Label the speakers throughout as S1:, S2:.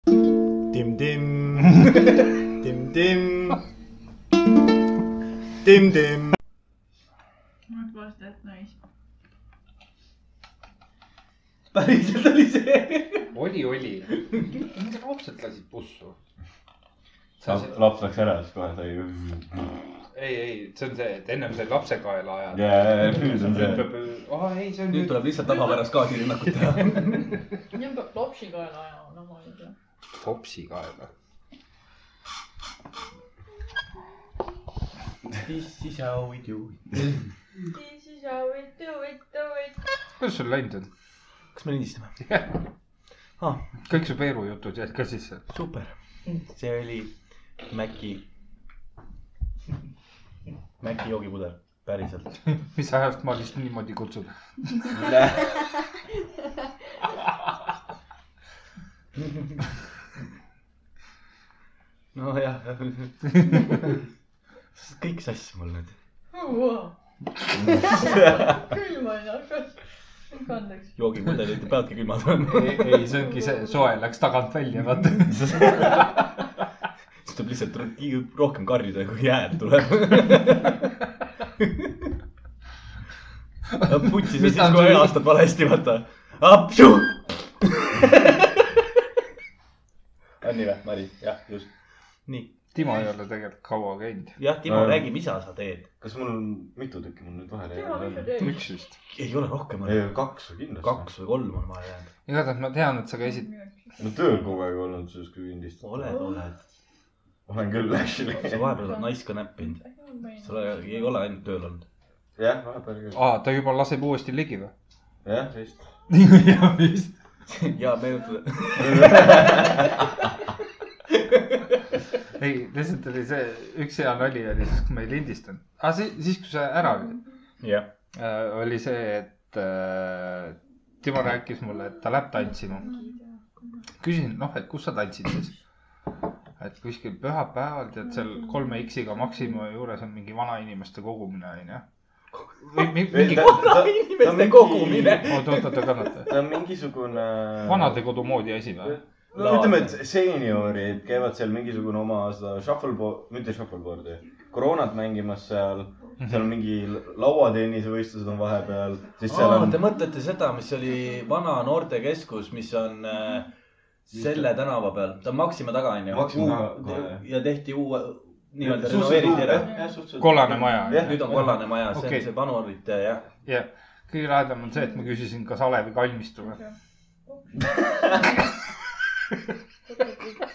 S1: 딤딤 딤딤 딤딤
S2: What was that noise ?
S3: päriselt oli see .
S4: oli , oli . mingid lapsed lasid pussu . sa
S5: laps
S4: said ,
S5: laps läks ära , siis kohe sai .
S4: ei , ei , see on see , et ennem sai lapsekaela ajada .
S5: jaa , nüüd on see .
S4: aa , Ah, ei , see on
S3: nüüd
S4: nüüd .
S3: tuleb lihtsalt tavapärast gaasirünnakut teha .
S2: nüüd peab topsi kaela ajama , no ma ei tea .
S4: topsi kaela .
S3: This is how we do it .
S2: This is how we do it , do it .
S4: kuidas sul läinud on ?
S3: kas me lindistame ?
S4: Ah. kõik su peerujutud jäid ka sisse ?
S3: super , see oli Maci , Maci joogipuder , päriselt .
S4: mis ajast ma vist niimoodi kutsun ?
S3: nojah , kõik sass mul nüüd .
S2: küll ma ei hakka . andeks .
S3: joogipudelid peavadki külmad olema ,
S4: ei , ei , see ongi see , soe läks tagant välja , vaata .
S3: siis tuleb lihtsalt ro- ki- rohkem karjuda , kui jääd tuleb . putsi sa
S4: Mis
S3: siis
S4: ta on
S3: kohe
S4: sul-
S3: aastad valesti , vaata . apšu . on nii või , Mari ? jah , just . nii ,
S4: Timo ei ole tegelikult kaua käinud .
S3: jah , Timo ,
S5: Ähm.
S3: räägi , mis sa sa teed
S5: kas mul on mitu tükki mul nüüd vahele
S2: tema , mis sa
S5: jäänud ?
S2: teed ?
S4: üks vist .
S3: ei ole rohkem
S5: ei
S3: olnud ,,
S5: kaks või kindlasti .
S3: kaks või kolm on vaja jäänud .
S4: igatahes ma tean , et sa käisid ,
S5: no tööl kogu aeg olnud selles küündist .
S3: oled , oled ,
S5: olen küll , actually .
S3: sa vahepeal oled naiska näppinud , sa ole- ei ole ainult tööl olnud .
S5: jah , vahepeal küll .
S4: aa , ta juba laseb uuesti ligi või ?
S5: jah , vist .
S4: jah , vist .
S3: ja meenutada ,
S4: ei , lihtsalt oli see , üks hea nali oli siis , kui ma ei lindistanud . aa , see , siis kui sa ära olid .
S3: jah ,
S4: äh, oli see , et äh, Timo rääkis mulle , et ta läheb tantsima . küsin , noh , et kus sa tantsid siis ? et kuskil pühapäeval tead seal kolme X-iga Maxima juures on mingi vanainimeste kogumine onju . või mi- mingi , oot ,
S3: inimeste kogumine. .
S4: oot , oot , kannata .
S5: ta on mingisugune .
S4: vanadekodu moodi asi või ?
S5: no ütleme , et seeniorid käivad seal mingisugune oma seda shuffleboard , mitte shuffleboard'i , koroonat mängimas seal . seal on mingi lauatennisevõistlused on vahepeal , siis seal
S3: aa ,
S5: on
S3: te . mõtlete seda , mis oli vana noortekeskus , mis on äh, selle tänava peal , ta on Maxima taga
S5: Maxima
S3: onju
S5: taga, kohe. .
S3: ja tehti uue , nii-öelda renoveeriti ära .
S4: kollane maja onju .
S5: Jah.
S3: nüüd on kollane maja , see
S4: Okei.
S3: on see vanurite jah .
S4: jah , kõige lahedam on see , et ma küsisin , kas Alevi kalmistu või .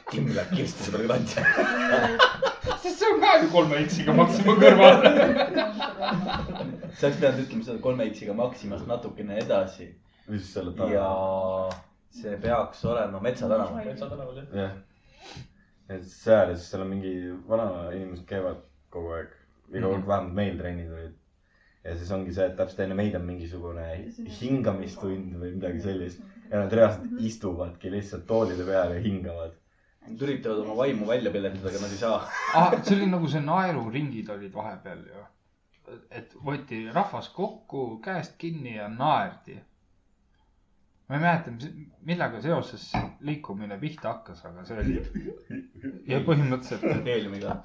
S3: Kim läheb kirsti sõbraga tantsima .
S4: sest see on ka ju kolme X-iga Maxima kõrval .
S3: sa oleks pidanud ütlema seda kolme X-iga Maximast natukene edasi
S5: või siis seal on
S3: ja
S5: taga .
S3: see peaks olema Metsa tänaval .
S5: jah . et seal ja siis seal on mingi vanainimesed käivad kogu aeg , iga kord vähemalt meil trennid olid . ja siis ongi see , et täpselt enne meid on Mhm. mingisugune hingamistund või midagi sellist ja nad reaalselt istuvadki lihtsalt toolide peal ja hingavad .
S3: Nad üritavad oma vaimu välja peletada , aga nad ei saa .
S4: ah, . see oli nagu see naeruringid olid vahepeal ju . et võeti rahvas kokku , käest kinni ja naerdi . ma ei mäleta , mis , millega seoses liikumine pihta hakkas , aga see oli ja põhimõtteliselt ,
S3: heeliumiga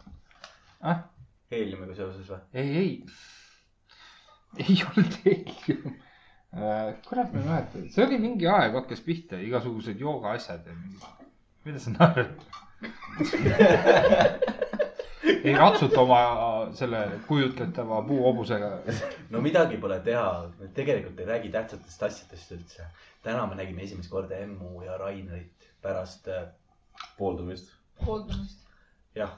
S4: Ah? ?
S3: heeliumiga seoses või ?
S4: et ei , ei , ei olnud helium . kurat , ma ei mäleta , see oli mingi aeg hakkas pihta , igasugused joogaasjad ja mingid , mida sa naerad ? ei ratsuta oma äh, selle kujutletava puuhobusega
S3: no midagi pole teha , me tegelikult ei räägi tähtsatest asjadest üldse . täna me nägime esimest korda Emmu ja Rainerit pärast äh,
S5: pooldumist .
S2: hooldamist .
S3: jah .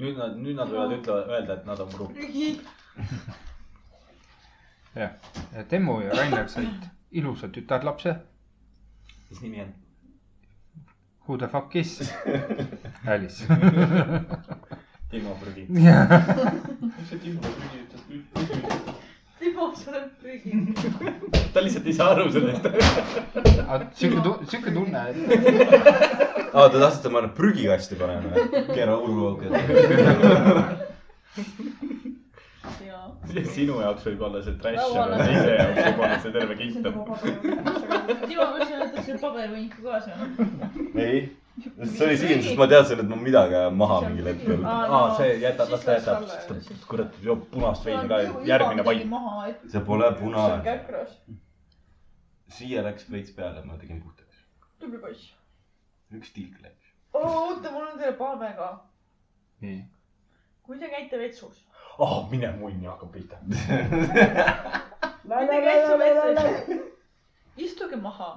S3: nüüd nad , nüüd nad võivad ütle , öelda , et nad on grupp .
S4: jah , et Emmu ja Rainer said ilusa tütarlapse .
S3: mis nimi on ?
S4: Who the fuck is Alice ?
S3: Timo Prügi .
S2: Timo , sa oled prüginud .
S3: ta lihtsalt ei saa aru sellest .
S4: sihuke , sihuke tunne , et
S5: aa , te tahtsite , ma nüüd prügikasti panen või ? keera urguauk .
S2: jaa .
S3: sinu jaoks võib olla see trash ,
S2: Lauale.
S3: aga teise jaoks võib olla see terve kiht .
S2: Timo , kas sa jätad selle paberihunniku kaasa ?
S5: ei , see oli siin , sest ma teadsin , et ma midagi ajan maha mingil hetkel .
S3: aa , see jätab , las ta jätab , siis ta kurat joob punast veini ka , järgmine vaip .
S6: vait .
S5: see pole punane .
S6: käkras ,
S5: siia läks veits peale , ma tegin puhtaks .
S6: tubli poiss .
S5: üks tilk läks .
S6: oota , mul on teile palve ka .
S4: nii ,
S6: kui te käite vetsus .
S3: ah , mine munni , hakkab pihta .
S6: kui te käite vetsus , istuge maha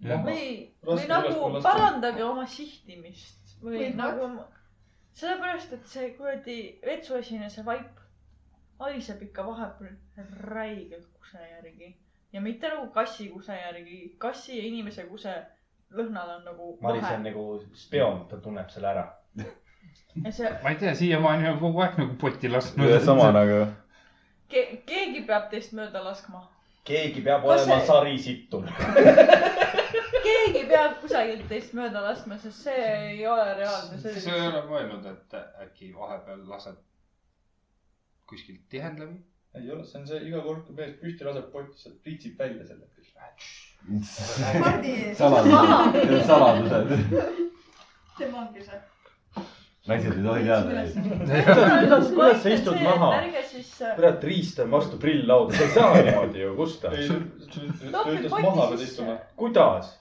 S4: jah ,
S6: või , või
S7: Raske
S6: nagu
S7: ülespoole lasta.
S6: parandage oma sihtimist või
S8: Või
S6: nagu , sellepärast et see kuradi vetsuesine , see vaip haiseb ikka vahepeal räigelt kuse järgi ja mitte nagu kassi kuse järgi , kassi ja inimese kuse lõhnal on nagu
S3: Maris on
S6: vahe
S3: nagu spioon , ta tunneb selle ära .
S6: ja see
S4: ma ei tea , siiamaani on kogu aeg nagu potti lasknud .
S5: sama nagu .
S6: ke, , keegi peab teist mööda laskma ,
S3: keegi peab
S6: Kas
S3: olema
S6: see-
S3: sarisittur .
S6: keegi peab kusagilt teist mööda laskma , sest see ei ole reaalne .
S4: sa ei ole mõelnud , et äkki vahepeal lased kuskilt tihend läbi ?
S7: ei ole , see on see iga kord , kui mees püsti laseb potti , sealt pritsib välja selle .
S8: Mardi ,
S5: saladused , saladused .
S8: tema ongi see .
S5: naised ei tohi teada neid .
S3: kuidas kuidas sa istud maha ?
S6: ärge siis , äh,
S3: kurat , riist on vastu prill lauda , sa ei saa niimoodi ju , Gustav .
S7: ei ,
S6: No
S7: ta
S6: hakka
S7: ütles
S6: potti
S7: maha pead
S6: sisse.
S7: istuma .
S3: kuidas ?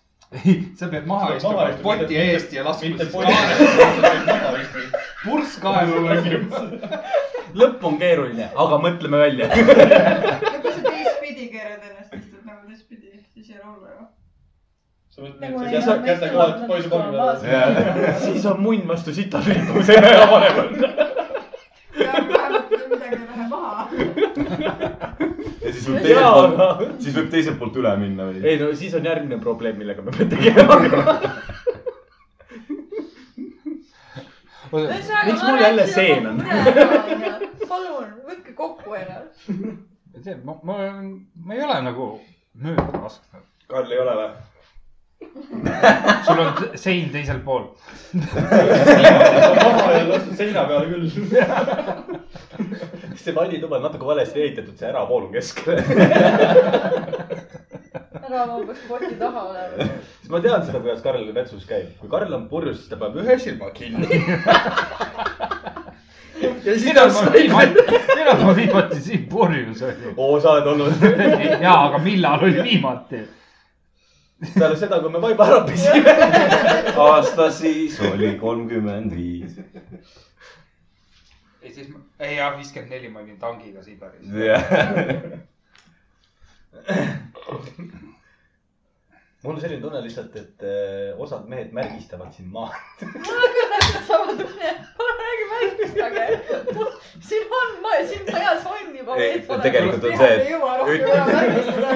S4: ei , sa pead maha
S7: Sa pead
S4: istuma
S7: maha istuma,
S4: poti
S7: mitte-
S4: eest ja laskma
S7: mitte
S4: siis
S7: potti
S4: kaela ,
S7: maha istuma .
S4: purss kaelule kirjutada .
S3: lõpp on keeruline , aga mõtleme välja .
S8: no kui sa teistpidi keerad ennast , istud nagu teistpidi , siis ei ole hullu ju .
S7: sa võid
S6: Nagu
S7: need
S6: ei
S7: käsad
S6: ole mõistlik olla,
S7: kätte kohalt poisi
S6: kui
S7: pommi
S6: on
S7: peale .
S3: siis on munn vastu sita liikuv , see ei ole vanem .
S8: vähemalt midagi ei lähe maha .
S5: ja siis võib
S3: jaa ,
S5: teiselt poolt ,
S3: aga .
S5: siis võib teiselt poolt üle minna või ?
S3: ei no siis on järgmine probleem , millega me peame tegelema . miks mul jälle seen on ?
S6: palun , võtke kokku ennast .
S4: ma ei tea , ma , ma , ma ei ole nagu mööda lasknud .
S3: Karl ei ole või ?
S4: sul on sein teisel pool .
S7: maha ja lastud seina peale küll .
S3: see vannituba on natuke valesti ehitatud , see äravoolu keskele .
S6: ära umbes poti taha olema .
S3: siis ma tean seda , kuidas Karl vetsus käib . kui Karl on purjus , siis ta paneb ühe silma kinni . ja siis
S4: millal
S3: ta
S4: ma
S3: snaiber .
S4: viimati , millal ma viimati siin purjus olin ?
S3: oo , sa oled olnud
S4: jaa , aga millal oli viimati ?
S3: peale seda , kui me vaiba ära pesime .
S5: aasta siis oli kolmkümmend viis .
S4: ei , siis , ei jah , viiskümmend neli ma olin tangiga Siberis .
S3: mul on selline tunne lihtsalt , et eh, osad mehed märgistavad sind maha .
S6: sama tunne , palun räägi märgistage . siin on , siin peas on juba .
S5: Ei, tegelikult on see ,
S8: ei jõua rohkem ära märgistada .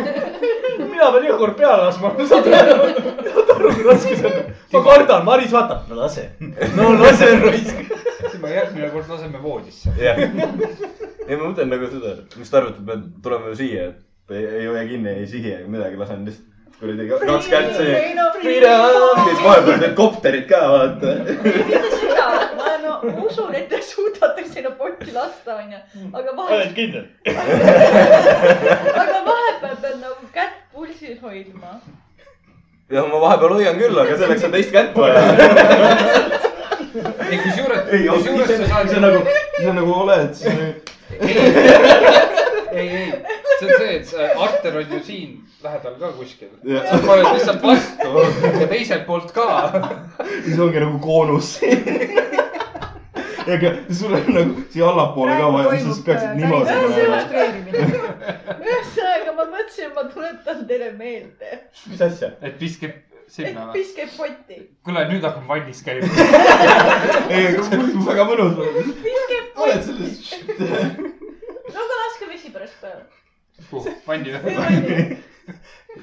S3: mina pean iga kord peale laskma , saad aru , saad aru , kui raske see on . ma kardan , Maris vaatab , no lase , no lase raisk .
S4: siis me järgmine kord laseme voodisse .
S5: jah . ei , ma mõtlen nagu seda , mis te arvate , me tuleme siia , et ei, ei hoia kinni , ei sihi ega midagi , lasen lihtsalt kuradi ka- kaks kätt see . siis vahepeal need kopterid ka vaata .
S6: mitte seda , ma no, usun , et te suudate sinna potti lasta , onju , aga vahepeal ,
S7: kindel ?
S6: aga vahepeal peab nagu kätt pulsil hoidma .
S5: ja ma vahepeal hoian küll , aga selleks on teist kätt vaja .
S4: ei , kusjuures ,
S5: ei ,
S4: kusjuures sa saad
S5: see nagu , see nagu oled .
S4: ei , ei , ei , see on see , et see arter on ju siin lähedal ka kuskil . sa paned lihtsalt vastu ja teiselt poolt ka .
S1: siis ongi nagu koonus . ega sul on nagu siia allapoole ka vaja , siis peaksid niimoodi minema .
S8: demonstreerimine .
S6: ühesõnaga , ma mõtlesin , ma tuletan teile meelde ,
S3: mis asja ?
S4: et viskab
S6: et
S4: sinna või ?
S6: piske potti ,
S4: kuule , nüüd hakkab vannis käima .
S1: ei , aga mul on nagu väga mõnus .
S6: piske
S1: oled
S6: potti ,
S1: selles .
S6: no aga laske vesi pärast peale .
S4: vanni või ?
S6: ei ,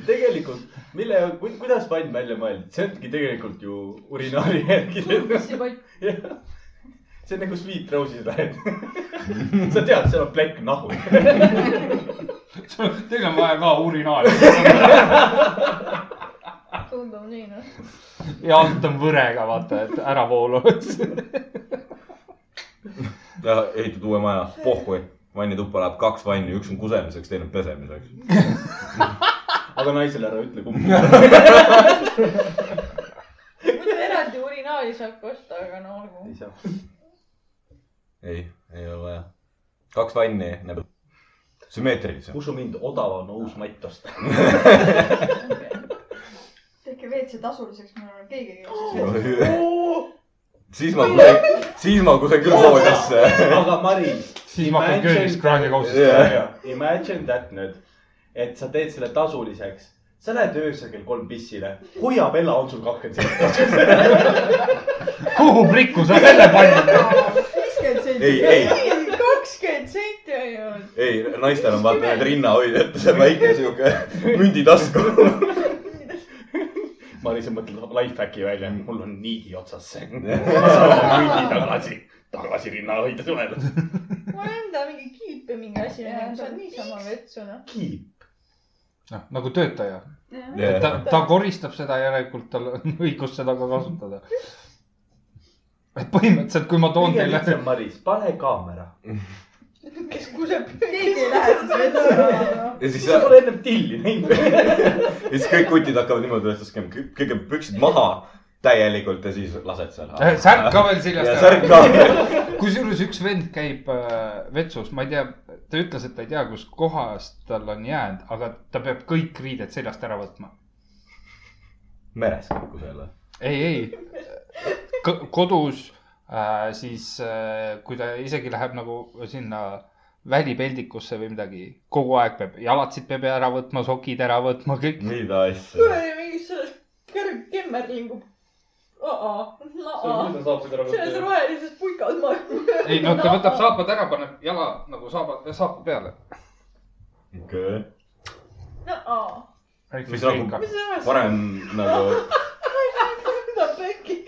S3: tegelikult , mille , kuidas vann välja mõeldi , see ongi tegelikult ju urinaali järgi tehtud .
S6: pott ,
S3: see on nagu sweet rose'i lähed . sa tead , seal on plekk nahu .
S4: teil on vaja ka urinaali
S6: tundub nii noh .
S4: ja alt on võrega , vaata , et ära voolu .
S5: ehitad uue maja , pohhui , vannituppa läheb kaks vanni , üks on kusemiseks , teine on pesemiseks .
S3: aga naisele ära ütle , kumb .
S6: ei saa kosta , aga no olgu
S3: ei . saa .
S5: ei , ei ole vaja . kaks vanni näeb sümmeetrilisem .
S3: usu mind , odav on uus matt osta .
S8: tehke WC tasuliseks , ma arvan , keegi ei ole .
S5: siis ma , siis ma kusagil voodisse .
S3: aga Maris ,
S4: siis ma hakkan köögis kraanikausist
S5: Jah.
S4: yeah. .
S3: imagine that nüüd , et sa teed selle tasuliseks . sa lähed öösel kell kolm pissile , hoia Bella on sul kakskümmend senti .
S4: kuhu prikku sa selle panid ?
S8: viiskümmend senti .
S5: Ei, ei.
S6: kakskümmend senti on ju .
S5: ei , naistel on vaata need rinnahoidjad , see on väike sihuke münditasku .
S3: Maris on mõtelnud lifehacki välja , mul on niidi otsas see . ma saan oma niidi tagasi , tagasi rinna hoida suvel .
S6: mul enda mingi kiip ja mingi asi ,
S8: Jaa,
S6: sa
S8: ta-
S6: oled niisama vetsu noh .
S3: kiip .
S4: noh , nagu töötaja . ta
S5: Jah. ,
S4: ta koristab seda , järelikult tal on õigus seda ka kasutada . et põhimõtteliselt , kui ma toon
S3: kõige
S4: teile ,
S3: lihtsam , Maris , pane kaamera .
S6: kes kuseb ,
S8: keegi ei lähe siis WC ära .
S5: ja siis
S3: sa , pole ennem tilli näinud .
S5: ja siis kõik kutid hakkavad niimoodi üles laskema , kõigepealt püksid maha täielikult ja siis lased seal .
S4: Eh, särk ka veel seljast
S5: ja särk . ka .
S4: kusjuures üks vend käib äh, vetsus , ma ei tea , ta ütles , et ta ei tea , kus kohas tal on jäänud , aga ta peab kõik riided seljast ära võtma .
S5: meres kukkus jälle .
S4: ei , ei , kodus äh, siis äh, , kui ta isegi läheb nagu sinna välipeldikusse või midagi , kogu aeg peab , jalatsid peab ära võtma , sokid ära võtma , kõik .
S5: mida asja .
S6: kuradi mingi selle kõrg kemmer lingub .
S7: seda saab seda
S6: selles
S7: rahutada .
S6: rohelises puikas ma .
S4: ei no ta võtab saapad ära , paneb jala nagu saabad , saapa peale .
S5: okei . Mis nagu-
S6: mis see on ?
S5: parem nagu ,
S6: ta pekki .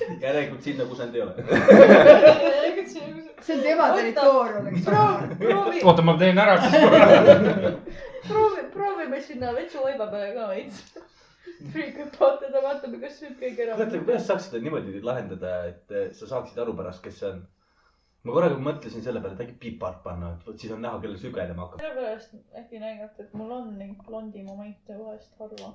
S3: järelikult sinna , kus nad ei ole .
S8: see on tema territoorium , eks ole .
S6: proovi , proovi ,
S4: oota , ma teen ära siis korra .
S6: proovi , proovime sinna vetsuvaiba peale ka veits . friikab vaatada , vaatame , kas sööb keegi ära .
S3: mõtle , kuidas saaks seda niimoodi lahendada , et eh, sa saaksid aru pärast , kes see on . ma korraga mõtlesin selle peale , et äkki pipart panna , et vot siis on näha , kellel sügelema hakkab .
S6: sellepärast äkki näidata , et mul on neid blondi momente vahest harva .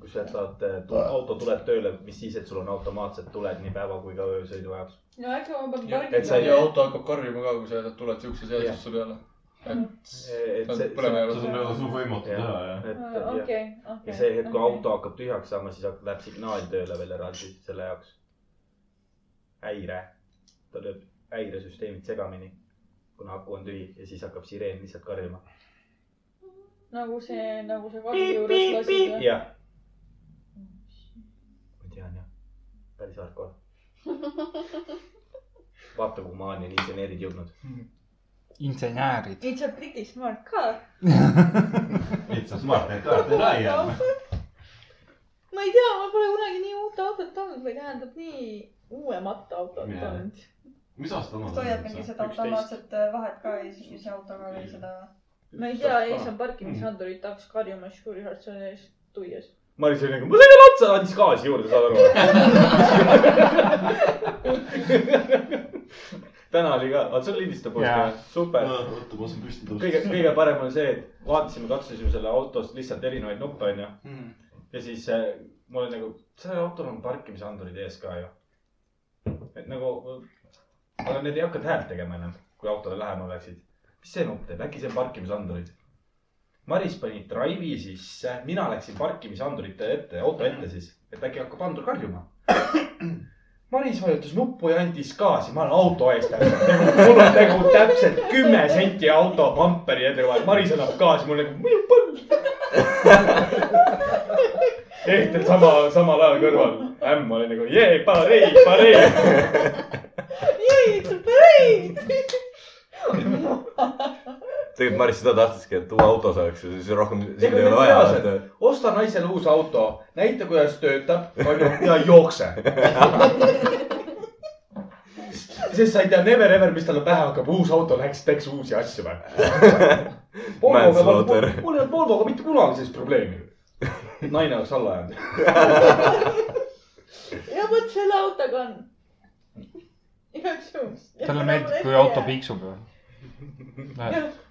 S3: kui sa saad , auto tuleb tööle , mis siis , et sul on automaatsed tuled nii päeva kui ka öösõidu ajaks .
S6: no äkki ma pean
S3: et sa ei-
S7: ja . auto hakkab karjuma ka , kui sa jätad tuled siukse seadusesse peale .
S6: Mm.
S3: et see ,
S7: põlema ei
S9: seda
S6: Ah,
S7: ole .
S9: ei ole sul võimatu
S3: Jah.
S9: teha , jah .
S3: et jah.
S6: okei , okei .
S3: ja see hetk , kui auto hakkab tühjaks saama , siis hakkab- läheb signaal tööle veel eraldi selle jaoks . häire , ta lööb häiresüsteemid segamini , kuna aku on tühi ja siis hakkab sireen lihtsalt karjuma .
S6: nagu see , nagu see karbi juures lasid või ?
S3: jah , ma tean jah , päris hardcore . vaata , kuhu maani on insenerid jõudnud .
S4: insenäärid .
S6: It's a pretty smart car .
S9: It's a smart network and I am .
S6: ma ei tea , ma pole kunagi nii uut autot olnud või tähendab nii uuemat autot
S9: Jaa.
S6: olnud .
S9: mis aastal ma
S8: kas hoiad mingi seda automaatset äh, vahet ka ja siis ise autoga või seda ?
S6: ma ei tea , ei see on parkimishandurid tahaks karjuma , suuri hartsone ees tuies .
S3: Maris oli nagu , ma sain veel otsa , andis gaasi juurde , saad aru või ? täna oli ka , vaata see lindistab
S4: Jaa.
S3: poiss , super .
S9: oota , ma saan püsti
S3: kõige ,
S9: tõusta .
S3: kõige parem on see , et vaatasime , katsusime selle autost lihtsalt erinevaid nuppe , onju . ja siis äh, ma olin nagu , sellel autol on parkimisandurid ees ka ju . et nagu , aga need ei hakanud häält tegema enam , kui autole lähemal läksid . mis see nupp teeb , äkki see on parkimisandurid ? Maris pani Drive'i sisse , mina läksin parkimisandurite ette , auto ette siis , et äkki hakkab andur karjuma . Maris vajutas nuppu ja andis gaasi , ma olen auto ees täpselt , mul on nagu täpselt kümme senti auto pamperi edevahel , Maris annab gaasi , mul nagu minu põld . Ehtel sama , samal ajal kõrval , ämm oli nagu jee , parei , parei .
S6: Yay , it's a parade .
S5: tegelikult Maris seda tahtiski , et uue auto saaks ja siis rohkem sind ei
S3: need
S5: ole vaja
S3: reaalsed. . osta naisele uus auto , näita , kuidas töötab , onju , ja jookse . sest sa ei tea never ever , mis talle pähe hakkab , uus auto läheks , teeks uusi asju või ? mul
S5: Manslaughter.
S3: ei olnud Volvoga mitte kunagi sellist probleemi . naine oleks alla jäänud .
S6: ja vot selle autoga on . igaks juhuks .
S4: talle
S6: nagu
S4: meeldib , kui auto . piiksub ju .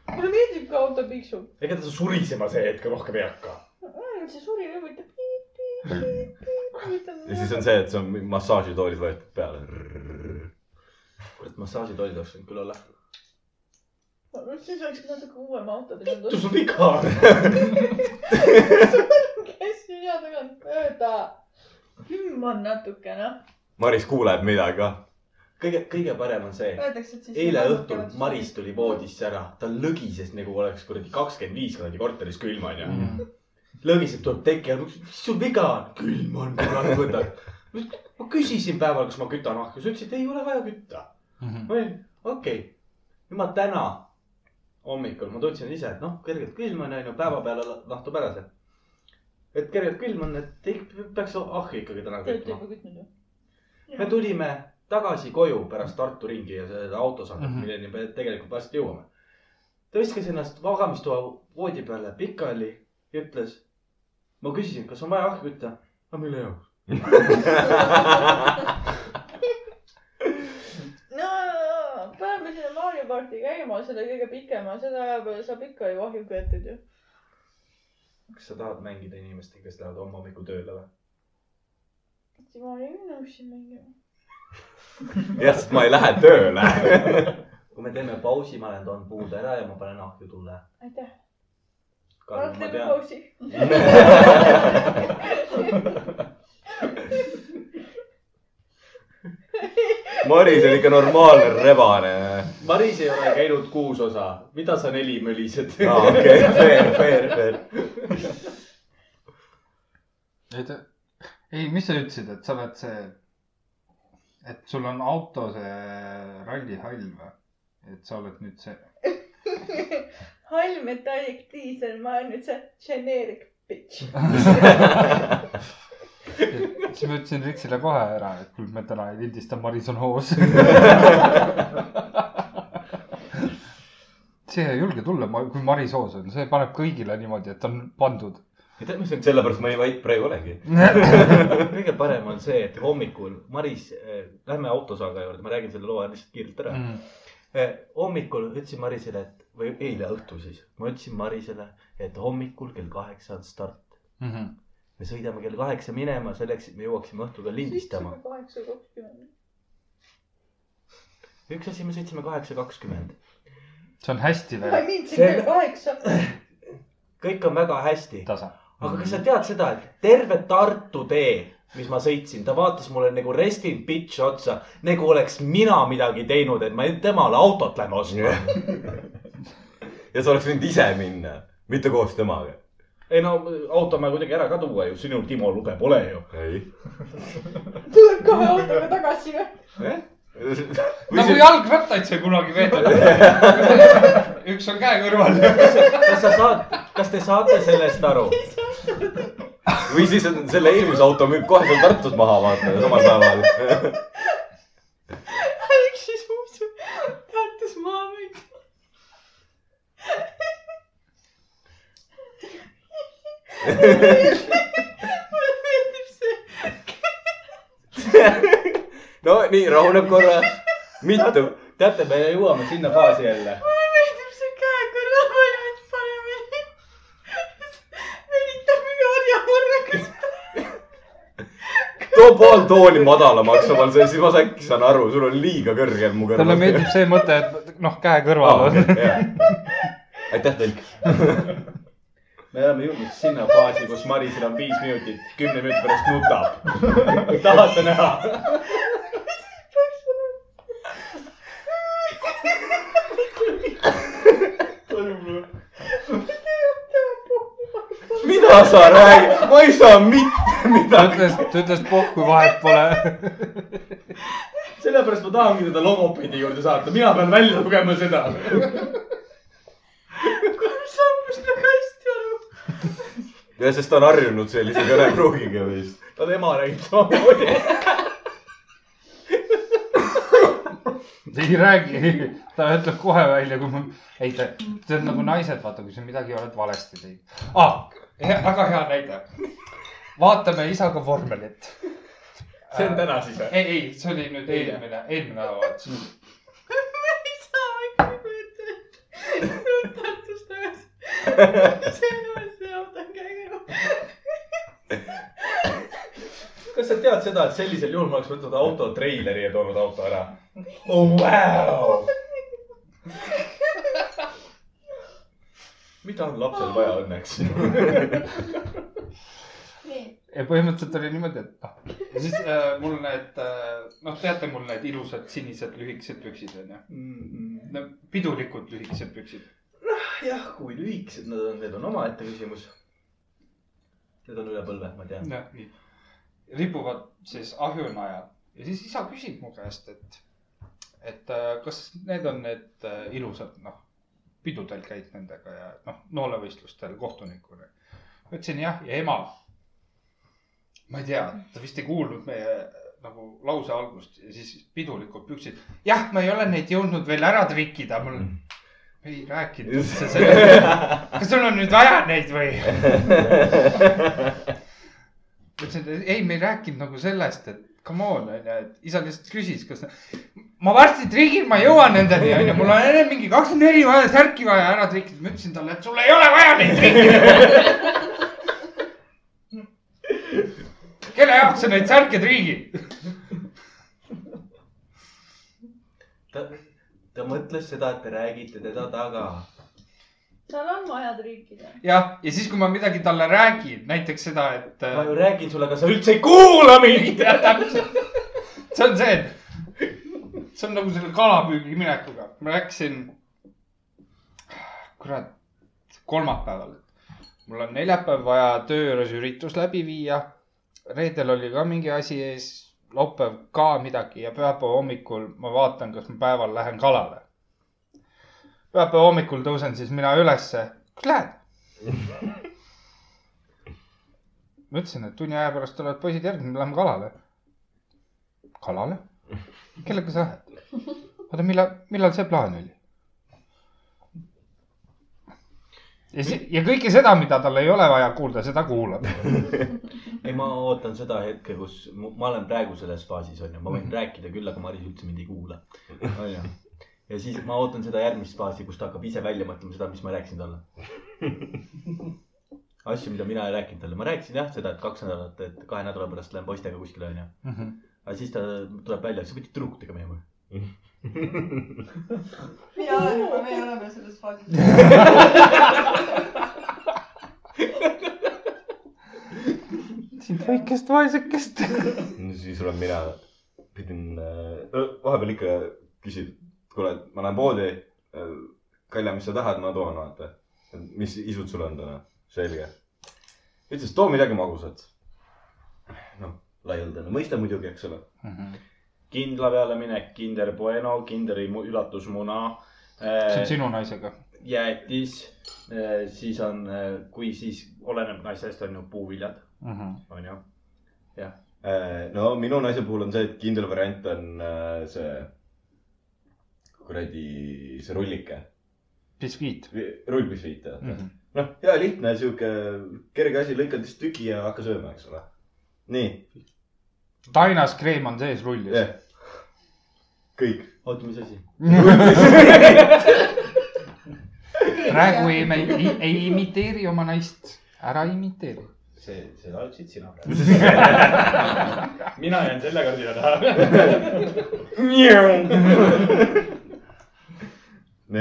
S6: mulle meeldib , kui auto piiksub .
S3: ega ta surisema see hetk rohkem ei hakka .
S6: see suri nagu , et piip , piip , piip , piip , piip ,
S5: ja siis on see , et see on massaažitoolid võetud peale .
S3: kurat , massaažitoolid oleks võinud küll olla .
S6: siis oleks natuke uuem auto teinud .
S3: sul viga on .
S6: käis selja tagant mööda . kümm on natukene .
S5: Maris kuuleb midagi ah. kah .
S3: kõige , kõige parem on see ,
S10: Öeldakse , et siis .
S3: eile õhtul Maris tuli voodisse ära , ta lõgises nagu oleks kuradi kakskümmend viis kuradi korteris külm onju .
S4: Mhm.
S3: lõgiseb , tuleb teki all , mis sul viga on ? külm on , kurat võtad . ma küsisin päeval , kas ma kütan ahju , sa ütlesid , ei ole vaja kütta .
S4: Mhm.
S3: ma olin , okei okay. , nüüd ma täna hommikul ma tundsin ise , et noh , kergelt külm on onju , päeva peale la- lahtub ära see . et kergelt külm on , et ei- peaks ahju ikkagi täna
S6: Te olete
S3: kütma
S6: juba kütnud ju ?
S3: me tulime tagasi koju pärast Tartu ringi ja seda autosaadet mm ,
S4: Mhm.
S3: -hmm. milleni me tegelikult varsti jõuame . ta viskas ennast magamistoa voodi peale pikali ja ütles . ma küsisin , kas on vaja ahju kütta . no mille jaoks ?
S6: no , paneme selle Mario parti käima , selle kõige pikema , seda aja peale saab ikka ju ahju köetud ju .
S3: kas sa tahad mängida inimestega , kes lähevad homme hommikul tööle või ?
S6: ma olin nõus siin mängima .
S5: jah , sest ma ei lähe tööle .
S3: kui me teeme pausi , ma lähen toon puud ära ja ma panen ahju tulle .
S6: aitäh .
S3: Karl , ma
S6: teeme
S3: tean ,
S6: pausi .
S5: Maris on ikka normaalne rebane .
S3: Maris ei ole käinud kuus osa , mida sa neli mölised ?
S5: aa , Ah, okei , fair , fair , fair .
S4: ei ta , ei , mis sa ütlesid , et sa oled see , et sul on auto see rallihall või ? et sa oled nüüd see ,
S6: hall metallic diisel , ma olen nüüd see generic bitch .
S4: siis ma ütlesin Riksile kohe ära , et kuule , me täna ei lindista , Maris on hoos . see ei julge tulla , kui Maris hoos on , see paneb kõigile niimoodi , et on pandud . Mhm.
S3: tead , mis on
S5: sellepärast ma nii vait praegu olengi .
S3: kõige parem on see , et hommikul Maris , lähme autosaaga juurde , ma räägin selle loo lihtsalt kiirelt ära mm. . hommikul ütlesin Marisele , et või eile õhtul siis , ma ütlesin Marisele , et hommikul kell kaheksa on start .
S4: Mhm.
S3: me sõidame kell kaheksa minema selleks , et me jõuaksime õhtul ka lindistama .
S6: kaheksa kakskümmend .
S3: üks asi , me sõitsime kaheksa kakskümmend .
S4: see on hästi
S6: ma
S4: veel
S6: ei mind siin kell
S3: Selle-
S6: kaheksa .
S3: kõik on väga hästi ,
S4: tasa .
S3: aga kas sa tead seda , et terve Tartu tee , mis ma sõitsin , ta vaatas mulle nagu rest in bitch otsa , nagu oleks mina midagi teinud , et ma temale autot lähen ostma .
S5: ja sa oleks võinud ise minna , mitte koos temaga .
S3: ei no auto on vaja kuidagi ära ka tuua ju , sinul Timo luge pole ju .
S5: ei .
S6: tuleb kahe autoga tagasi või ?
S4: nagu jalgrattaid sai kunagi veetud . üks on käe kõrval .
S3: kas sa saad , kas te saate sellest aru ?
S5: või siis on selle eelmise auto müük kohe seal Tartus maha vaata samal päeval .
S6: miks siis usub Tartus maamüüki ? mulle meeldib see ,
S5: no nii , rahuneb korra . mitu ,
S3: teate , me jõuame sinna faasi jälle .
S6: mulle meeldib see käekõrva valmis panemine . venitab mingi orjamurraga .
S5: too pool tooli madalamaks omal see , siis ma äkki saan aru , sul on liiga kõrgel mu kõrval .
S4: talle meeldib see mõte , et noh , käe kõrval
S5: aa ,
S4: on .
S5: okei , jaa . aitäh , tõlk .
S3: me oleme jõudnud sinna faasi , kus Marisel on viis minutit , kümne minuti pärast nutab . tahate näha ?
S5: mida sa räägid , ma ei saa mitte
S4: ta
S5: midagi .
S4: ütles , ta ütles , et pohhu vahet pole .
S3: sellepärast ma tahangi teda logopeedi juurde saata , mina pean välja lugema seda .
S6: kolm sammust väga hästi aru .
S5: ja sest ta on harjunud sellise kõnepruugiga vist .
S3: ta tema räägib samamoodi .
S4: ei räägi , ta ütleb kohe välja , kui ma , ei ta , see on nagu naised , vaata , kui sa midagi oled valesti teinud ah, . väga hea näide . vaatame isaga vormelit .
S3: see on täna siis või ?
S4: ei , ei , see oli nüüd eelmine , eelmine nädalavahetus .
S6: ma ei saa ikka kujutada ette , et Tartus tagasi . see on uuesti auto käekõrva .
S3: kas kas sa tead seda , et sellisel juhul ma oleks võtnud auto treileri ja toonud auto ära ? oh wow! . mida on lapsel vaja õnneks ?
S8: nii ,
S4: ja põhimõtteliselt oli niimoodi , et noh , ja siis äh, mul need äh, , noh , teate mul need ilusad sinised lühikesed püksid onju , no pidulikud lühikesed püksid .
S3: jah , kui lühikesed nad on , need on omaette küsimus . Need on üle põlve , ma tean .
S4: jah , nii , ripuvad siis ahjunajal ja siis isa küsib mu käest , et , et äh, kas need on need äh, ilusad , noh , pidudel käid nendega ja noh , noolevõistlustel kohtunikuna . ma ütlesin jah , ja ema , ma ei tea , ta vist ei kuulnud meie äh, nagu lause algust ja siis pidulikult püksid , jah , ma ei ole neid jõudnud veel ära trikida , mul ei rääkinud üldse sellest . kas sul on nüüd vaja neid või ? ma ütlesin , et ei , me ei rääkinud nagu sellest , et come on , onju , et isa lihtsalt küsis , kas . ma varsti trigin , ma jõuan nendeni , onju , mul on enne mingi kakskümmend neli vaja särki vaja ära trikida . ma ütlesin talle , et sul ei ole vaja neid trikida . kelle jaoks sa neid särke trigid ?
S3: ta , ta mõtles seda , et te räägite teda taga .
S2: seal on vaja triikida .
S4: jah , ja siis , kui ma midagi talle räägin , näiteks seda , et
S3: ma . ju räägin sulle , aga sa üldse ei kuula mind .
S4: see on see , see on nagu selle kalapüügi minekuga , ma rääkisin , kurat , kolmapäeval . mul on neljapäev vaja töö juures üritus läbi viia . reedel oli ka mingi asi ees , laupäev ka midagi ja pühapäeva hommikul ma vaatan , kas ma päeval lähen kalale . pühapäeva hommikul tõusen siis mina ülesse , kus lähed ? ma ütlesin , et tunni aja pärast tulevad poisid järgi , me läheme kalale . kalale ? kellega sa lähed ? oota , millal , millal see plaan oli ? ja see ja kõike seda , mida tal ei ole vaja kuulda , seda kuulab .
S3: ei , ma ootan seda hetke , kus mu- ma olen praegu selles faasis onju , ma võin mm -hmm. rääkida küll , aga Maris üldse mind ei kuula . onju . ja siis ma ootan seda järgmist faasi , kus ta hakkab ise välja mõtlema seda , mis ma rääkisin talle . asju , mida mina ei rääkinud talle , ma rääkisin jah seda , et kaks nädalat , et kahe nädala pärast lähen poistega kuskile onju .
S4: Mhm.
S3: aga siis ta tuleb välja , sa pidid tüdrukutega minema .
S8: mina olen juba , me oleme selles faasis .
S4: sind väikest vaesekest .
S5: no siis olen mina , pidin äh, , vahepeal ikka küsid , kuule , ma lähen poodi äh, . Kalja , mis sa tahad , ma toon , vaata . mis isud sul on täna ? selge . ütles , too midagi magusat . noh , laialdane mõiste muidugi , eks ole .
S4: Mhm.
S3: kindla peale minek , kinder bueno , kinderi mu- üllatusmuna .
S5: äh,
S4: see on sinu naisega .
S3: jäätis , siis on ,
S5: äh,
S3: kui siis oleneb naisest on ju puuviljad ,
S4: Mhm.
S3: on ju .
S5: Äh, no minu naise puhul on see , et kindel variant on äh, see kuradi , see rullike ,
S4: biskiit . Mhm.
S5: rullpisviit , vaata . noh , hea lihtne sihuke kerge asi , lõikad lihtsalt tüki ja hakka sööma , eks ole . nii ,
S4: tainas kreem on sees rullis
S5: jah . kõik .
S3: oota , mis asi ?
S4: praegu ei , ei, ei imiteeri oma naist , ära imiteeri .
S3: see , seda ütlesid sina .
S7: mina jään selle kardina taha .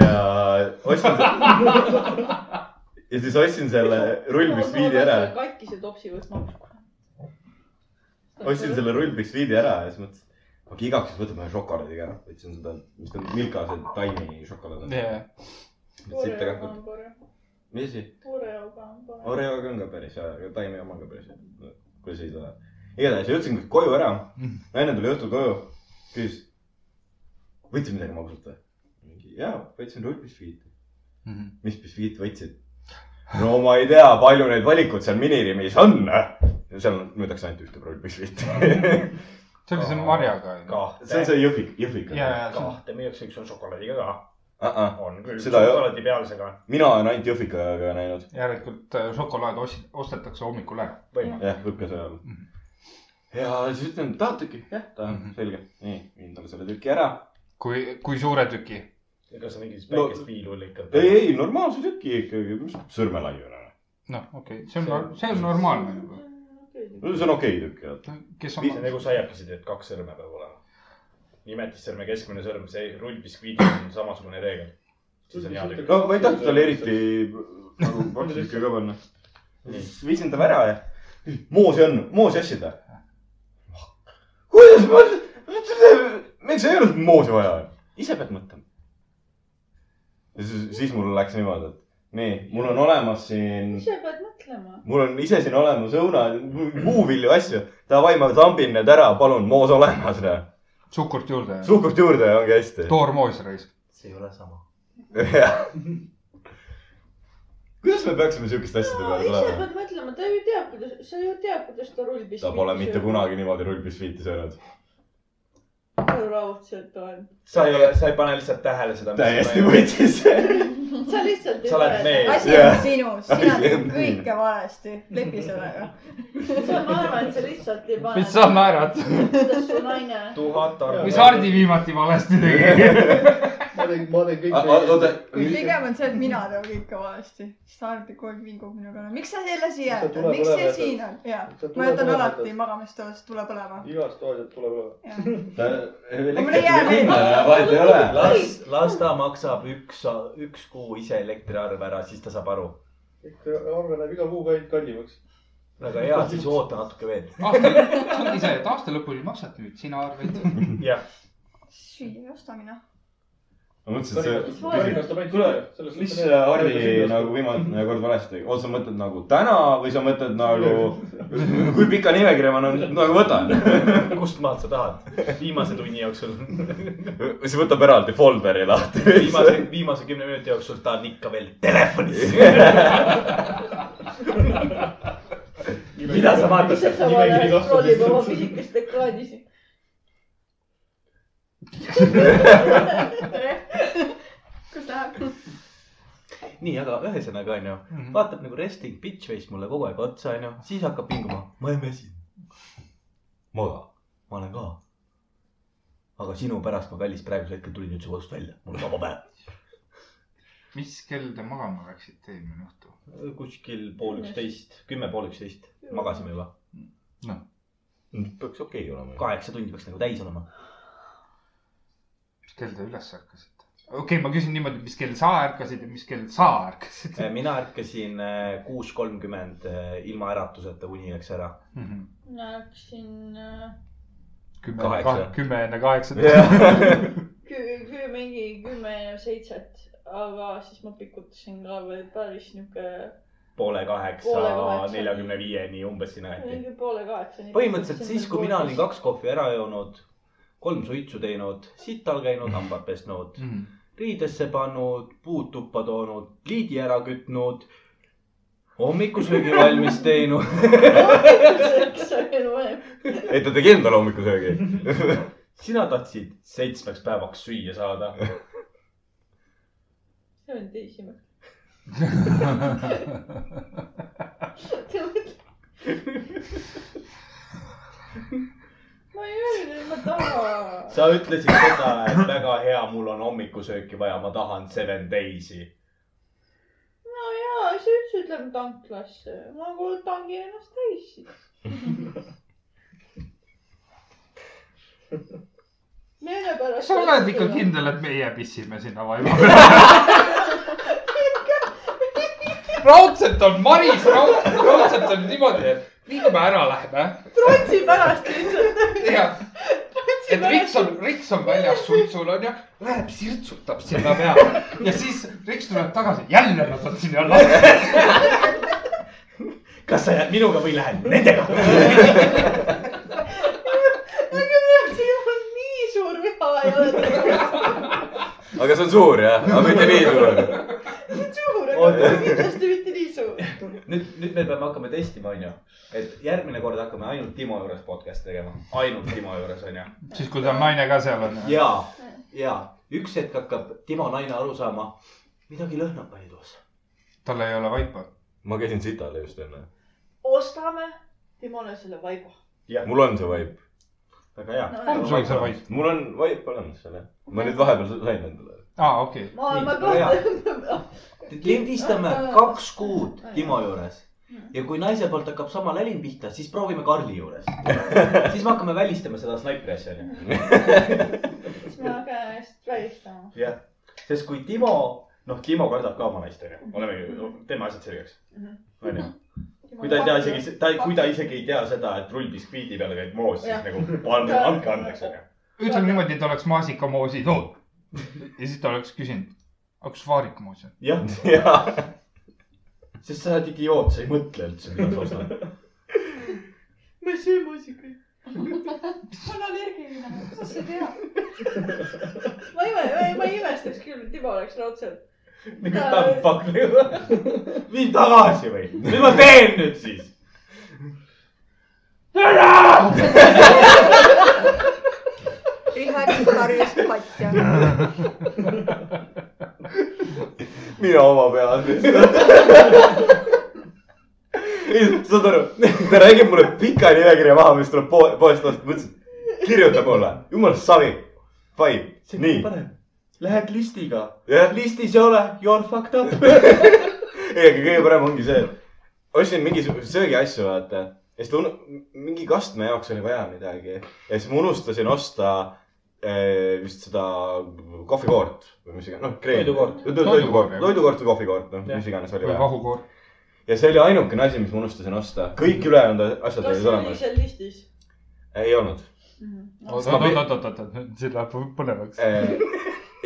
S5: ja ostsin selle . ja siis ostsin selle rullpiksviidi ära ,
S2: katkise topsi võtma .
S5: ostsin selle rullpiksviidi ära ja siis mõtlesin , okei , igaks juhuks võtame ühe šokolaadi ka . võtsin seda , mis ta on , Milka see taimi šokolaad on . siit ta kakub . mis asi ?
S2: Oreoga on parem .
S5: Oreoga on ka päris hea , aga taimi oma on ka päris hea . kuidas ei tule . igatahes jõudsin kõik koju ära .
S3: Mhm.
S5: naine tuli õhtul koju , küsis . võtsid midagi magusat või ? mingi jaa , võtsin rullbiskuiti .
S4: Mhm.
S5: mis biskuit võtsid ? no ma ei tea , palju neid valikuid seal minirimis on . seal on- müüdakse ainult ühte rullbiskuiti .
S4: see oli see marjaga .
S5: see on
S3: kahte ,
S5: see jõhvik , jõhvik .
S4: ja , ja see on
S3: kahte müüakse , üks on šokolaadiga ka . on küll ,
S5: Seda ei ole.
S3: šokolaadi peal see ka on .
S5: mina olen ainult jõhvikaga näinud .
S4: järelikult äh, šokolaad ost- , ostetakse hommikul ära .
S3: võimalik .
S5: jah , võib ka see olla . ja siis ütlen , tahad tüki ? jah , tahan
S4: Mhm. ,
S5: selge . nii , viin talle selle tüki ära .
S4: kui , kui suure tüki ?
S3: ega sa mingit
S5: No-
S3: väikest piilu ikka .
S5: ei , ei , normaalse tüki ikkagi , mis sõrmelaiu ära .
S4: noh , okei okay. , see on , see on normaalne juba .
S2: okei ,
S11: see on okei tükk jah .
S4: kes
S3: see on
S4: on ,
S3: nagu saiakesi teed , kaks sõrme peab olema . nimetissõrme , keskmine sõrm , see rullbiskviidil on samasugune reegel . siis on hea tükk .
S11: no ma ei tahtnud talle eriti nagu vastutikku ka panna .
S5: siis viisin ta ära ja moosi on , moosi ostsid või ? kuidas ma , miks ei olnud moosi vaja ? ise pead mõtlema . ja siis , siis mul läks niimoodi , et nii , mul on olemas siin ,
S6: ise pead mõtlema .
S5: mul on ise siin olemas õunad , puuvilju , asju . Davai , ma tambin need ära , palun , moos olemas .
S4: suhkurt juurde ,
S5: suhkurt juurde ja ongi hästi .
S4: toormoos raisk .
S1: see ei ole sama .
S5: Jah. kuidas me peaksime siukeste asjade
S6: No,
S5: peale
S6: ise
S5: tulema ?
S6: pead mõtlema , ta ju teab , kuidas , sa ju tead , kuidas ta rullpist .
S5: ta pole mitte . kunagi niimoodi rullpistviiti söönud .
S6: raudselt on .
S3: sa ei , sa ei pane lihtsalt tähele seda .
S5: täiesti . võttis .
S6: sa lihtsalt .
S3: Sa oled mees.
S8: asi
S5: Jah.
S8: on sinus ,
S5: Asi
S8: sina
S5: on
S8: teed
S5: nii.
S8: kõike valesti , lepi sellega .
S6: sa , ma arvan , et sa lihtsalt ei pane .
S4: mis sa ? naerad ?
S6: kuidas su naine .
S3: tuhat arvu .
S4: mis Hardi viimati valesti tegi ?
S7: ma teen , ma teen kõik .
S5: oota ,
S8: kui pigem on see , et mina teen kõike valesti , siis ta alati kogu aeg vingub minu peale , miks sa jälle siia
S7: Ta
S8: jätad ,
S7: tuleb
S8: miks
S7: olema,
S8: sa
S7: et-
S8: siin oled ja
S7: ta tuleb
S8: ma jätan
S7: olema,
S8: alati
S7: et-
S8: magamistoas , tuleb olema .
S7: igast toasest tuleb üle .
S5: ta
S8: Mulle ei jää meelde.
S5: vahet ei ole .
S1: las , las ta maksab üks , üks kuu ise elektriarve ära , siis ta saab aru .
S7: ikka arve läheb iga kuuga ainult kallimaks .
S1: väga hea , siis oota natuke veel .
S4: aasta , see ongi see , et aasta lõpul maksad nüüd sina arveid .
S8: süüa ei osta mina .
S5: ma mõtlesin , et
S6: Karinast-
S5: see .
S7: karinast on ainult
S5: Tule-
S7: süda . selles
S5: mis
S7: mõttes-
S5: Hardi nagu viimane kord valesti tegi ? oota , sa mõtled nagu täna või sa mõtled nagu , kui pika nimekirja ma nagu nagu võtan ?
S1: kust maalt sa tahad ? viimase tunni jooksul ,
S5: siis võtab eraldi folderi lahti .
S1: viimase , viimase kümne minuti jooksul ta on ikka veel telefonis . mida sa vaatad
S6: ise sa
S7: Nimekiri
S6: vana
S7: kasvab
S6: scrollib oma
S7: lihtsalt.
S6: pisikest ekraani siin .
S8: kus läheb ?
S1: nii , aga ühesõnaga onju ,
S3: Mhm.
S1: vaatab nagu resting bitch face mulle kogu aeg otsa onju , siis hakkab vinguma . ma ei väsi .
S5: maga .
S1: ma olen ka . aga sinu pärast ma kallis praegusel hetkel tulin üldse kodust välja , mul on vaba päev .
S4: mis kell te magama läksite eelmine õhtu ?
S3: kuskil pool üksteist , kümme pool üksteist magasime juba . Mm.
S5: peaks okei olema .
S1: kaheksa tundi peaks nagu täis olema .
S4: mis kell te üles ärkasite ? okei okay, , ma küsin niimoodi , mis kell sa ärkasid ja mis kell sa ärkasid
S3: Eh, mina ärkasin eh, kuus kolmkümmend eh, ilma äratuseta , uni läks ära .
S4: mm ? -hmm.
S6: mina hakkasin äh,
S4: kümme
S3: Kaheksa. ,
S4: kümme enne kaheksateist .
S5: jah ,
S6: kü- , kü- , mingi kümme , seitset , aga siis ma pikutasin ka veel päris niuke ,
S3: poole
S6: Poole
S3: kaheksa ,
S6: kaheksa.
S3: neljakümne viieni umbes sinna kanti .
S6: mingi poole kaheksani .
S3: põhimõtteliselt siis ,
S6: nagu
S3: kui mina olin . kaks kohvi ära joonud , kolm suitsu teinud , sital käinud , hambad pesnud ,
S4: Mhm.
S3: riidesse pannud , puud tuppa toonud , liidi ära kütnud , hommikusöögi valmis teinud .
S6: kaheksaks olin vanem .
S5: et ta tegi endale hommikusöögi .
S3: sina tahtsid seitsmeks päevaks süüa saada .
S6: see on teisimäe . ma ei öelnud , et ma tahan .
S3: sa ütlesid seda , et väga hea , mul on hommikusööki vaja , ma tahan seven days'i .
S6: no jaa , siis üldse ütleme tanklasse . ma kuulen tangi ennast täis siis . meele pärast .
S4: kas sa oled ikka ? kindel , et meie pissime sinna vaiba peale ? raudselt on Maris , raudselt on niimoodi , et nii kui me ära läheme
S8: trotsi pärast lihtsalt .
S4: ja et Riks on , Riks on väljas suitsul onju , läheb sirtsutab sinna peale ja siis Riks tuleb tagasi , jälle nad on sinna alla .
S1: kas sa jääd minuga või lähed nendega ?
S6: aga mul on siin nii suur viha ei ole .
S5: aga see on suur jah , aga mitte nii suur .
S6: suur ,
S3: Oota.
S6: aga kindlasti mitte nii suur .
S3: nüüd , nüüd me peame hakkama testima , onju . et järgmine kord hakkame ainult Timo juures podcast'e tegema , ainult Timo juures , onju .
S4: siis , kui ta naine ka seal on .
S1: ja , ja üks hetk hakkab Timo naine aru saama , midagi lõhnab meie toas .
S4: tal ei ole vaipa .
S5: ma käisin sitale just enne .
S6: ostame Timole selle vaiba .
S5: mul on see vaip ,
S3: väga hea .
S4: on sul see vaip ?
S5: mul on vaip olemas seal jah . ma nüüd vahepeal sain endale .
S4: aa , okei .
S6: ma , ma
S3: Nii, väga
S6: kahtlen .
S3: lindistame kaks kuud Timo juures
S1: ja kui naise poolt hakkab sama lälim pihta , siis proovime Karli juures . siis me hakkame välistama seda snaipri asja , onju .
S6: siis ma hakkan ennast välistama .
S1: jah , sest kui Timo ,
S3: noh , Timo kardab ka oma naist , onju . olemegi , teeme asjad selgeks .
S6: Mhm.
S3: onju . kui ta ei tea isegi , ta , kui ta isegi ei tea seda , et rull biskviidi peal käib moos , siis
S6: Jah.
S3: nagu palun andke andeks , onju .
S4: ütleme niimoodi , et oleks maasikamoosi tood . ja siis ta oleks küsinud , aga kus vaarikamoos on ?
S3: jah ,
S5: jaa .
S3: sest sa oled idioot , sa ei mõtle üldse , mida sa ostad .
S6: ma ei söö maasikaid .
S8: ma olen allergiline , kuidas sa tead ?
S6: ma ei , ma ei , ma ei imestaks küll , Timo oleks raudselt . Äh,
S3: nagu damn fuck nagu . vii tagasi või ? mis ma teen nüüd siis ?
S12: Rihard karjus patja .
S5: mina oma peas lihtsalt . ei , saad aru , ta räägib mulle pika nimekirja maha , mis tuleb po- poest osta , mõtlesin , kirjuta mulle , jumal savi . Fine , nii ,
S1: lähed listiga ,
S5: jah .
S1: listis ei ole , you are fucked up .
S5: ei , aga kõige parem ongi see , et ostsin mingisuguseid söögiasju , vaata . ja siis ta unu- , mingi kastme jaoks oli vaja midagi . ja siis ma unustasin osta eh, vist seda kohvikoort või mis iganes , noh , kreem .
S1: Toidukoort.
S5: toidukoort , toidukoort või kohvikoort , noh , mis iganes oli
S4: või
S5: vaja .
S4: vahukoor .
S5: ja see oli ainukene asi , mis ma unustasin osta . kõik ülejäänud asjad
S6: kas
S5: olid
S6: see oli
S5: olemas .
S6: seal listis ?
S5: ei olnud .
S4: oot , oot , oot , oot , oot , oot , nüüd see läheb põnevaks .
S5: Äh,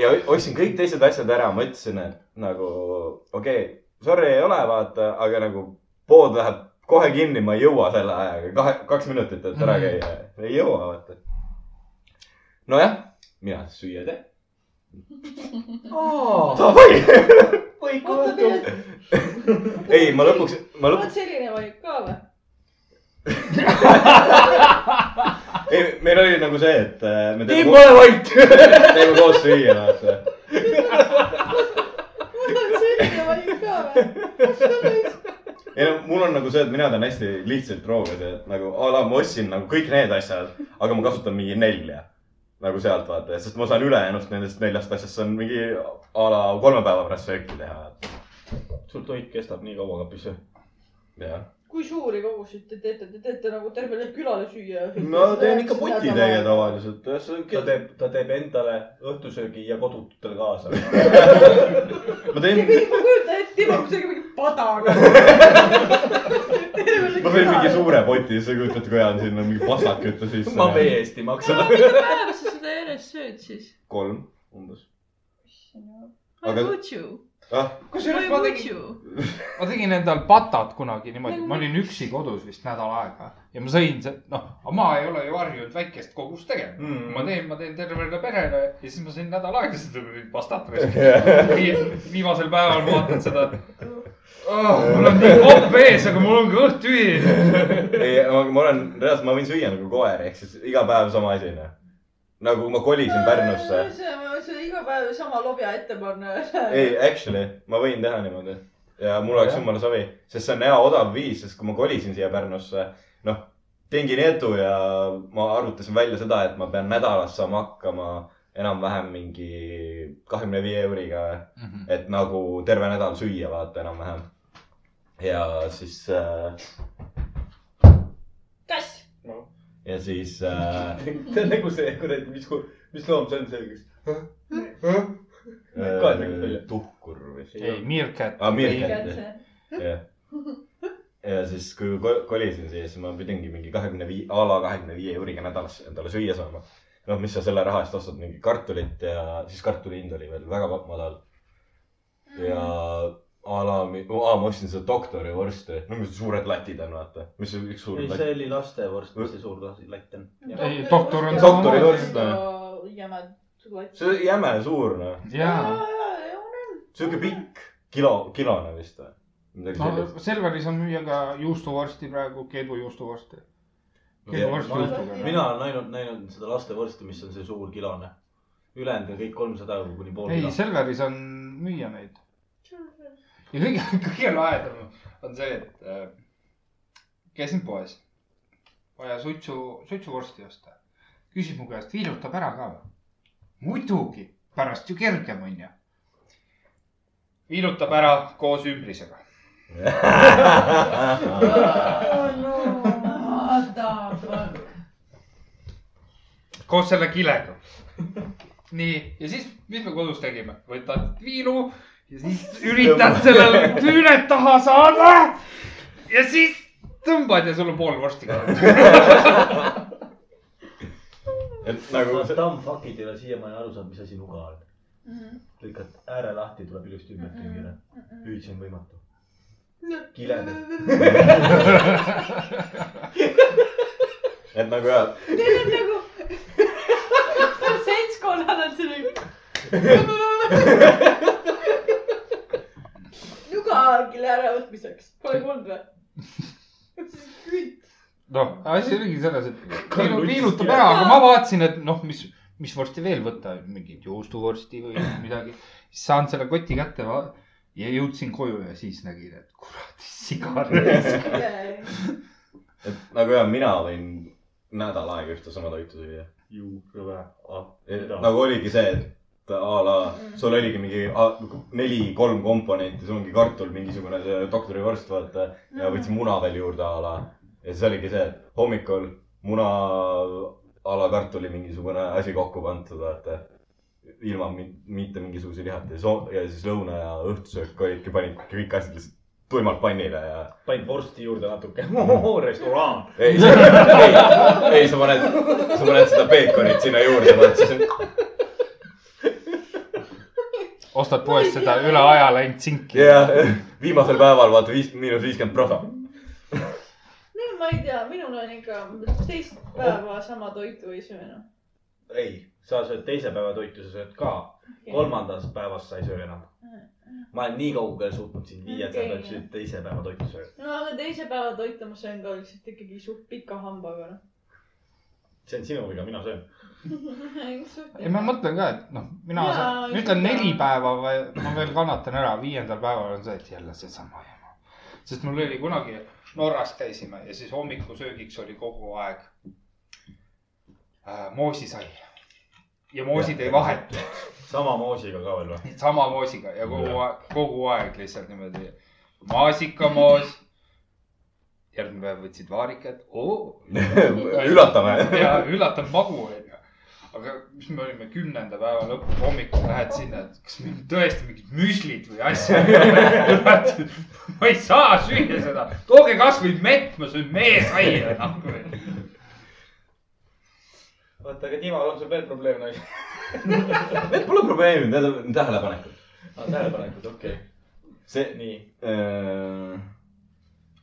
S5: ja ostsin kõik teised asjad ära , mõtlesin , et nagu okei okay, , sorry ei ole , vaata , aga nagu pood läheb kohe kinni , ma ei jõua selle ajaga , kahe , kaks minutit , et ära käia . ei jõua , vaata . nojah , mina süüa teen . Davai ,
S6: oota , millal ,
S5: ei , ma lõpuks , ma
S6: oled
S5: lõpuks ,
S6: selline valik ka või ?
S5: ei , meil oli nagu see , et äh, me
S1: Tim ,
S5: teeme
S1: ole
S5: koos ,
S1: vait .
S5: teeme koos süüa , vaata .
S6: mul on selline valik ka või ? kas sul on
S5: ei no mul on nagu see , et mina tean hästi lihtsaid proovi , et nagu a la ma ostsin nagu kõik need asjad , aga ma kasutan mingi nelja . nagu sealt vaata , sest ma saan ülejäänust nendest neljast asjast , see on mingi a la kolme päeva pärast sööki teha .
S3: sul toit kestab nii kaua kapis või ?
S5: jah .
S6: kui suuri koguseid te teete , te teete nagu tervele külale süüa ?
S5: ma teen ikka potitäie . tavaliselt .
S3: ta teeb , ta teeb endale õhtusöögi ja kodututele kaasa .
S5: ma teen ,
S6: ma kujutan ette , Timo kusagil mingi padaga .
S5: ma teen mingi suure poti , sa kujutad , kui hea on sinna mingi pastakütte sisse .
S1: ma vee eest ei maksa .
S6: mitu päeva sa seda järjest sööd siis ?
S5: kolm umbes .
S6: I
S5: Aga-
S6: would you ,
S5: ah ,
S6: I
S4: kusjuures ma
S6: would
S4: tegin ,
S6: you .
S4: ma tegin endal patad kunagi niimoodi , ma olin üksi kodus vist nädal aega ja ma sõin , noh , ma ei ole ju harjunud väikest kogust tegema mm. . ma teen , ma teen tervele perele ja siis ma sõin nädal aega seda pastat raiskama . viimasel päeval ma vaatan seda oh, . mul on nii kopp ees , aga mul on kõht tühi .
S5: ei , ma, ma olen , reaalselt ma võin süüa nagu koer , ehk siis iga päev sama asi , noh . nagu ma kolisin Pärnusse .
S6: see , see iga päev sama lobja ette panna .
S5: ei , actually , ma võin teha niimoodi ja mul oleks jumala savi , sest see on hea odav viis , sest kui ma kolisin siia Pärnusse , noh , tegin edu ja ma arvutasin välja seda , et ma pean nädalas saama hakkama enam-vähem mingi kahekümne viie euriga ,
S4: Mhm.
S5: et nagu terve nädal süüa , vaata enam-vähem . ja siis äh, ,
S6: kass .
S5: ja siis äh,
S3: see on nagu see kuradi , mis , mis loom see on selgeks . Ka ei tulnud välja.
S5: äh, tuhkur või ?
S4: ei , Meerkat .
S5: aa , Mirkel , jah . ja siis , kui ko- kolisin siia , siis ma pidingi mingi kahekümne viie , a la kahekümne viie euriga nädalas endale süüa saama . noh , mis sa selle raha eest ostad , mingi kartulit ja siis kartuli hind oli veel väga va- madal .
S1: Mm-hmm.
S5: ja a la , aa , ma ostsin seda doktori vorsti , no mis suured latid on , vaasta , mis see üks suur
S1: ei ,
S5: latt .
S1: see oli lastevorst , mis see suur lasi- latt on .
S4: Ei, doktor on
S5: Doktori vorst,
S6: jämed
S5: see oli jäme suur , noh ,
S4: jaa ,
S5: sihuke pikk , kilo , kilone vist või ? midagi
S4: no
S5: sellist .
S4: Selveris on müüa ka juustuvorsti praegu , Keedu juustuvorsti . Keedu vorst
S1: Ma olen-
S4: juustuga .
S1: mina olen ainult näinud seda lastevorsti , mis on see suur kilone . ülejäänud on kõik kolmsada euri kuni pool
S4: ei ,
S1: kilo .
S4: Selveris on müüa neid . ja kõige , kõige lahedam on see , et äh, käisin poes , vaja suitsu , suitsuvorsti osta . küsib mu käest , viilutab ära ka või ? muidugi , pärast ju kergem on ju . viilutab ära koos ümbrisega . koos selle kilega . nii , ja siis , mis me kodus tegime , võtad viinu ja siis üritad sellele küüned taha saada . ja siis tõmbad ja sul on pool vorsti kadunud .
S5: et nagu see ,
S1: Dumbfuckid ei ole siiamaani aru saanud , mis asi nuga on . lõikad ääre lahti , tuleb ilusti ümber tüngida . püüdsin võimatu . kiled .
S5: et nagu jah ,
S6: Teil on nagu , seal seltskonnal on selline . nuga kille äravõtmiseks , pole kuulnud või ?
S4: noh , asi oligi selles , et viinu- viinutab ära , aga ma vaatasin , et noh , mis , mis vorsti veel võtta , mingit juustuvorsti või midagi . siis saan selle koti kätte va- ja jõudsin koju ja siis nägin , et kuradi sigaret .
S5: et nagu jah , mina võin nädal aega ühte sama toitu süüa .
S3: ju kõva . Mida?
S5: nagu oligi see , et a la sul oligi mingi neli-kolm komponenti , sul ongi kartul , mingisugune see doktorivorst , vaata . ja võtsin muna veel juurde a la . ja siis oligi see , et hommikul muna a la kartuli mingisugune asi kokku pandud , vaata . ilma mi- mitte mingisuguse lihata ja soo- ja siis lõuna ja õhtusöök olidki , panid kõik asjad lihtsalt tuimalt pannile ja .
S3: panid vorsti juurde natuke . restoran .
S5: ei , ei , ei , sa paned , sa paned seda peekonit sinna juurde , vaat siis on
S4: ostad poest seda üle aja läinud sinki .
S5: jah , viimasel päeval vaata viis , miinus viiskümmend prosa .
S6: no ma ei tea , minul on ikka teist päeva sama toitu ei söö enam .
S3: ei , sa sööd teise päeva toitu , sa sööd ka . kolmandas päevas sa ei söö enam . ma olen nii kaugele suutnud sind viia , et sa
S6: Okei.
S3: pead siin teise päeva toitu sööma .
S6: no aga teise päeva toitu ma söön ka üldiselt ikkagi suht pika hambaga noh .
S3: see on sinu viga , mina söön .
S4: ei , ma mõtlen ka , et noh , mina
S6: Jaa,
S4: saan-
S6: ikka.
S4: ütlen neli päeva või ma veel kannatan ära , viiendal päeval on see , et jälle seesama jama . sest mul oli kunagi Norras käisime ja siis hommikusöögiks oli kogu aeg äh, moosisai ja moosid ei vahetu ,
S3: sama moosiga ka veel või ?
S4: sama moosiga ja kogu aeg , kogu aeg lihtsalt niimoodi maasikamoos . järgmine päev võtsid vaarikad , oo
S5: üllatame .
S4: ja üllatav magu onju . aga mis me olime kümnenda päeva lõpus hommikul lähed sinna , et kas meil on tõesti mingid müslid või asjad . ma ei saa süüa seda , tooge kasvõi mett , ma söön meesaia nagu .
S3: oota , aga Timo , on sul veel probleeme naisega ?
S5: Need pole probleemid , need on tähelepanekud .
S3: aa , tähelepanekud , okei
S5: see ,
S3: nii .
S5: äh,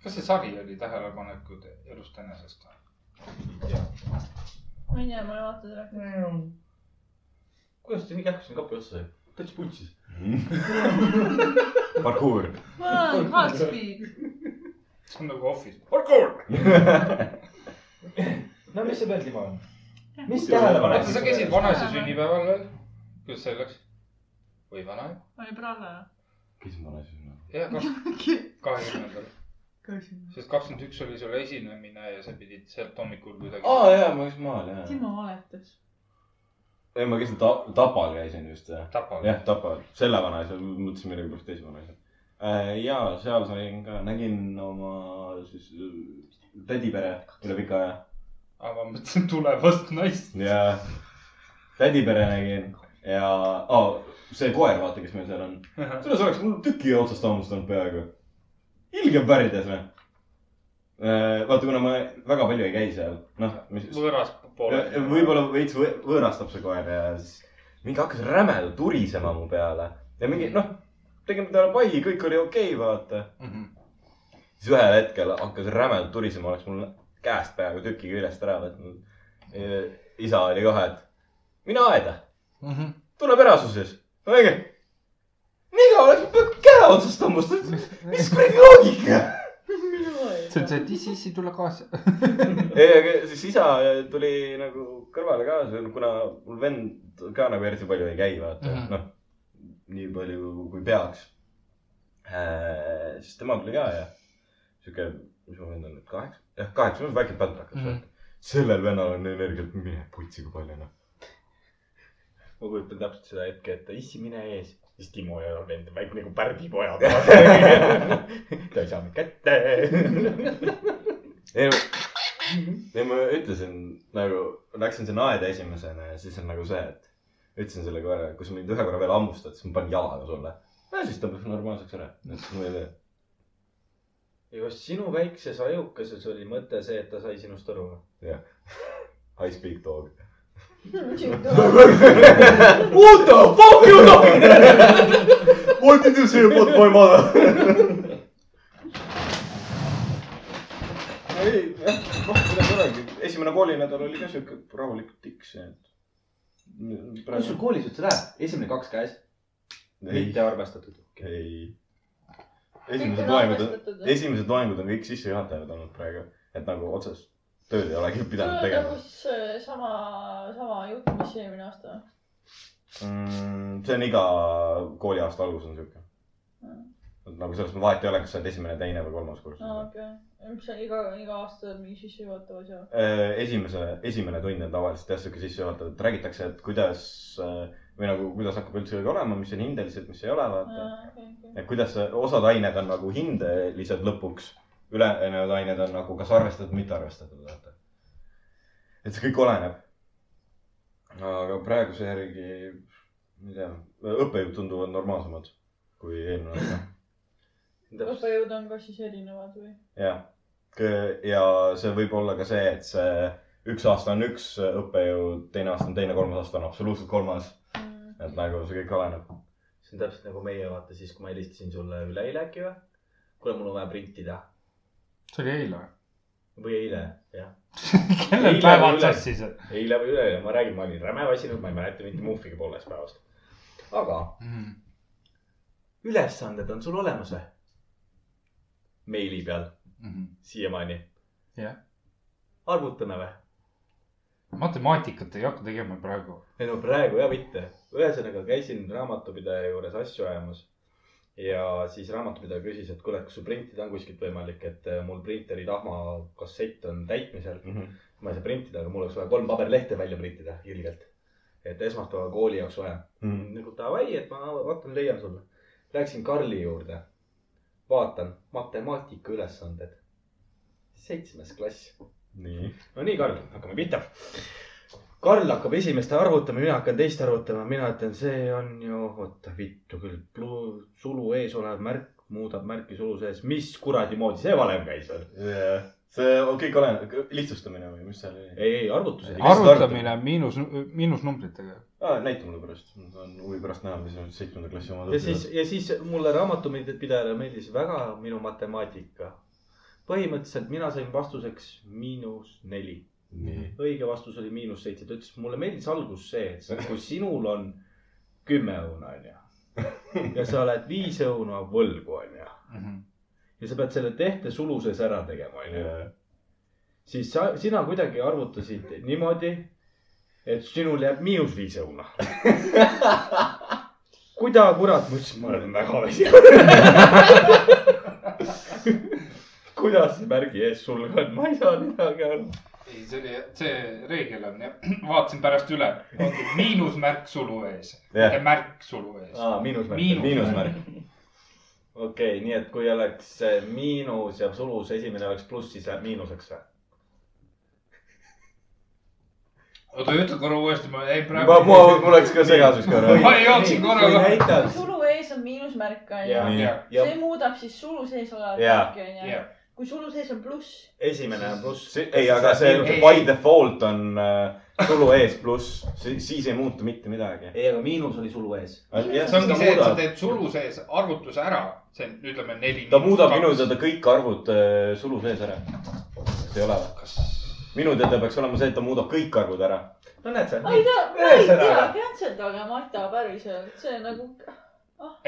S4: kas see sari oli tähelepanekud elust enesest või ?
S6: ma ei tea , ma ei vaata seda .
S3: kuidas te nii kähku sinna kapi otsa sai ? täitsa puntsis .
S5: parkuur .
S6: ma olen hard speed .
S4: see on nagu office , parkour .
S3: no mis see veel , Timo ? mis
S4: oota , sa
S3: tähelepanekud
S4: käisid ? vanaisa sünnipäeval veel ? kuidas see läks ? või vanaema ?
S2: oli prallane .
S5: kes ma olen siis ?
S4: jah , kahekümnendal . sest kakskümmend üks oli sul esinemine ja sa pidid sealt hommikul kuidagi .
S5: aa jaa , ma käisin maal jaa .
S2: Timo valetas .
S5: ei , ma käisin ta- , Tapal käisin just jah .
S4: tapal .
S5: jah , Tapal , selle vanaisa , mõtlesin millegipärast teise vanaisa äh, . ja seal sain ka , nägin oma siis äh, tädipere üle pika aja .
S4: aga ma mõtlesin tulevast naist .
S5: ja tädipere nägin ja oh, see koer , vaata , kes meil seal on . selles oleks mul tüki otsast hammustanud peaaegu . ilge pärdes , noh . vaata , kuna ma väga palju ei käi seal , noh , mis Äh,
S4: võõras poole .
S5: võib-olla veits võ- võõrastab see koer ja siis mingi hakkas rämedalt turisema mu peale ja mingi noh , tegime talle pai , kõik oli okei okay, , vaata . siis ühel hetkel hakkas rämedalt turisema , oleks mul käest peaaegu tüki küljest ära võtnud . isa oli kohe , et mine aeda ,
S1: Mhm.
S5: tule perasuses . õige . mina oleks peaaegu käe otsast hammustanud , mis kuradi loogika .
S4: see on see , et issi , issi , tule kaasa .
S5: ei , aga siis isa tuli nagu kõrvale ka , kuna mul vend ka nagu eriti palju ei käi , vaata mm
S4: Mhm.
S5: -hmm. , noh , nii palju kui peaks äh, . siis tema tuli ka ja sihuke , mis mu vend on nüüd , kaheksa , jah , kaheksa , väike pantlakas mm .
S4: Mhm.
S5: -hmm. sellel vennal on energiat , mine putsi kui palju , noh .
S3: ma kujutan täpselt seda hetke , et issi , mine ees . siis Timo ja vend väike nagu pärdipoja . ta ei saa mind kätte .
S5: ei , ei ma ütlesin nagu , läksin sinna aeda esimesena ja siis on nagu see , et ütlesin selle koera , kui sa mind ühe korra veel hammustad , siis ma panen jalaga sulle . ja siis ta peab normaalseks ära .
S3: kas sinu väikses ajukeses oli mõte see , et ta sai sinust aru ?
S5: I speak dog .
S1: What the fuck you know ?
S5: What did you say about my mother ? ei , jah , noh , midagi ei olegi . esimene koolinädal oli ka sihuke rahulikult tiks , et .
S3: kuidas sul koolis üldse läheb ? esimene kaks käes , mitte arvestatud .
S5: ei . esimesed loengud on , esimesed loengud on kõik sissejuhatajad olnud praegu , et nagu otsest tööd ei olegi pidanud tegema
S6: nagu see sama , sama jutt , mis eelmine aasta .
S5: mm, . see on iga kooliaasta algus on siuke . nagu selles mõttes vahet ei ole , kas sa oled esimene , teine või kolmas kursus
S6: aa ,
S5: no. .
S6: okei . mis see iga , iga aasta on mingi sissejuhatav asja .
S5: Äh, esimese , esimene tund on tavaliselt jah , siuke sissejuhatav , et räägitakse , et kuidas äh, või nagu , kuidas hakkab üldse kõik olema , mis on hindelised , mis ei ole , vaata . et kuidas sa- osad ained on nagu hindelised lõpuks , ülejäänud ained on nagu kas arvestatud , mitte arvestatud , vaata . et see kõik oleneb . aga praeguse järgi , ma ei tea , õppejõud tunduvad normaalsemad kui eelmine aasta .
S6: õppejõud on ka siis erinevad või ?
S5: jah , ja see võib olla ka see , et see üks aasta on üks õppejõud , teine aasta on teine , kolmas aasta on absoluutselt kolmas . et nagu see kõik oleneb .
S3: see on täpselt nagu meie vaata siis , kui ma helistasin sulle üleeile äkki või ? kuule , mul on vaja printida
S4: see oli eile .
S3: või eile , jah .
S4: kellel
S3: Eile
S4: päev
S3: või
S4: otsas siis on ?
S3: eile või üleeile , ma räägin , ma olin räme väsinud , ma ei mäleta mitte muhvigi poolest päevast . aga
S4: Mhm,
S3: ülesanded on sul olemas või ? meili peal
S4: mhm.
S3: siiamaani .
S4: Jah. .
S3: arvutame või ?
S4: matemaatikat ei hakka tegema praegu .
S3: ei no praegu ja mitte . ühesõnaga käisin raamatupidaja juures asju ajamas ja siis raamatupidaja küsis , et kuule , kas sul printida on kuskilt võimalik , et eh, mul printeri tahma kassett on täitmisel . ma ei saa printida , aga mul oleks vaja kolm paberlehte välja printida ilgelt . et esmaspäeva kooli jaoks vaja .
S5: Mhm.
S3: nagu davai , et ma vaatan , leian sulle . Läksin Karli juurde , vaatan matemaatika ülesanded , seitsmes klass .
S5: nii .
S3: no nii , Karl , hakkame pihta . Karl hakkab esimest arvutama , mina hakkan teist arvutama , mina ütlen , see on ju , oota vittu küll , sulu ees olev märk muudab märki sulu sees , mis kuradi moodi see valem käis veel ?
S5: see on- kõik oleneb , lihtsustamine või mis seal oli ?
S3: ei , ei arvutused .
S4: arvutamine miinus , miinusnumbritega .
S5: ah, . näita mulle pärast , ma tahan huvi pärast näha , mis on seitsmenda klassi omad
S3: ja siis , ja siis mulle raamatupidajale meeldis väga minu matemaatika . põhimõtteliselt mina sain vastuseks miinus neli .
S5: nii .
S3: õige vastus oli miinus seitse , ta ütles , mulle meeldis algus see , et kui sinul on kümme õuna , onju . ja sa oled viis õuna võlgu , onju .
S4: Mhm.
S3: ja sa pead selle tehte sulu sees ära tegema , onju . siis sa , sina kuidagi arvutasid niimoodi , et sinul jääb miinus viis õuna . kuida kurat , ma ütlesin , ma olen väga väsinud . kuidas see märgi ees sul on , ma ei saa midagi aru .
S4: ei , see oli , see reegel on jah , vaatasin pärast üle , miinusmärk sulu ees ,
S5: Jah.
S4: mitte märk sulu ees .
S3: aa , miinusmärk .
S4: Miinus.
S5: miinusmärk .
S3: okei okay, , nii et kui oleks eh, miinus ja sulus esimene oleks pluss , siis läheb miinuseks või ?
S4: oota , ütle korra uuesti , ma jäin
S5: ma ,
S4: praegu .
S5: ma , mul läks ka segaseks korra .
S4: Ma ei jooksin korraga.
S3: kui näitaks ,
S6: sulu ees on miinusmärk ,
S3: Jaa.
S6: onju .
S5: nii ,
S3: ja
S6: see muudab siis sulu sees olevat
S5: Jaa.
S6: märki , onju
S4: Jaa. .
S6: kui sulu sees on pluss ,
S3: esimene on pluss .
S5: ei , aga see
S4: Ei.
S5: by default on äh, tulu ees pluss , siis ei muutu mitte midagi .
S3: ei , aga miinus oli sulu ees .
S4: see ongi see , et sa
S5: ta
S4: teed sulu sees arvutuse ära , see on , ütleme neli .
S5: muudab minu . teada kõik arvud äh, sulu sees ära . kas ei ole või ?
S4: kas ,
S5: minu teada peaks olema see , et ta muudab kõik arvud ära .
S3: no näed sa .
S6: ma ei tea , ma ei tea
S3: Ühesõnaga. ,
S6: kantseldage Mata päriselt , see nagu ,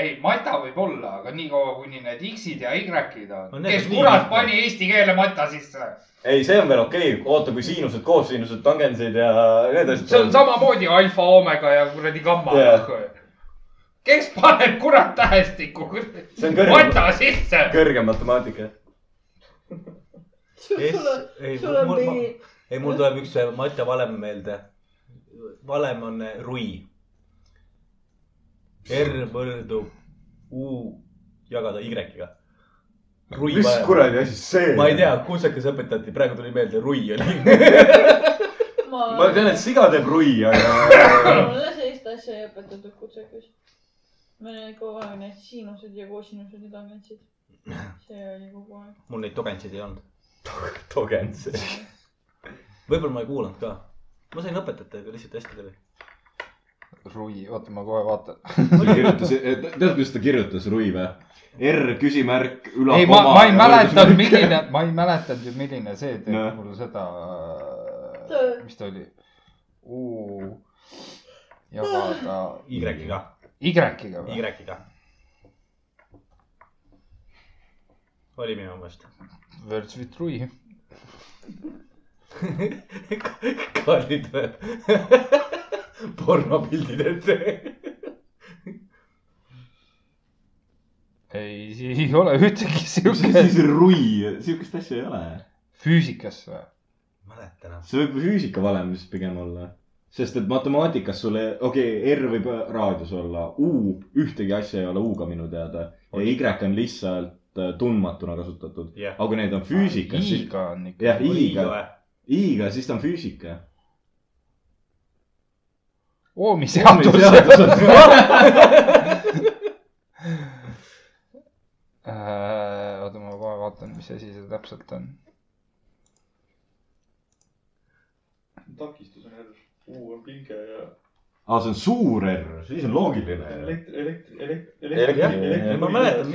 S4: ei , mata võib olla , aga niikaua , kuni need X-id ja Y-id
S3: No
S4: on .
S3: need
S4: kes
S3: on nii
S4: kurat
S3: lihtne.
S4: pani eesti keele mata sisse ?
S5: ei , see on veel okei okay. , oota , kui siinused , koossiinused , tangentsid ja need asjad .
S4: see on . samamoodi alfa , oomega ja kuradi gamma
S5: Jah.
S4: yeah. . kes paneb kurat tähestikku kuradi
S5: see on kõrgem ,
S4: mata sisse ?
S5: kõrgem matemaatika .
S6: sul on , sul on mingi ,
S3: ei , mul tuleb üks matja valem meelde . valem on eh, rui . R võrdub U jagada Y-ga . rui
S1: mis
S3: vaja .
S1: kuradi asi see
S3: ma ei tea ,, kutsekas õpetati , praegu tuli meelde , rui oli .
S1: ma
S6: ma ,
S1: tean , et siga teeb rui , aga
S6: mulle sellist asja ei õpetatud kutsekas . meil olid kogu aeg need siinused ja kosinused ja tangentsid . see oli kogu aeg .
S3: mul neid togentsid ei olnud .
S1: togend see .
S3: võib-olla ma ei kuulanud ka . ma sain õpetajatega lihtsalt hästi läbi .
S4: rui , oota , ma kohe vaatan .
S5: kirjutas , tead , kuidas ta kirjutas , Rui või ? R küsimärk , üla
S4: ei , ma , ma ei mäletanud , milline , ma ei mäletanud ju , milline see teeb no.
S5: Nojah.
S4: mul seda ,
S6: Tõ-
S4: mis ta oli , U jagada
S3: Y-ga ,
S4: Y-iga või ?
S3: Y-ga . oli minu meelest .
S4: Words with Rui .
S3: Kaarli tuleb pornopildid ette .
S4: ei , ei ole ühtegi
S5: mis asi
S4: siukest
S5: see Rui , siukest asja ei ole .
S4: füüsikas või ?
S3: mäletan .
S5: see võib füüsika valemis pigem olla . sest et matemaatikas sulle , okei okay, , R võib raadios olla , U ühtegi asja ei ole U-ga minu teada . ja Y on lihtsalt äh, tundmatuna kasutatud .
S3: Jah.
S5: aga kui need on füüsikas , siis
S4: I-ga on ikka .
S5: jah , I-ga , I-ga , siis ta on füüsika .
S4: oomiseadus . Äh, oota , ma kohe vaatan , mis asi see täpselt on .
S7: takistus on jälle , U on pinge ja
S5: aa , see on suur R , siis on loogiline .
S7: elektri , elektri , elektri ,
S1: Elektri-
S3: jah ,
S1: elektri-
S3: ma mäletan ,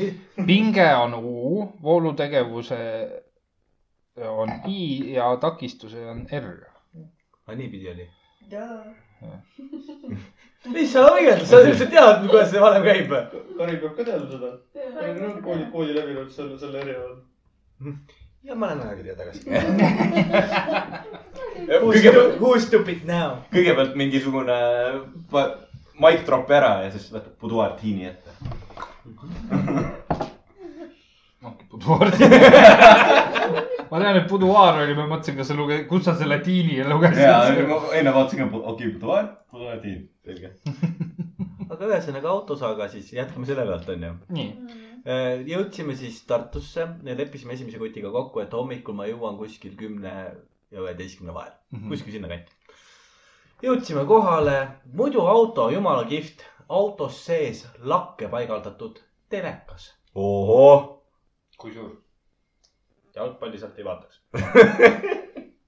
S4: pinge on U , voolutegevuse on I ja takistuse on R .
S3: aga niipidi oli .
S8: jaa .
S3: mis sa õiendad , sa üldse tead , kuidas see valem käib või ?
S7: Kari peab ka teadma seda . Kari on kooli , kooli läbinud selle , selle eriala .
S3: ja ma lähen aega tagasi .
S1: kõigepealt ,
S3: Who is stupid now ?
S1: kõigepealt mingisugune äh, va- mic drop ära ja siis võtab buduaar tiini ette .
S4: Buduaar . ma tean , et Buduaar oli , ma mõtlesin , kas sa luge- , kus sa selle tiini
S1: ja
S4: lugesid .
S1: ma enne vaatasin ka , okei , buduaar , buduaar tiin , selge .
S3: aga ühesõnaga autosaaga siis jätkame selle pealt onju .
S4: nii ,
S3: jõudsime siis Tartusse ja leppisime esimese kotiga kokku , et hommikul ma jõuan kuskil kümne ja üheteistkümne vahel ,
S4: Mhm.
S1: Mm.
S3: kuskil sinnakanti . jõudsime kohale , muidu auto , jumala kihvt , autos sees lakke paigaldatud telekas .
S1: ohoh ,
S4: kui suur ?
S3: jalgpalli sealt ei vaataks .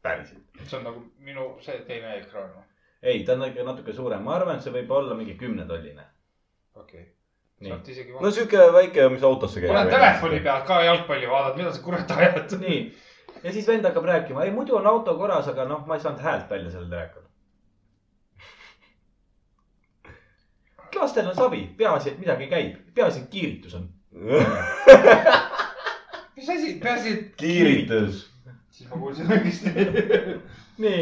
S1: päriselt .
S4: see on nagu minu see teine ekraan . noh.
S3: ei , ta on ikka natuke suurem , ma arvan , see võib olla mingi kümnetolline .
S4: okei okay. .
S3: Nii.
S4: saad isegi
S1: no . sihuke väike , mis autosse käib .
S4: pane telefoni . peal ka jalgpalli vaatad , mida sa kurat ajad .
S3: nii , ja siis vend hakkab rääkima , ei muidu on auto korras , aga noh , ma ei saanud häält välja sellel telekal . lastel on savi , peaasi , et midagi käib , peaasi , et kiiritus on .
S4: mis asi , peaasi , et .
S1: kiiritus .
S4: siis ma kuulsin õigesti .
S3: nii ,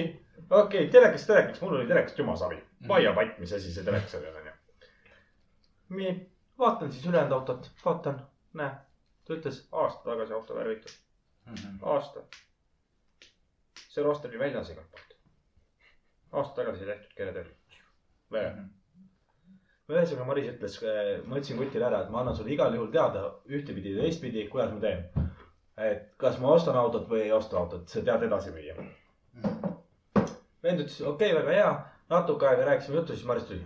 S3: okei okay, , telekas , telekas , mul oli telekast jumala savi . paia patt , mis asi see telekas oli , onju . nii , vaatan siis ülejäänud autot , vaatan , näe , ta ütles aasta tagasi auto värvitud , aasta . see rooster oli väljas igalt poolt . aasta tagasi tehtud keeletöö . väga hea . ühesõnaga , Maris ütles , ma ütlesin kutile ära , et ma annan sulle igal juhul teada ühtepidi ja teistpidi , kuidas ma teen . et kas ma ostan autot või ei osta autot , sa tead edasi müüa . vend ütles , okei okay, , väga hea , natuke aega rääkisime juttu , siis Maris tuli .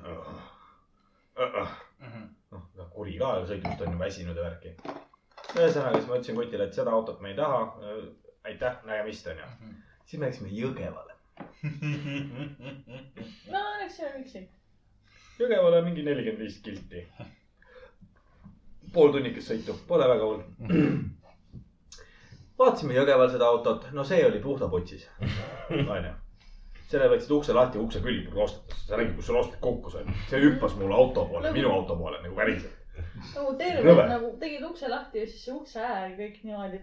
S3: noh , noh kuri ka ju sõidust on ju väsinud ja värki . ühesõnaga , siis ma ütlesin kutile , et seda autot me ei taha . aitäh , nägemist on ju . siis me läksime Jõgevale .
S6: no õnneks ei ole üksi .
S3: Jõgevale mingi nelikümmend viis kilti . pool tunnikest sõitu , pole väga hull . vaatasime Jõgeval seda autot , no see oli puhta putsis , onju . selle võtsid ukse lahti , ukse külge roostetas , sa nägid , kus see roostet kukkus , onju . see hüppas mulle auto poole , minu auto poole nagu päriselt .
S6: nagu terve
S3: Rõve. ,
S6: nagu tegid ukse lahti ja siis see ukse äär kõik niimoodi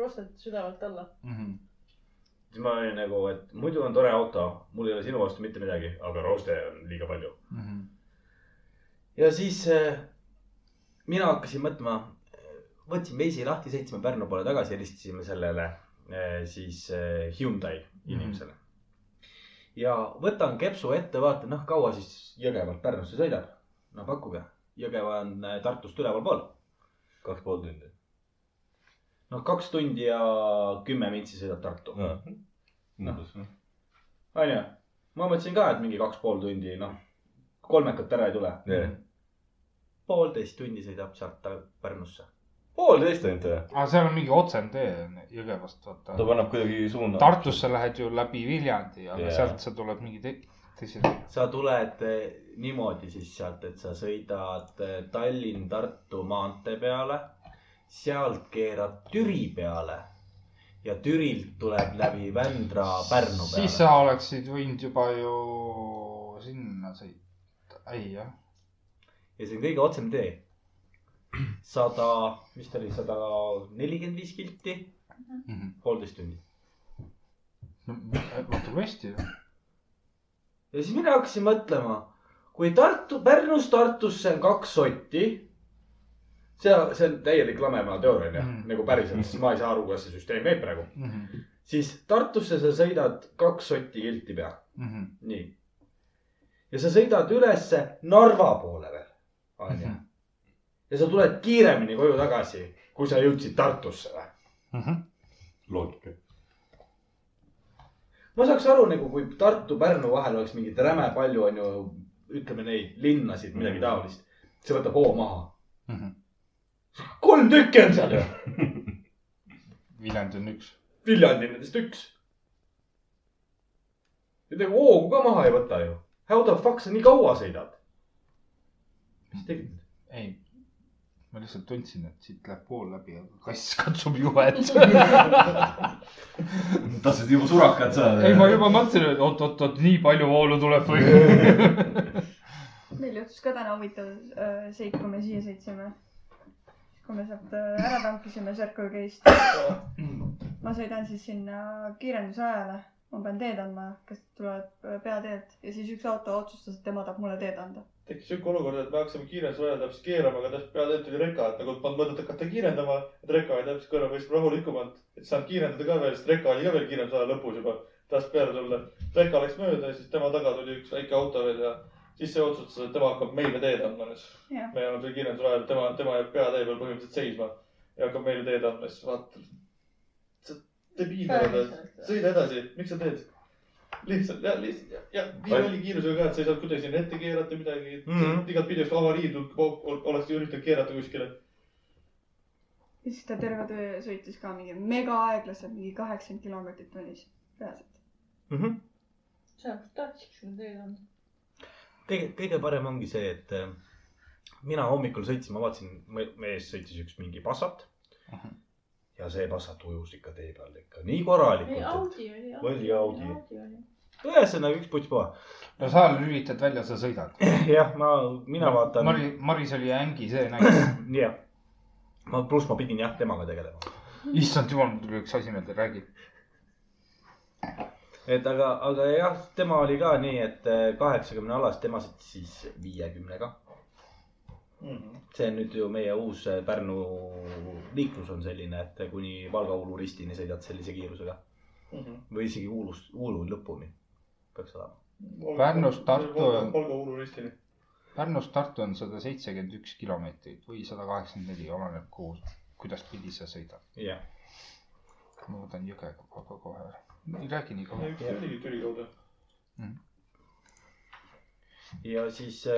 S6: rostet südavalt alla .
S3: siis ma olin nagu , et muidu on tore auto , mul ei ole sinu vastu mitte midagi , aga rooste on liiga palju . ja siis äh, mina hakkasin mõtlema , võtsin veisi lahti , sõitsime Pärnu poole tagasi , helistasime sellele äh, siis äh, Hyundai
S5: Mhm.
S3: inimesele . ja võtan kepsu ette , vaatan , noh , kaua siis Jõgevalt Pärnusse sõidab . no pakkuge , Jõgeva on äh, Tartust ülevalpool .
S5: kaks pool tundi .
S3: noh , kaks tundi ja kümme mintsi sõidad Tartu .
S5: umbes .
S3: onju , ma mõtlesin ka , et mingi kaks pool tundi , noh , kolmekat ära ei tule .
S5: Mm.
S3: poolteist tundi sõidab sealt ta- Pärnusse .
S5: poolteist ainult või ?
S4: aga seal on mingi otsene tee on ju, Jõgevast ,
S5: ta
S4: vaata .
S5: paneb kuidagi suuna .
S4: Tartusse lähed ju läbi Viljandi , aga
S5: Jaa.
S4: yeah. sealt sa tuled mingi te- teise tee .
S3: sa tuled eh, niimoodi siis sealt , et sa sõidad eh, Tallinn-Tartu maantee peale , sealt keerad Türi peale ja Türilt tuleb läbi Vändra Pärnu
S4: siis
S3: peale .
S4: sa oleksid võinud juba ju sinna sõita . ei jah ,
S3: ja see on kõige otsem tee . sada , mis ta oli , sada nelikümmend viis kilti , poolteist tundi .
S4: Mhm. vaata kui hästi .
S3: ja siis mina hakkasin mõtlema , kui Tartu , Pärnust Tartusse on kaks sotti , see , see on täielik lamemaa teooria onju
S4: Mhm.
S3: mm. , nagu päriselt , sest ma ei saa aru , kuidas see süsteem käib praegu . siis Tartusse sa sõidad kaks sotti kilti peal ,
S4: Mhm.
S3: nii . ja sa sõidad ülesse Narva poole veel , onju .
S4: Mhm.
S3: ja sa tuled kiiremini koju tagasi , kui sa jõudsid Tartusse või ?
S4: Mhm.
S5: loogika .
S3: ma saaks aru nagu , kui Tartu-Pärnu vahel oleks mingit räme palju , onju , ütleme neid linnasid , midagi taolist . see võtab hoo maha . kolm tükki on seal ju .
S4: Viljandi on üks .
S3: Viljandi on nendest üks . ja nagu hoogu ka maha ei võta ju . How the fuck sa nii kaua sõidad ? mis sa tegid ?
S4: ei , ma lihtsalt tundsin , et siit läheb pool läbi , aga kass katsub juhet .
S5: tahtsid juba surakat saada ?
S4: ei , ma juba mõtlesin , et oot-oot-oot , nii palju voolu tuleb või .
S8: meil juhtus ka täna huvitav äh, seik , kui me siia sõitsime . kui me sealt äh, ära tankisime Circle K-st . ma sõidan siis sinna kiirendusajale , ma pean teed andma , kes tulevad äh, peateelt ja siis üks auto otsustas , et tema tahab mulle teed anda .
S7: tekkis siuke olukord , et me hakkasime kiirenduse ajal täpselt keerama , aga täpselt peale tuli reka , et nagu polnud mõtet hakata kiirendama , et reka oli täpselt kõrval , võis rahulikumalt , et saanud kiirendada ka veel , sest reka oli ka veel kiirenduse aja lõpus juba , tahtis peale tulla . reka läks mööda ja siis tema taga tuli üks väike auto veel ja siis see otsustas , et tema hakkab meile teed andma nüüd .
S8: jah ,
S7: me oleme seal kiirenduse ajal , tema , tema jääb peatee peal põhimõtteliselt seisma ja hakkab meile teed andma , siis vaatad . sa debiil oled , sõida edasi , miks sa teed ? lihtsalt ja , lihtsalt ja , ja nii
S5: Ai-
S7: oli kiirusega ka , et sa ei saanud kuidagi sinna ette keerata midagi mm
S1: Mhm.
S7: -hmm. . igatpidi oleks avarii tulnud , kui ol- ol- oleks üritanud keerata kuskile .
S8: ja siis ta terve töö sõitis ka mingi mega aeglaselt , mingi kaheksakümmend kilomeetrit tunnis reaalselt .
S3: Mhm.
S6: sa tahtsidki seda teed anda .
S3: kõige , kõige parem ongi see , et äh, mina hommikul sõitsin , ma vaatasin , meie ees sõitis üks mingi Passat . Mhm. ja see Passat ujus ikka tee peal ikka nii
S6: ei ,
S3: korralikult ,
S6: Audi oli .
S3: Oli Audi.
S6: oli .
S3: et ühesõnaga üks puts puha .
S4: no sa lülitad välja , sa sõidad .
S3: jah , ma , mina vaatan .
S4: Mari , Maris oli ängi see näide .
S3: jah , ma , pluss ma pidin jah temaga tegelema ,
S4: issand jumal , mul tuli üks asi meelde , räägi .
S3: et aga , aga jah , tema oli ka nii , et äh, kaheksakümne alas , tema sõitis siis viiekümnega .
S7: Mhm,
S3: see on nüüd ju meie uus äh, Pärnu liiklus on selline , et äh, kuni Valga-Uulu ristini sõidad sellise kiirusega
S7: mhm.
S3: või isegi Uulust , Uulu lõpuni peaks olema .
S4: Pärnust Tartu-
S7: Valga Uulu ristini .
S4: Pärnust Tartu on sada seitsekümmend üks kilomeetrit või sada kaheksakümmend neli , oleneb kuhu , kuidas pidi sa sõidad .
S3: jah ,
S4: ma võtan jõge kohe , kohe . ei räägi nii kaua .
S7: üks oligi Türi kaudu .
S3: ja siis äh,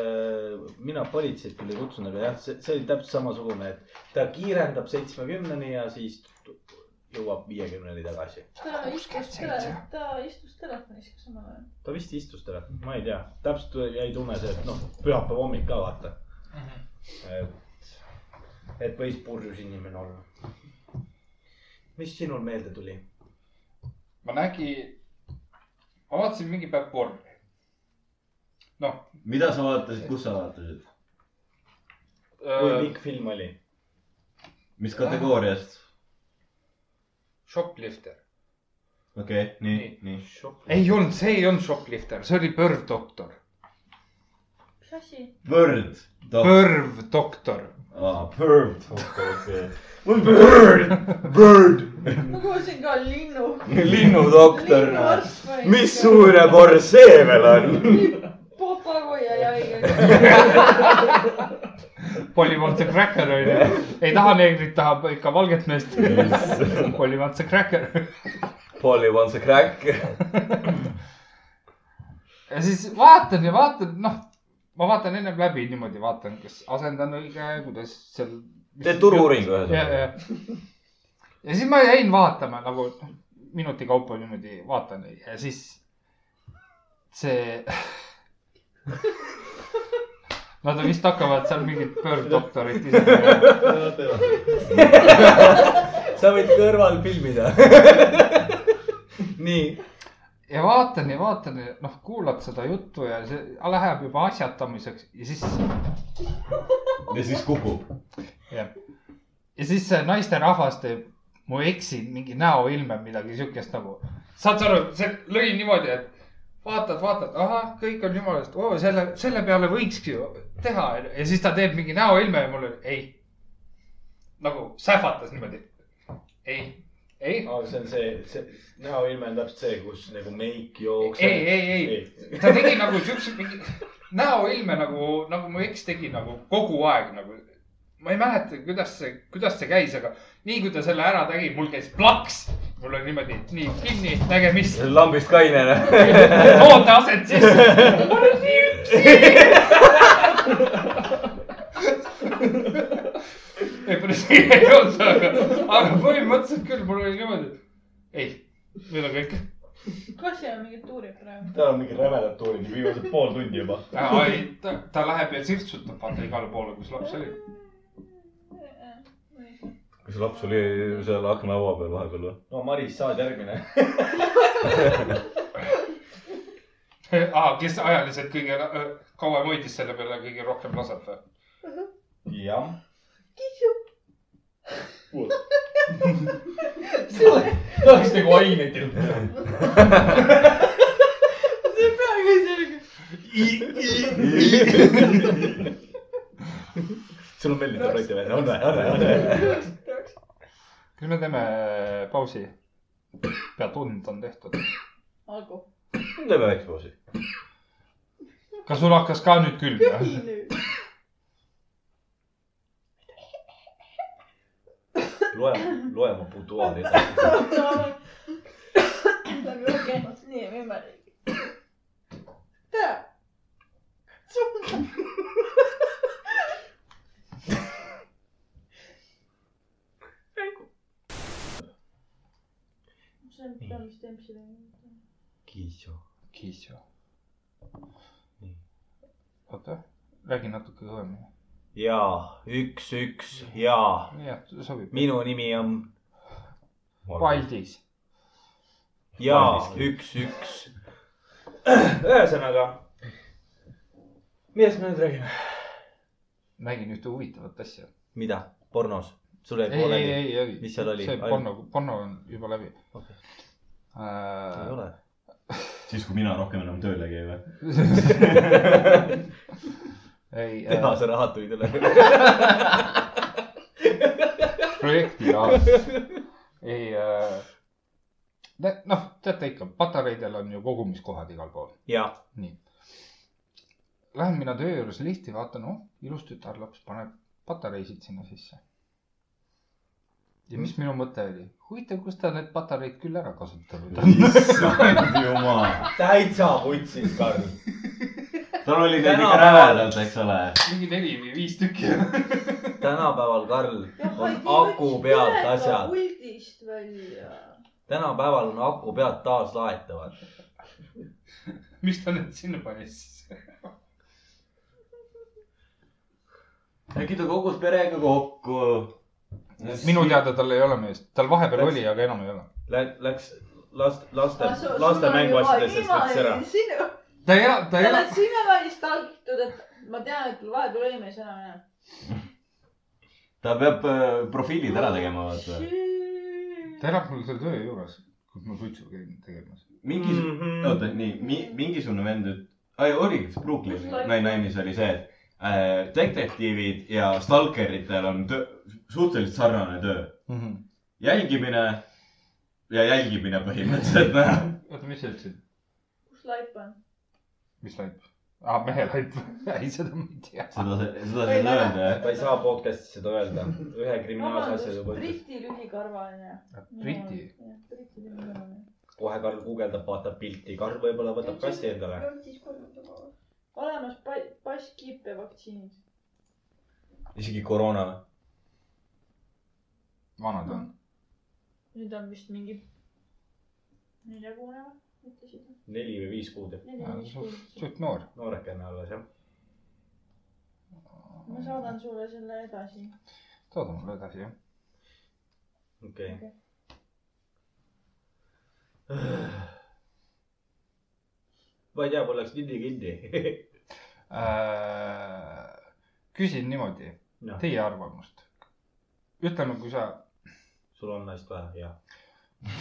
S3: mina politseid küll ei kutsunud , aga jah , see , see oli täpselt samasugune , et ta kiirendab seitsmekümneni ja siis tu- jõuab viiekümneni tagasi .
S6: ta istus
S4: Kuuskümmend seitse. ,
S6: ta istus telefonis ka samal ajal .
S3: ta vist istus täna , ma ei tea , täpselt jäi tunne see , et noh , pühapäeva hommik ka vaata . et , et võis purjus inimene olla . mis sinul meelde tuli ?
S4: ma nägin , ma vaatasin mingi päev porni . noh .
S5: mida sa vaatasid , kus sa vaatasid ?
S3: kui
S5: Äh.
S3: pikk film oli ?
S4: Äh.
S5: mis kategooriast ?
S4: Shoplifter .
S5: okei okay, , nii , nii .
S4: ei olnud , see ei olnud Shoplifter , see oli Põrvdoktor .
S6: mis asi ?
S5: Bird .
S4: Põrvdoktor .
S5: aa , Bird .
S3: Bird , Bird .
S6: ma kuulsin ka linnu .
S5: linnudoktor .
S6: linnuarst või ?
S1: mis suure porr see veel on ?
S6: popagoi ja jäi .
S4: polümantse cracker on ju . ei taha neegrit , tahab ikka valget meest . polümantse cracker .
S5: Polly wants a crack .
S4: ja siis vaatan ja vaatan , noh , ma vaatan ennem läbi niimoodi , vaatan , kas asendan õige , kuidas seal .
S5: Teed turu-uuringu
S4: ja ,
S5: ühesõnaga .
S4: ja , ja siis ma jäin vaatama nagu noh, minuti kaupa niimoodi vaatan ja siis see . Nad vist hakkavad seal mingit pöörddoktorit ise tegema .
S5: sa võid kõrval filmida . nii .
S4: ja vaatan ja vaatan ja noh , kuulad seda juttu ja see läheb juba asjatamiseks ja siis
S11: ja siis kukub .
S4: jah . ja siis see naisterahvas teeb , ma eksin mingi näoilme , midagi siukest nagu . saad sa aru , see lõi niimoodi , et vaatad , vaatad , ahah , kõik on jumala eest , oo selle , selle peale võikski ju teha ja siis ta teeb mingi näoilme ja mul oli ei . nagu sähvatas niimoodi . ei , ei ,
S3: aa , see on see , see näoilme on täpselt see , kus nagu meik jookseb .
S4: ei , ei , ei , ta tegi nagu siukse mingi näoilme nagu , nagu mu eks tegi nagu kogu aeg nagu . ma ei mäleta , kuidas see , kuidas see käis , aga nii kui ta selle ära tegi , mul käis plaks , mul oli niimoodi , nii kinni , nägemist ,
S5: lambist noh. kainena .
S4: oota aset sisse . ma olen nii üksi . ei , päris nii ei olnud , aga , aga põhimõtteliselt küll , mul oli niimoodi , et ei , nüüd on kõik
S6: kas seal on mingid tuurid praegu ?
S3: tal on mingi rämedad tuulid viimased pool tundi juba .
S4: ta , ta, ta läheb ja sirtsutab vaata igale poole , kus laps oli .
S5: kas laps oli seal akna laua peal vahepeal või ?
S3: no Maris , sa oled järgmine .
S4: Ah, kes ajaliselt kõige äh, kauem hoidis selle peale kõige rohkem laset või ?
S3: jah . tahaks nagu aineid juurde .
S6: see peaaegu ei selge .
S3: sul on veel neid tablette veel , on või , on või , on või ?
S4: kas me teeme pausi ? pea tund on tehtud .
S6: olgu .
S5: teeme väikse pausi .
S4: kas sul hakkas ka nüüd külm või ?
S6: nii nüüd .
S3: loe , loe oma buduaari edasi .
S6: Läbi õhkkehvast nii ei võimalik . tea . see on peamist empsi teinud .
S5: kiisu .
S4: kiis ju . oota , räägi natuke kõvemini .
S3: jaa , üks , üks , jaa .
S4: jah , sobib .
S3: minu nimi on
S4: Paldis .
S3: jaa , üks , üks . ühesõnaga , millest me nüüd räägime ?
S4: nägin ühte huvitavat asja .
S3: mida ? pornos ? sul jäi
S4: ei , ei ,
S3: pooleli ?
S4: ei , ei .
S3: Mis seal oli?
S4: see
S3: Ainult-
S4: porno , porno on juba läbi
S3: Okei. . ei
S4: Äh,
S3: ole .
S11: siis , kui mina rohkem enam tööle ei käi või ?
S4: ei , äh,
S3: tehase rahad tulid üle .
S4: projekti raames . ei äh, , noh , teate ikka , patareidel on ju kogumiskohad igal pool .
S3: jaa .
S4: Lähen mina töö juures lihti , vaatan , oh , ilus tütarlaps paneb patareisid sinna sisse . ja mis minu mõte oli , huvitav , kus ta need patareid küll ära kasutanud on .
S11: issand jumal ,
S3: täitsa vutsis , Karl .
S11: tal oli neid ikka
S3: Tänapäeval-
S11: rävedalt , eks ole .
S4: mingi neli või viis tükki .
S3: tänapäeval , Karl , on aku pealt asjad .
S6: puldist välja .
S3: tänapäeval on aku pealt taaslaetavad .
S4: miks ta need sinna pani siis ?
S11: äkki ta kogus perega kokku .
S4: minu teada tal ei ole meest , tal vahepeal oli , aga enam ei ole .
S3: Läks last , laste , laste mänguasjadest läks ära .
S6: sinu ,
S4: ta ei , ta
S6: sa
S4: ei ole
S6: oled . sinna valmis talgitud , et ma tean , et vahepeal oli mees enam enam .
S11: ta peab äh, profiilid ära tegema , vaata .
S4: ta elab mul seal töö juures , kus ma suitsu käin tegemas .
S11: mingi mm ,
S3: Mhm.
S11: -hmm. oota nii mi, , mingisugune vend , ai oligi , kas Brooklyni naine mis oli see , et äh, detektiivid ja stalkeritel on töö, suhteliselt sarnane töö .
S3: Mhm.
S11: jälgimine ja jälgimine põhimõtteliselt , noh .
S4: oota , mis sa ütlesid ,
S6: kus laip on ?
S4: mis laip ? aa , mehe laip , ei seda ma ei tea .
S5: seda , seda ei saa öelda , jah .
S3: ta ei saa podcast'is seda öelda , ühe kriminaalse
S6: vabandust
S3: asja juba , ütles .
S6: Briti lühikarvaline .
S4: Ah, Briti ,
S6: Briti lühikarvaline .
S3: kohe Karl guugeldab , vaatab pilti , Karl võib-olla võtab kassi endale .
S6: olemas pa- , passkiipe vaktsiinid .
S5: isegi koroona või ?
S4: vanad on .
S6: nüüd on vist mingi neljakune või , ütlesid või ?
S3: neli või viis kuud ,
S6: neli , viis kuud .
S4: Ah, suht noor .
S3: noorekene alles jah .
S6: ma saadan sulle selle edasi .
S4: tooda mulle edasi , jah .
S3: okei okay. . ma ei tea , mul läks kinni kinni .
S4: Äh, küsin niimoodi
S3: Jah.
S4: teie arvamust . ütleme , kui sa ,
S3: sul on naist vaja , jah .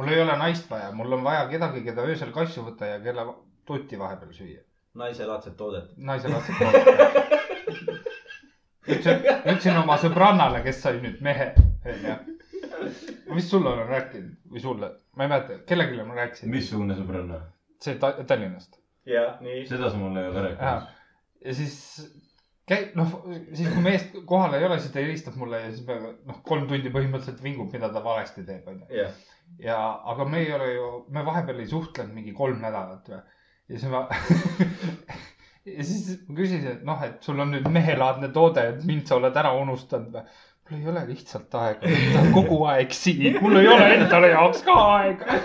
S4: mul ei ole naist vaja , mul on vaja kedagi , keda öösel kassu võtta ja kelle tuti vahepeal süüa .
S3: naiselaadset toodet .
S4: naise lapsed toovad . ütlesin , ütlesin oma sõbrannale , kes sai nüüd mehe , onju . mis sulle olen rääkinud või sulle , ma ei mäleta , kellelegi ma rääkisin .
S5: missugune sõbranna ?
S4: see Ta- Tallinnast .
S3: jah , nii .
S5: seda sa mulle ei ole rääkinud .
S4: ja siis käi- , noh , siis kui meest kohal ei ole , siis ta helistab mulle ja siis me , noh , kolm tundi põhimõtteliselt vingub , mida ta valesti teeb , onju .
S3: jah ,
S4: ja , aga me ei ole ju , me vahepeal ei suhtlenud mingi kolm nädalat või . ja siis ma , ja siis ma küsisin , et noh , et sul on nüüd mehelaadne toode , et mind sa oled ära unustanud või mul ei ole lihtsalt aega , ta on kogu aeg siin , mul ei ole endale jaoks ka aega .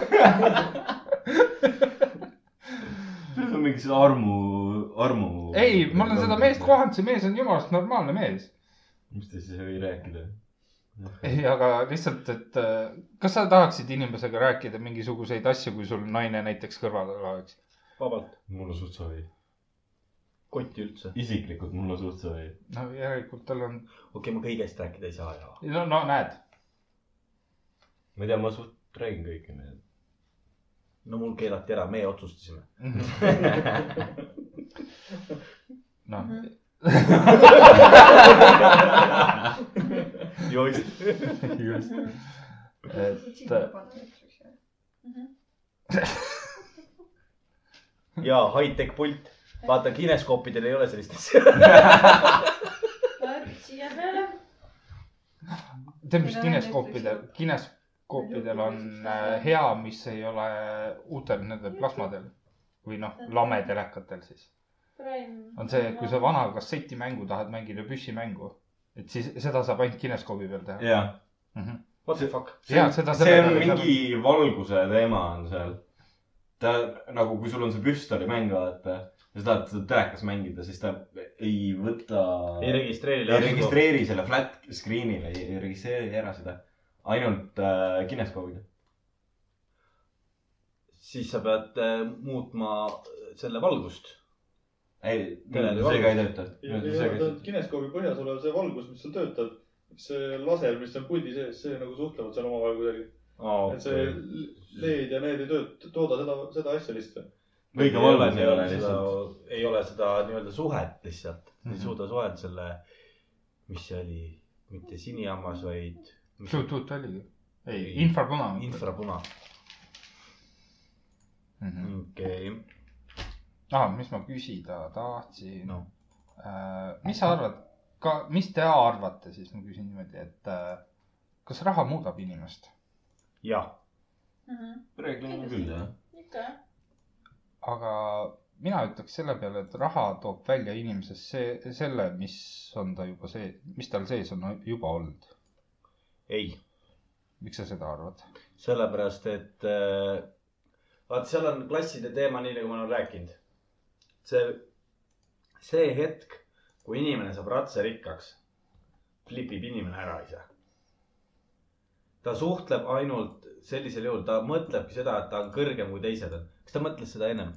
S5: see on mingi see armu , armu .
S4: ei , ma olen seda meest . kohanud , see mees on jumalast normaalne mees .
S5: mis te siis ei rääkida ?
S4: ei , aga lihtsalt , et äh, kas sa tahaksid inimesega rääkida mingisuguseid asju , kui sul naine näiteks kõrval oleks ?
S3: vabalt .
S5: mul on suht savi .
S3: kotti üldse .
S5: isiklikult mul on suht savi .
S4: no järelikult tal on ,
S3: okei okay, , ma kõigest rääkida ei saa ja .
S4: no , no näed ,
S5: ma ei tea , ma suht räägin kõike neid .
S3: no mul keelati ära , meie otsustasime .
S4: noh ,
S3: just .
S4: just , et äh,
S8: et .
S3: ja high-tech pult . vaata , kineskoopidel ei ole sellist asja .
S6: Läheb siia peale .
S4: tead , mis
S8: Seda
S4: kineskoopidel
S8: näiteks ,
S4: kineskoopidel on äh, hea , mis ei ole uutel nendel plasmadel või noh , lametelekatel siis . on see , et kui sa vana kassetimängu tahad mängida , püssimängu , et siis seda saab ainult kineskoobi peal teha .
S5: jaa .
S3: What the fuck ?
S4: ja seda .
S5: see on mingi valguse teema on seal . ta nagu , kui sul on see püstolimäng , vaata . ja sa tahad seda telekas mängida , siis ta ei võta .
S3: ei registreeri .
S5: ei . registreeri selle flat screen'ile , ei ei registreeri ära seda . ainult äh, kineskoobiga .
S3: siis sa pead äh, muutma äh, selle valgust .
S5: ei ,
S3: Teleri
S5: see ka ei tööta .
S7: kineskoobi põhjas olev see valgus , mis seal töötab , see laser , mis on pundi sees , see nagu suhtlevad seal omavahel kuidagi . et see LED ja need ei tööta , tooda seda , seda asja lihtsalt .
S5: kõige valves ei ole lihtsalt ..
S3: ei ole seda nii-öelda suhet lihtsalt mm , -hmm. ei suuda suhet selle , mis see oli , mitte sinihammas , vaid .
S4: Bluetooth oligi . ei , infrapuna .
S3: infrapuna , okei okay. .
S4: Mhm. ah , mis ma küsida tahtsin
S3: No.
S4: äh, . mis sa arvad , ka , mis te arvate siis , ma küsin niimoodi , et äh, kas raha muudab inimest ,
S3: jah ,
S5: reeglina küll jah .
S6: Mhm. ikka jah .
S4: aga mina ütleks selle peale , et raha toob välja inimesest see , selle , mis on ta juba see , mis tal sees on juba olnud .
S3: ei ,
S4: miks sa seda arvad ?
S3: sellepärast , et äh, vaat seal on klasside teema , nii nagu ma olen rääkinud . see , see hetk , kui inimene saab ratsarikkaks , flipib inimene ära ise . ta suhtleb ainult sellisel juhul , ta mõtlebki seda , et ta on kõrgem kui teised on . kas ta mõtles seda ennem ?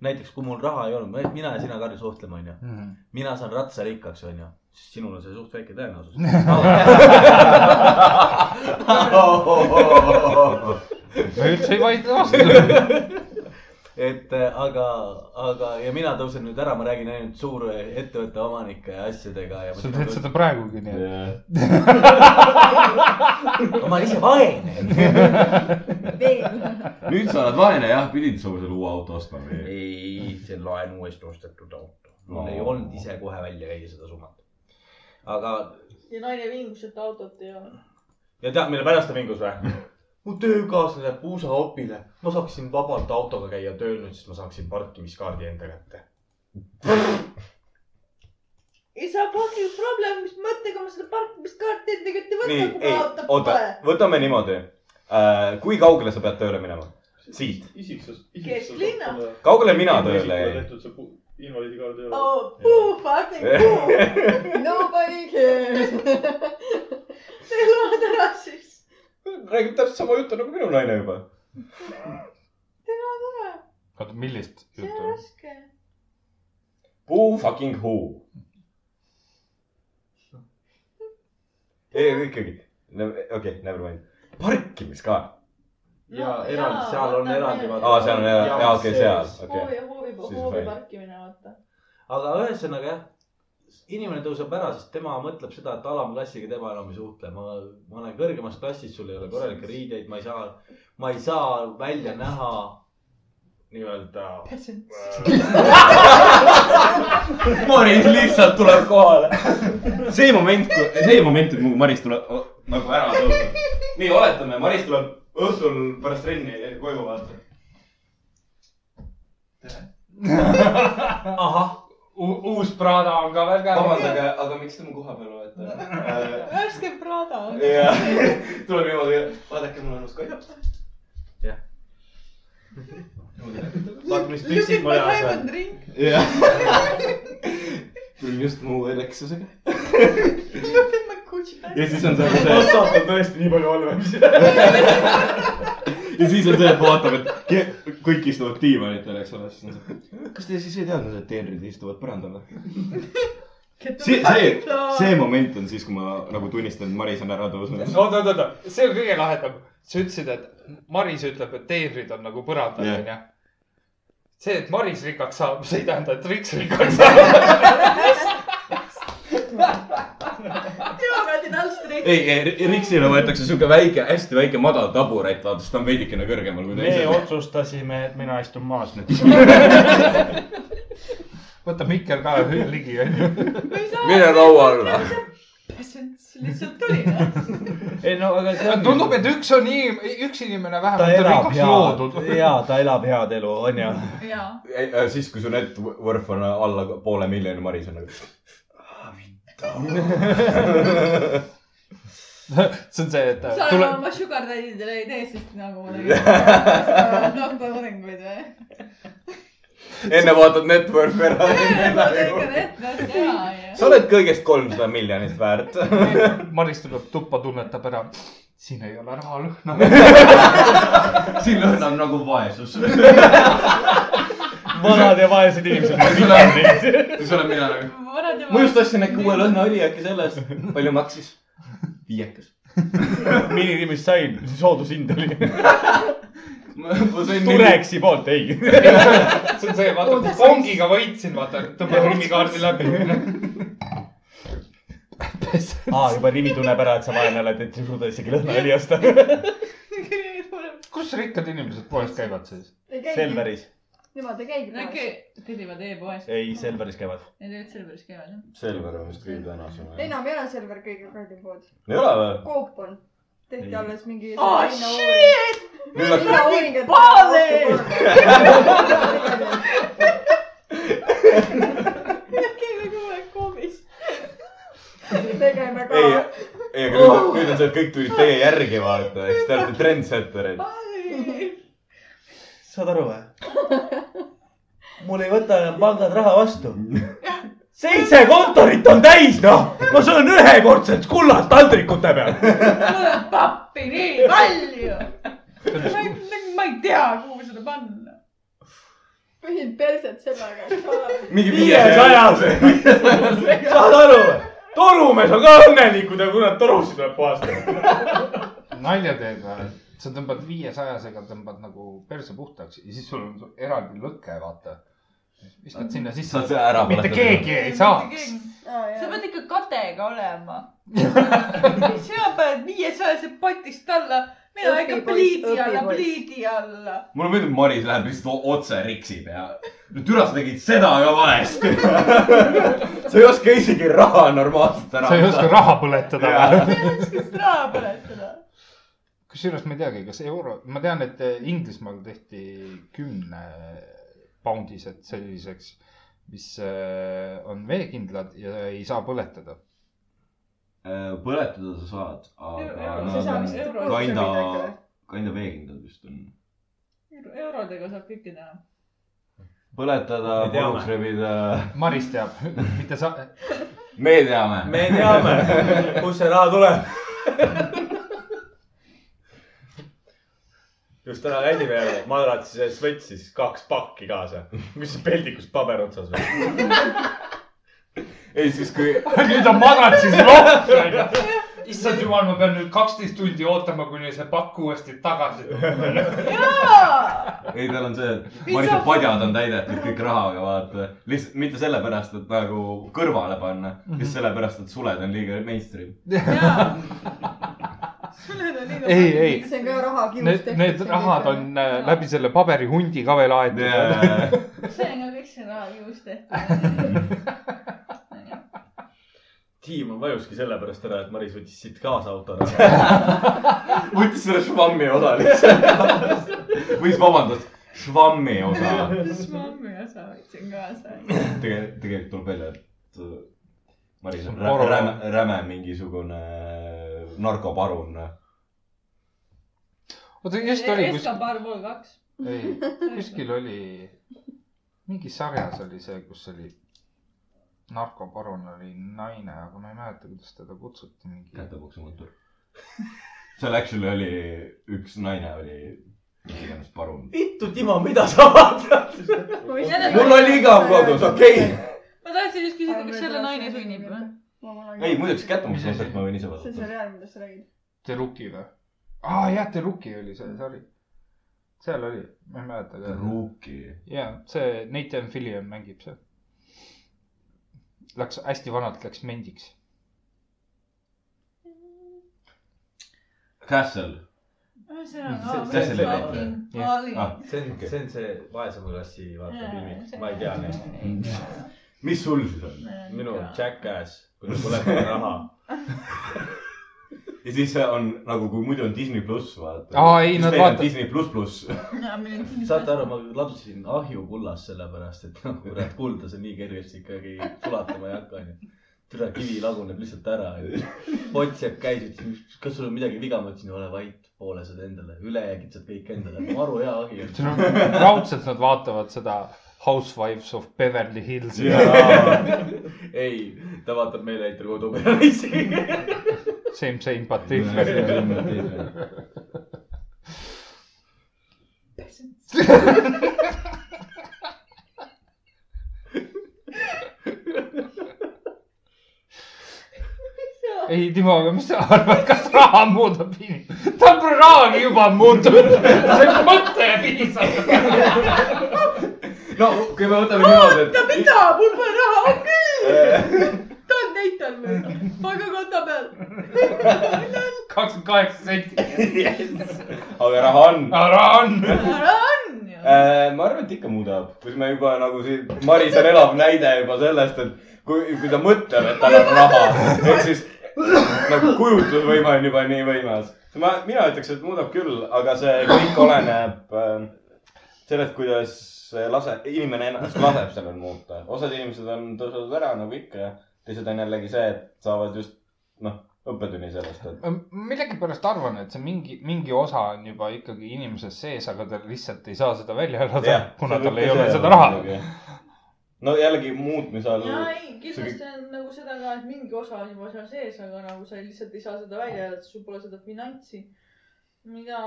S3: näiteks , kui mul raha ei olnud , mina ja sina , Karl , suhtleme , onju . mina saan ratsarikkaks , onju , siis sinul on see suht väike tõenäosus .
S4: ma üldse ei vaidle vastu .
S3: et äh, aga , aga ja mina tõusen nüüd ära , ma räägin ainult suurettevõtte omanike asjadega ja .
S4: sa teed seda praegugi nii .
S5: jah ,
S3: ma olen ise vaene .
S8: veel .
S11: nüüd sa oled vaene jah , pidid sa selle uue auto ostma või ?
S3: ei , see laenu eest ostetud auto . mul ei olnud ise kohe välja käia seda summat . aga ,
S6: ja naine vingus , et autot ei ole .
S3: ja tead , mille pärast ta vingus või ? mu töökaaslane jääb puusaopile , ma saaksin vabalt autoga käia tööl nüüd , siis ma saaksin parkimiskaardi enda kätte .
S6: ei saa parkida probleemi , mis mõttega ma seda parkimiskaarti enda kätte
S5: nii
S6: võtan ,, kui
S5: ei
S6: mul autot ,
S5: oota
S6: pole .,
S5: võtame niimoodi äh, . kui kaugele sa pead tööle minema ? siit ,
S7: isiksus ,
S6: Kesklinna.
S7: isiksus .
S5: kaugele mina tööle jäin ?
S7: tehtud see pu- invaliidikaart ei ole .
S6: oh , puu , fucking puu .
S8: Nobody cares .
S6: see lood ära siis .
S5: räägib täpselt sama juttu nagu minu naine juba .
S4: oota , millist
S6: see on
S4: juttu ?
S6: raske .
S5: Who fucking who ? ei , ikkagi , okei , never mind . parkimiskaart ,
S3: ja eraldi , seal on eraldi .
S5: Aa, seal on eraldi- jaa, okei, seal. Okei.
S6: hoovi , hoovi ,
S5: Siis
S6: hoovi
S5: fine.
S6: parkimine , vaata .
S3: aga ühesõnaga jah , inimene tõuseb ära , sest tema mõtleb seda , et alamklassiga tema enam ei suhtle , ma , ma olen kõrgemas klassis , sul ei ole korralikke riideid , ma ei saa , ma ei saa välja näha nii-öelda .
S5: Maris lihtsalt tuleb kohale .
S11: see moment , see moment , kui Maris tuleb o- nagu ära tõuseb . nii , oletame , Maris tuleb õhtul pärast trenni koju vaata .
S3: ahah ,
S4: uus Prada on ka veel käinud .
S11: vabandage , aga miks te mu koha peal olete ?
S6: värske Prada .
S11: ja tuleb niimoodi , vaadake , mul on uus kodu .
S3: vaata , mis
S6: Look at
S3: püksid mul
S6: my
S3: jaoks
S6: diamond
S3: on .
S6: ring .
S11: jah . tulin just mu Lexusega .
S6: Look at my Gucci bag .
S11: ja siis on see , see
S1: Passat on tõesti nii palju halvem .
S11: ja siis on see , et vaatab , et ke- kõik istuvad diivanitel , eks ole , siis on see . kas te siis ei teadnud , et teenrid istuvad põrandal või ? see , see , see moment on siis , kui ma nagu tunnistan , et Maris on ära tõusnud .
S4: oota , oota , oota , see on kõige lahedam . sa ütlesid , et Maris ütleb , et teenrid on nagu põrandal ,
S11: Jah.
S4: onju . see , et Maris rikkaks saab , see ei tähenda , et Riks rikkaks saab .
S6: demokraadid Alstreet .
S11: ei , ei , Riksile võetakse sihuke väike , hästi väike madal taburet , vaata , sest ta on veidikene kõrgemal kui
S1: me
S11: teised .
S1: otsustasime , et mina istun maas nüüd .
S4: võta Mikker ka ligi , onju .
S11: mine laua alla .
S6: peasants lihtsalt tuli .
S1: ei no aga see on .
S4: tundub , et üks on nii , üks inimene
S1: ta
S4: vähemalt on
S1: elab
S4: rikkaks loodud .
S1: head , ja ta elab head elu , onju .
S6: jaa .
S11: äh, siis , kui su net worth on alla poole miljoni , Maris on nagu .
S4: see on see , et
S6: sa
S4: tule
S6: Tule... , oma sugar daddy'dele ei tee siis nagu ma tegin . naftatooringuid või ?
S11: enne vaatad net worth'i
S6: ma
S11: ära .
S6: tegin etnast ja , ja .
S11: sa oled kõigest kolmsada miljonit väärt .
S4: Maris tuleb tuppa , tunnetab ära . siin ei ole rahalõhna .
S11: siin lõhnab nagu vaesus .
S1: vanad ja vaesed inimesed .
S11: siis olen mina nagu .
S6: vanad ja
S11: ma just ostsin äkki uue lõhnaõli äkki selle eest . palju maksis ? viiekas .
S1: miinimumist sain , soodushind oli .
S11: ma sain neli ,
S1: Tureksi poolt , ei .
S4: see on see , vaata , kongiga võitsin , vaata , tõmbad ringikaardi läbi .
S1: aa , juba nimi tunneb ära , et sa vaene oled , et ei suuda isegi lõhnaõli osta .
S4: kus rikkad inimesed poest käivad siis ?
S8: ei käigi ,
S1: Selveris ,
S8: nemad ei käigi
S6: äkki
S8: poes .
S6: tellivad e-poest .
S1: ei Selveris käivad .
S6: Need olid Selveris käivad jah .
S5: Selver on vist kõige tänasem . ei
S8: enam ei ole Selver kõige kallim pood .
S5: ole või ?
S8: Coop on . tehti
S5: Ei.
S8: alles mingi .
S6: Oh,
S8: Ah, shit !
S5: nüüd hakkab ,
S6: käime kogu aeg koomis .
S8: tegime ka
S11: ei , ei , aga nüüd on , nüüd on see , et kõik tulid teie järgi vaata , eks te olete trendsetterid .
S1: saad aru või ? mul ei võta enam pangad raha vastu . seitse kontorit on täis , noh . ma söön ühekordselt kullast taldrikute peal .
S6: mul on pappi nii palju . ma ei , ma ei tea , kuhu seda panna .
S8: põhin perset sellega .
S11: mingi
S1: viiesajas . saad aru või ? torumees on ka õnnelik , kui ta kurat torusid peab puhastama .
S4: nalja teed või ? sa tõmbad viiesajasega , tõmbad nagu perse puhtaks ja siis sul on su- eraldi lõke , vaata . viskad sinna sisse
S11: Saad . selle ära
S4: mitte
S11: põletada.
S4: keegi ei saaks .
S6: sa pead ikka kadega olema . sina paned viiesajase potist alla ,
S8: mina ikka
S13: Õpipoiss,
S8: pliidi alla ,
S13: õpipoiss.
S8: pliidi alla .
S5: mulle meeldib , Maris läheb lihtsalt o- otse riksib ja no türa , sa tegid seda ka valesti . sa ei oska isegi raha normaalselt ära
S4: sa ei oska raha põletada või ?
S8: oskad raha põletada .
S4: kusjuures ma ei teagi , kas euro , ma tean , et Inglismaal tehti kümne poundised selliseks , mis äh, on veekindlad ja ei saa põletada .
S5: Äh, põletada sa saad , aga
S6: Euro-
S5: nad on
S6: sisemist euro-
S5: kinda , kinda veekindlad vist on .
S6: eurodega saab kõike teha .
S5: põletada ,
S3: Me teame.
S5: puruks rebida ,
S4: Maris teab , mitte sa ,
S5: me teame .
S14: me teame , kust see raha tuleb .
S3: just täna käisime jälle , Madrat siis võttis kaks pakki kaasa . mis see peldikus paber otsas või ?
S5: ei , siis kui
S4: nüüd on madrat siis rohkem . issand jumal , ma pean nüüd kaksteist tundi ootama , kuni see pakk uuesti tagasi tuleb .
S5: ei , tal on see , et
S8: Mis
S5: Marise
S8: sa-
S5: padjad on täidetud kõik rahaga , vaata . lihtsalt mitte sellepärast , et nagu kõrvale panna , lihtsalt sellepärast , et suled on liiga mainstream .
S4: ei , ei ,
S13: see on ka raha kius
S4: need , need rahad on äh, läbi selle paberihundi ka veel aetud .
S8: see on ka kõik see raha juust tehtud .
S3: tiim on vajuski sellepärast ära , et Maris võttis siit kaasa auto ära .
S5: võttis selle švammi osa lihtsalt . või siis vabandust , švammi osa .
S6: siis ma homme osa võtsin kaasa .
S5: tegelikult , tegelikult tuleb välja , et äh, Maris on
S4: Poro-
S5: rä- räme , räme mingisugune narkoparun .
S4: oota , just oli kus ,
S6: Escobar pool kaks .
S4: ei , kuskil oli , mingis sarjas oli see , kus oli narkoparun oli naine , aga ma ei mäleta , kuidas teda kutsuti , mingi
S5: kätepoksumotor . seal actually oli üks naine oli mis iganes parun .
S14: vittu , Timo , mida sa vaatad ?
S5: mul oli igav kodus , okei okay. .
S8: ma tahtsin just küsida , kas selle naine sunnib või ??
S5: ei , muideks
S4: Mis asi?
S5: kättemaksukontsert ma võin ise
S15: see on
S5: vaadata
S15: see . reaal , millest sa räägid .
S4: Teruki või ? aa jah , Teruki oli see sari . seal oli , ma ei mäleta ka .
S5: Ruuki .
S4: ja see Nathan Fillion mängib seal . Läks hästi vanalt , läks mendiks .
S5: Castle .
S6: ühesõnaga ,
S5: See- see- see-
S6: ma
S5: Ah,
S3: see on ,
S5: Okei.
S3: see on see vaesema klassi vaata filmid , ma ei tea neid .
S5: mis sul siis on ?
S8: Mm.
S3: minu . Jackass , kuidas põletada raha .
S5: ja siis see on nagu , kui muidu on Disney pluss , vaata .
S4: Aa, ei, nad vaata-
S5: Disney pluss pluss .
S3: saate aru , ma ladusin ahju kullas sellepärast , et noh , kurat , kulda see nii kergesti ikkagi sulatama ei hakka , onju . türa kivi laguneb lihtsalt ära . pots jääb käis , ütles , kas sul on midagi viga , ma ütlesin , ole vait , poole saad endale , ülejäägid saad kõik endale . maru hea ahi on .
S4: raudselt nad vaatavad seda Housewives of Beverly Hills .
S3: ei , ta vaatab meeleheitri kodu peale isegi .
S4: Same , same , but different . ei , Timo , aga mis sa arvad , kas raha muudab inimest ? ta on praegu juba muutunud . see mõte piisab .
S5: no kui me võtame niimoodi , et .
S8: mida , mul pole raha , on küll . ta on Nathan või ? pangakonto peal .
S4: kakskümmend kaheksa senti .
S5: aga raha on .
S4: raha on .
S8: ära on ju .
S5: Äh, ma arvan , et ikka muudab , kus me juba nagu siin , Maris on elav näide juba sellest , et kui , kui ta mõtleb , et tal on raha , ehk siis nagu kujutlusvõime on juba nii võimas . ma , mina ütleks , et muudab küll , aga see kõik oleneb äh, sellest , kuidas see lase , inimene ennast laseb sellel muuta . osad inimesed on tõusnud ära nagu ikka ja teised on jällegi see , et saavad just noh , õppetunni sellest , et
S4: ma millegipärast arvan , et see mingi , mingi osa on juba ikkagi inimeses sees , aga ta lihtsalt ei saa seda välja elada
S5: Jah, ,
S4: kuna
S5: see
S4: tal
S5: võib
S4: ei
S5: ka
S4: ole
S5: see
S4: seda
S5: olla
S4: raha .
S5: muidugi. no jällegi muutmise all
S6: jaa , ei , kindlasti on nagu seda ka , et mingi osa on juba seal sees , aga nagu sa lihtsalt ei saa seda välja öelda , sul pole seda finantsi . mida ,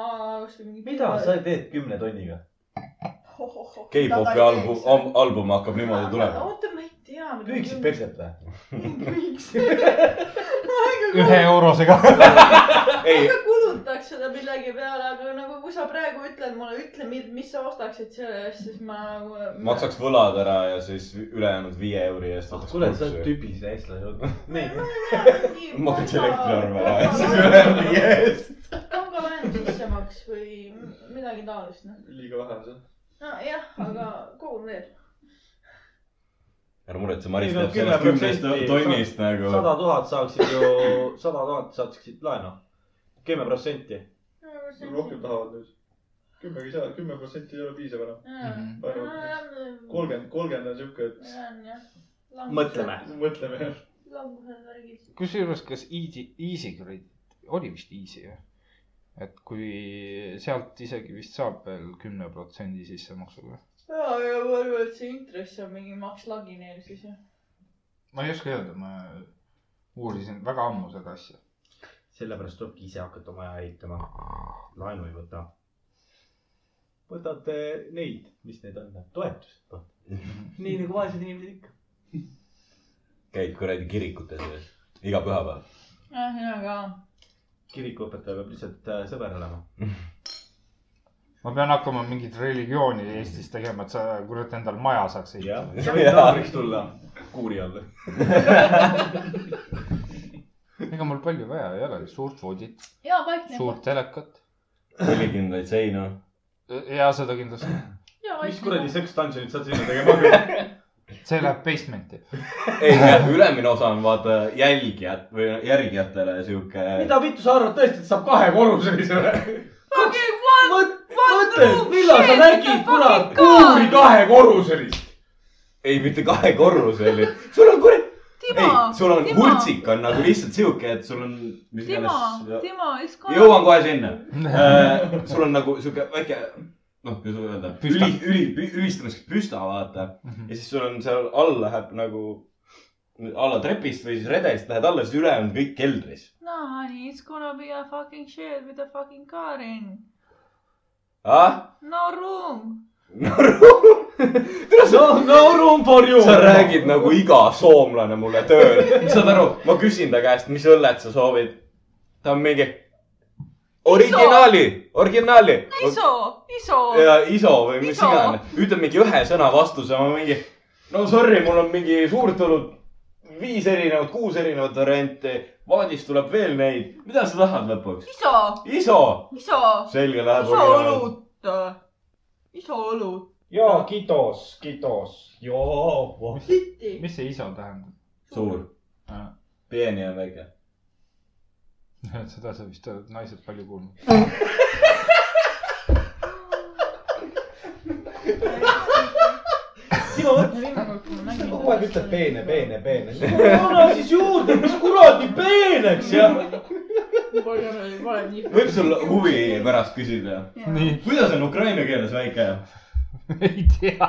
S6: kasvõi mingi .
S3: mida sa teed kümne tonniga ?
S5: K-popi album , album hakkab niimoodi tulema .
S6: oota , ma ei tea .
S3: lühikesed perset või ?
S4: ühe eurosega .
S5: ei ,
S6: ma kulutaks seda millegi peale , aga nagu kui sa praegu ütled mulle , ütle , mis sa ostaksid selle eest , siis ma nagu .
S5: maksaks võlad ära ja siis ülejäänud viie euri eest
S3: ah
S5: võtaks
S3: kuule , sa oled
S5: kursu .
S3: tüüpiline eestlane .
S5: maksaks elektriarve ära ja siis ülejäänud viie eest .
S6: pangaväe ainult sissemaks või m- midagi taolist , noh .
S7: liiga vähe on see .
S6: nojah , aga kogun veel .
S5: ära muretse , Maris
S1: Ei, no
S5: teeb sellest kümnest
S1: 10%
S5: tonnist nagu .
S1: sada tuhat saaksid ju , sada tuhat saaksid laenu . kümme protsenti .
S7: rohkem tahavad nüüd . kümmegi ei saa , kümme protsenti ei ole piisav enam .
S6: äh,
S7: kolmkümmend , kolmkümmend on siuke ,
S1: mõtleme .
S7: et mõtleme .
S6: langused värgid .
S4: kusjuures , kas Easy , Easy Grid , oli vist Easy jah ? et kui sealt isegi vist saab veel kümne protsendi sissemaksuga .
S6: ja , ja ma arvan , et see intress on mingi maks lagi neil siis jah .
S4: ma ei oska öelda , ma uurisin väga ammu seda asja .
S1: sellepärast tulebki ise hakata maja ehitama . laenu ei võta . võtate neid , mis need on , toetused võtate . nii nagu vaesed inimesed ikka .
S5: käid kuradi kirikutes ja iga pühapäev .
S6: jah , mina ka .
S1: kirikuõpetaja peab lihtsalt äh, sõber olema .
S4: ma pean hakkama mingit religiooni Eestis tegema , et sa kurat endal maja saaks ehitada .
S1: sa võid naabriks tulla .
S3: kuuri all .
S4: ega mul palju vaja ei ole , suurt voodit ,
S6: hea paik neil .
S4: suurt telekat
S5: põlikindlaid seinu .
S4: ja seda kindlasti .
S1: mis kuradi sekstantsi nüüd sa sinna tegema hakkad ?
S4: see läheb basement'i .
S5: ei , ülemine osa on vaata jälgijad või järgijatele sihuke .
S1: mida vittu sa arvad tõesti , et saab kahekorruselise või ?
S6: Fucking one ,
S1: mõtle , millal sa
S6: shit,
S1: nägid ,
S6: the
S1: kurat ,
S6: fucking
S1: kuuri
S6: god.
S1: kahekorruselist .
S5: ei , mitte kahekorruseline . sul on kuradi ,
S6: Timo
S5: ei , sul on
S6: Timo,
S5: hultsik on nagu lihtsalt sihuke , et sul on .
S6: Timo , Timo , eks ka .
S5: jõuan kohe sinna . sul on nagu sihuke väike , noh , kuidas öelda , üli , üli , ülistamiseks püsta , vaata . ja siis sul on seal all läheb nagu alla trepist või siis redelist lähed alla , siis ülejäänud kõik keldris .
S6: No honey, it's gonna be a fucking shit with a fucking Karen.
S5: ah ,
S6: No room.
S1: no , no room for you .
S5: sa räägid nagu iga soomlane mulle tööl . saad aru , ma küsin ta käest , mis õllet sa soovid . ta on mingi originaali , originaali .
S6: iso , iso .
S5: ja ISO või mis
S6: Iso.
S5: iganes , ütleb mingi ühe sõna vastuse , ma mingi , no sorry , mul on mingi suurt olnud viis erinevat , kuus erinevat varianti , vaadis tuleb veel neid , mida sa tahad lõpuks ?
S6: iso ,
S5: ISO ,
S6: iso ,
S5: selge läheb .
S6: iso õlut . iso õlut .
S1: jaa , kitos , kitos . joo .
S6: sitti .
S4: mis see iso tähendab ?
S5: suur , peeni on väike .
S4: seda sa vist oled naised palju kuulnud .
S1: sina mõtle ,
S2: viimane kord , kui ma nägin .
S3: kogu aeg ütleb peene , peene , peene .
S1: anna siis juurde , mis kuradi peeneks ja .
S6: ma olen , ma olen nii .
S5: võib sul huvi pärast küsida ?
S4: nii ,
S5: kuidas on ukraina keeles väike ?
S4: ei tea .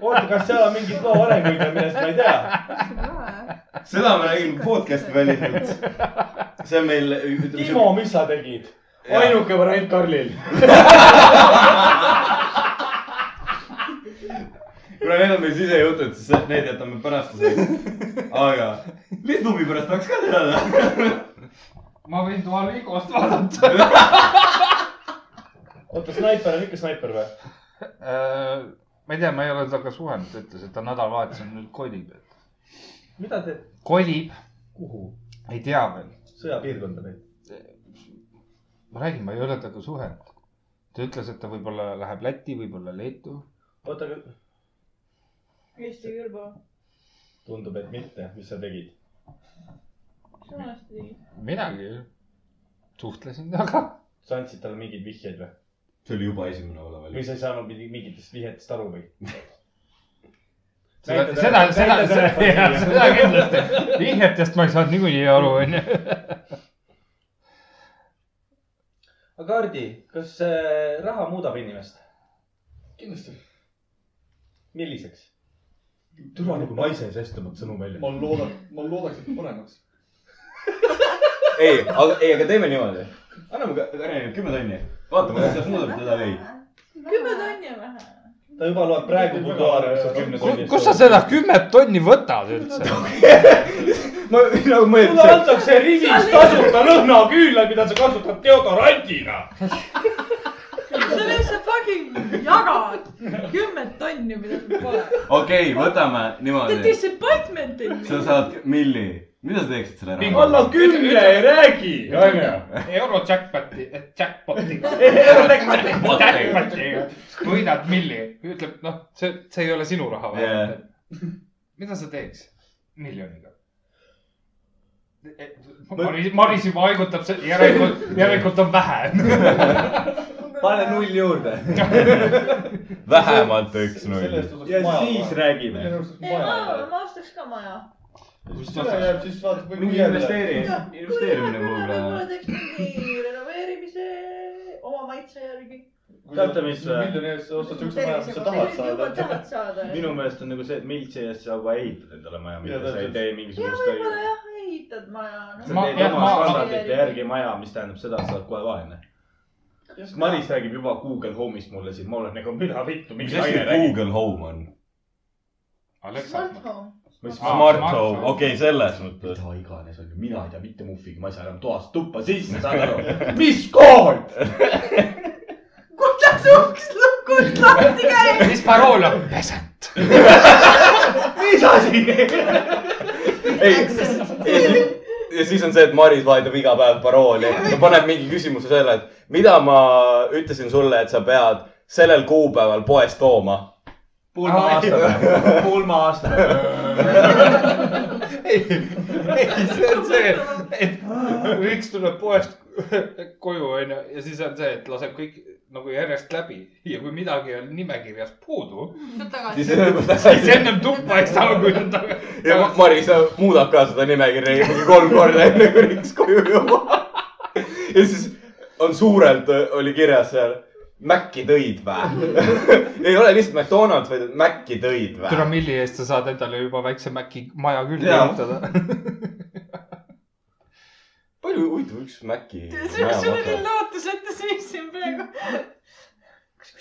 S1: oota , kas seal on mingeid loo arenguid või millest ma ei tea ?
S5: seda me räägime podcast'i väliselt . see on meil .
S1: Timo , mis sa tegid ? ainuke variant Karlil .
S5: kuna need on meil sisejutud , siis need jätame pärast . aga lihtsalt huvi pärast tahaks ka teada .
S4: ma võin toal Igost vaadata .
S1: oota , snaiper on ikka snaiper või ?
S4: ma ei tea , ma ei ole temaga suhelnud , ta ütles , et ta nädalavahetusel nüüd kolib .
S1: mida te ,
S4: kolib ,
S1: kuhu ?
S4: ei tea veel .
S1: sõjapiirkonda või ?
S4: ma räägin , ma ei ole temaga suhelnud . ta ütles , et ta võib-olla läheb Lätti , võib-olla Leetu .
S1: oota , aga
S6: Eesti kõrva .
S1: tundub , et mitte , mis sa tegid .
S6: sõnasti .
S4: midagi , suhtlesin temaga .
S1: sa andsid talle mingeid vihjeid või ?
S5: see oli juba esimene ola veel
S1: või . sa ei saanud mingi- mingitest vihjetest aru või ?
S4: seda , seda , seda , seda kindlasti . vihjetest ma ei saanud niikuinii aru , onju .
S1: aga Hardi , kas äh, raha muudab inimest ?
S7: kindlasti .
S1: milliseks ?
S7: türa nagu ma
S1: naise seest tõmbad sõnu välja .
S7: ma loodan , ma loodaks , et paremaks .
S5: ei , aga , ei , aga teeme niimoodi . anname ka- Karinile kümme tonni . vaatame , kas muudab teda või ei .
S6: kümme . tonni on vähe .
S1: ta juba loeb praegu Bulgaaria , mis on kümne tunnis .
S4: kus sa seda ? kümmet tonni võtad üldse ?
S5: ma nagu
S1: sulle
S5: mõelsin ,
S1: antakse rivis tasuta lõhnaküünlaid , mida sa kasutad deodorantina .
S6: sa lihtsalt fucking jagad kümmet tonni , mida sul pole .
S5: okei okay, , võtame
S6: The
S5: niimoodi .
S6: disappointment in
S5: sa
S6: me .
S5: saad milli .
S1: mida sa teeksid selle
S4: Ei,
S1: rahaga ?
S16: alla kümne ei räägi , onju .
S4: euro jackpot'i , eh, jackpot'i ,
S16: ei ,
S4: jackpot'i , võidad milli , ütleb , noh , see , see ei ole sinu raha
S1: Jaa.
S4: vähemalt . mida sa teeks miljoniga ? Maris , Maris juba haigutab , järelikult , järelikult on vähe .
S1: pane null juurde .
S5: vähemalt üks null .
S7: sellest
S1: ja
S7: osaks maja .
S1: siis räägime .
S6: ei , ma ,
S7: räägime .
S6: ma ostaks ka maja .
S7: mis üle jääb , siis vaatad kõik
S1: mingi investeering , investeerimine
S6: võib-olla
S1: kuhugi .
S6: teeks mingi renoveerimise oma maitse järgi .
S17: Teate, mis-
S7: miljoni eest sa ostad siukse maja , mis sa tahad
S6: juba
S7: saada .
S6: tahad saada .
S1: minu meelest on nagu see , et miltsi eest saab vaja ehitada endale maja ,
S7: Jaa,
S1: mitte sa ei
S7: täpselt.
S1: tee
S6: ja
S1: mingisugust
S6: võib-olla jah , ehitad maja noh.
S1: sa
S4: Ma-
S1: teed
S4: jah,
S1: oma
S4: ma-
S1: standardite järgi maja , mis tähendab seda , et sa oled kohe vaene .
S6: Just
S1: Maris räägib juba Google Home'ist mulle siin , ma olen nagu , mida vittu ,
S5: mis
S1: mingi
S5: asi
S1: naine räägib .
S5: Google Home on ?
S6: Smart home .
S5: Smart Home , okei , selles mõttes .
S1: mida iganes on ju , mina ei tea mitte muhvigi , ma ei saa enam toast tuppa sisse , saad aru ? mis kood ?
S6: kuidas uks lukust lahti käib ?
S4: mis parool on ? peasant .
S1: mis asi ?
S5: ja siis on see , et Maris vahetab iga päev parooli , ta paneb mingi küsimuse selle , et mida ma ütlesin sulle , et sa pead sellel kuupäeval poest tooma .
S1: pulma aastapäev , pulma aastapäev .
S4: ei , ei , see on see , et üks tuleb poest koju , onju , ja siis on see , et laseb kõik nagu järjest läbi ja kui midagi on nimekirjas puudu ,
S5: siis ja
S4: siis ennem tuppa ei saa , kui on tagasi .
S5: Ma- Maris muudab ka seda nimekirja ikkagi kolm korda , enne kui Riks koju jõuab . ja siis on suurelt , oli kirjas seal , Maci tõid vä ? ei ole lihtsalt McDonalds , vaid et Maci tõid
S4: türa
S5: vä ?
S4: milli eest sa saad endale juba väikse Maci maja küll
S5: Jaa.
S4: ehitada .
S5: palju huvitav üks Maci .
S18: sul oli lootusetu seis siin praegu .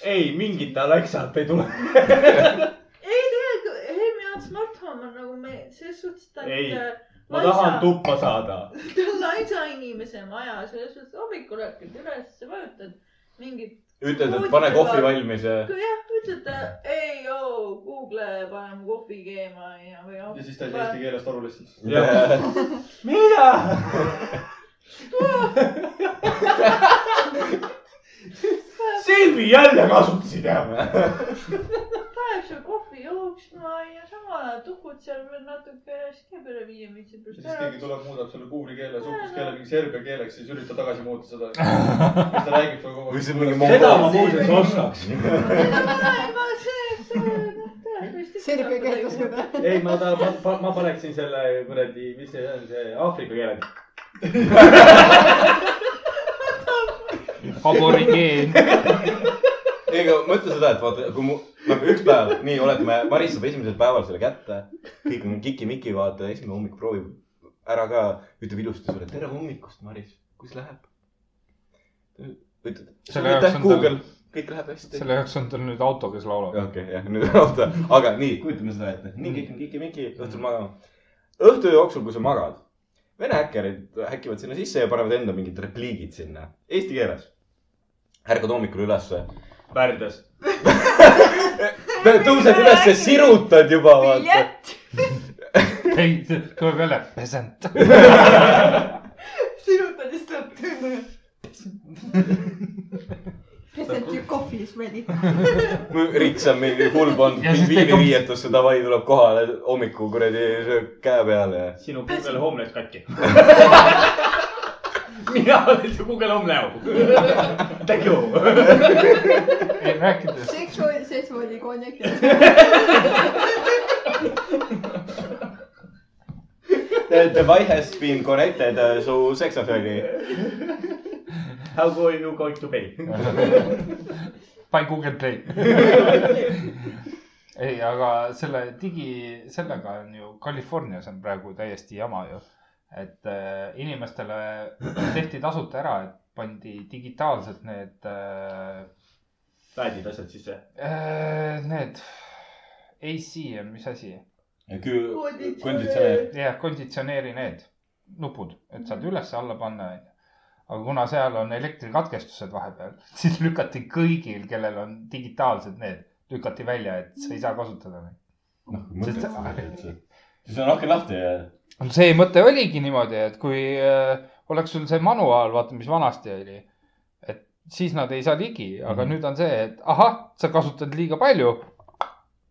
S1: ei , mingit Alexat ei tule .
S6: ei tegelikult , Helmi jaoks smart home on nagu me selles suhtes , et ta on
S1: Ei,
S6: äh,
S1: ma tahan
S6: laisa-
S1: tuppa saada .
S6: ta on laisa inimese maja , selles suhtes hommikul ärkad üles , vajutad mingit ,
S5: ütled , et pane kohvi valmis ja .
S6: kui jah , ütled äh, ei oo , Google , pane mu kohvi keema ja , või
S7: ja siis ta ei saa eesti keelest aru lihtsalt .
S1: mida ? Silvi jälle kasutasid jah ?
S6: paneb seal kohvi jooksma ja sama tukud seal veel natuke , siis käib üle viie minuti
S7: ja
S6: pärast
S7: siis keegi
S6: ära .
S7: tuleb , muudab selle kuuli keele , suhtluskeele mingi serbia keeleks , siis üritab tagasi muuta seda . mis ta räägib sulle kogu
S5: või siis
S7: aeg .
S5: mingi
S1: seda ma
S5: mongol .
S1: muuseas ostaks .
S6: ma , see , see , noh , tõenäoliselt .
S8: Serbia keel kasutada .
S1: ei , ma tahan , ma , ma paneksin selle kuradi , mis see on , see Aafrika keele .
S4: aborigeen .
S5: ei , aga mõtle seda , et vaata , kui mu , nagu üks päev , nii oletame , Maris saab esimesel päeval selle kätte . kõik on kiki-miki , vaata , esimene hommik proovib ära ka , ütleb ilusti sulle , tere hommikust , Maris , kuidas läheb ? ütled ,
S4: Selle jaoks
S5: aitäh
S4: on tal-
S5: Google , kõik läheb hästi .
S4: selle jaoks on tal nüüd auto , kes laulab .
S5: okei , jah , nüüd on auto , aga nii , Mm.
S1: kujutame seda ette .
S5: nii kõik on kiki-miki , õhtul magama . õhtu jooksul , kui sa magad , vene häkkerid häkivad sinna sisse ja panevad enda mingid repliigid sinna eesti keeles . ärkad hommikul ülesse ,
S1: Pärdes .
S5: tõused ülesse , sirutad juba , vaata .
S4: ei , tuleb jälle peasant .
S18: sirutad ja siis tuleb tüüp .
S8: Present your coffee is ready .
S5: Riks on mingi hull pannud
S4: Ja siis
S5: viini
S4: teeb-
S5: riietusse , davai , tuleb kohale hommikul kuradi sööb käe peale ja .
S1: sinu Google Home läks katki . mina olen su Google Home näo . Thank you .
S4: ei , rääkides ,
S8: Sexual , sexually connected .
S5: The device has been connected uh, su seksafoni .
S1: How are you going to pay ?
S4: by Google Play . ei , aga selle digi , sellega on ju Californias on praegu täiesti jama ju . et äh, inimestele tehti tasuta ära , et pandi digitaalselt need äh, ,
S1: päädid asjad sisse .
S4: äh, need AC on , mis asi ,
S5: konditsioneer .
S4: jah , konditsioneeri need nupud , et saad üles-alla panna , onju . aga kuna seal on elektrikatkestused vahepeal , siis lükati kõigil , kellel on digitaalsed need , lükati välja , et sa ei saa kasutada neid .
S5: noh , mõttetu üldse . siis on aken lahti ja .
S4: see mõte oligi niimoodi , et kui äh, oleks sul see manuaal , vaata , mis vanasti oli , et siis nad ei saa ligi , aga nüüd on see , et ahah , sa kasutad liiga palju ,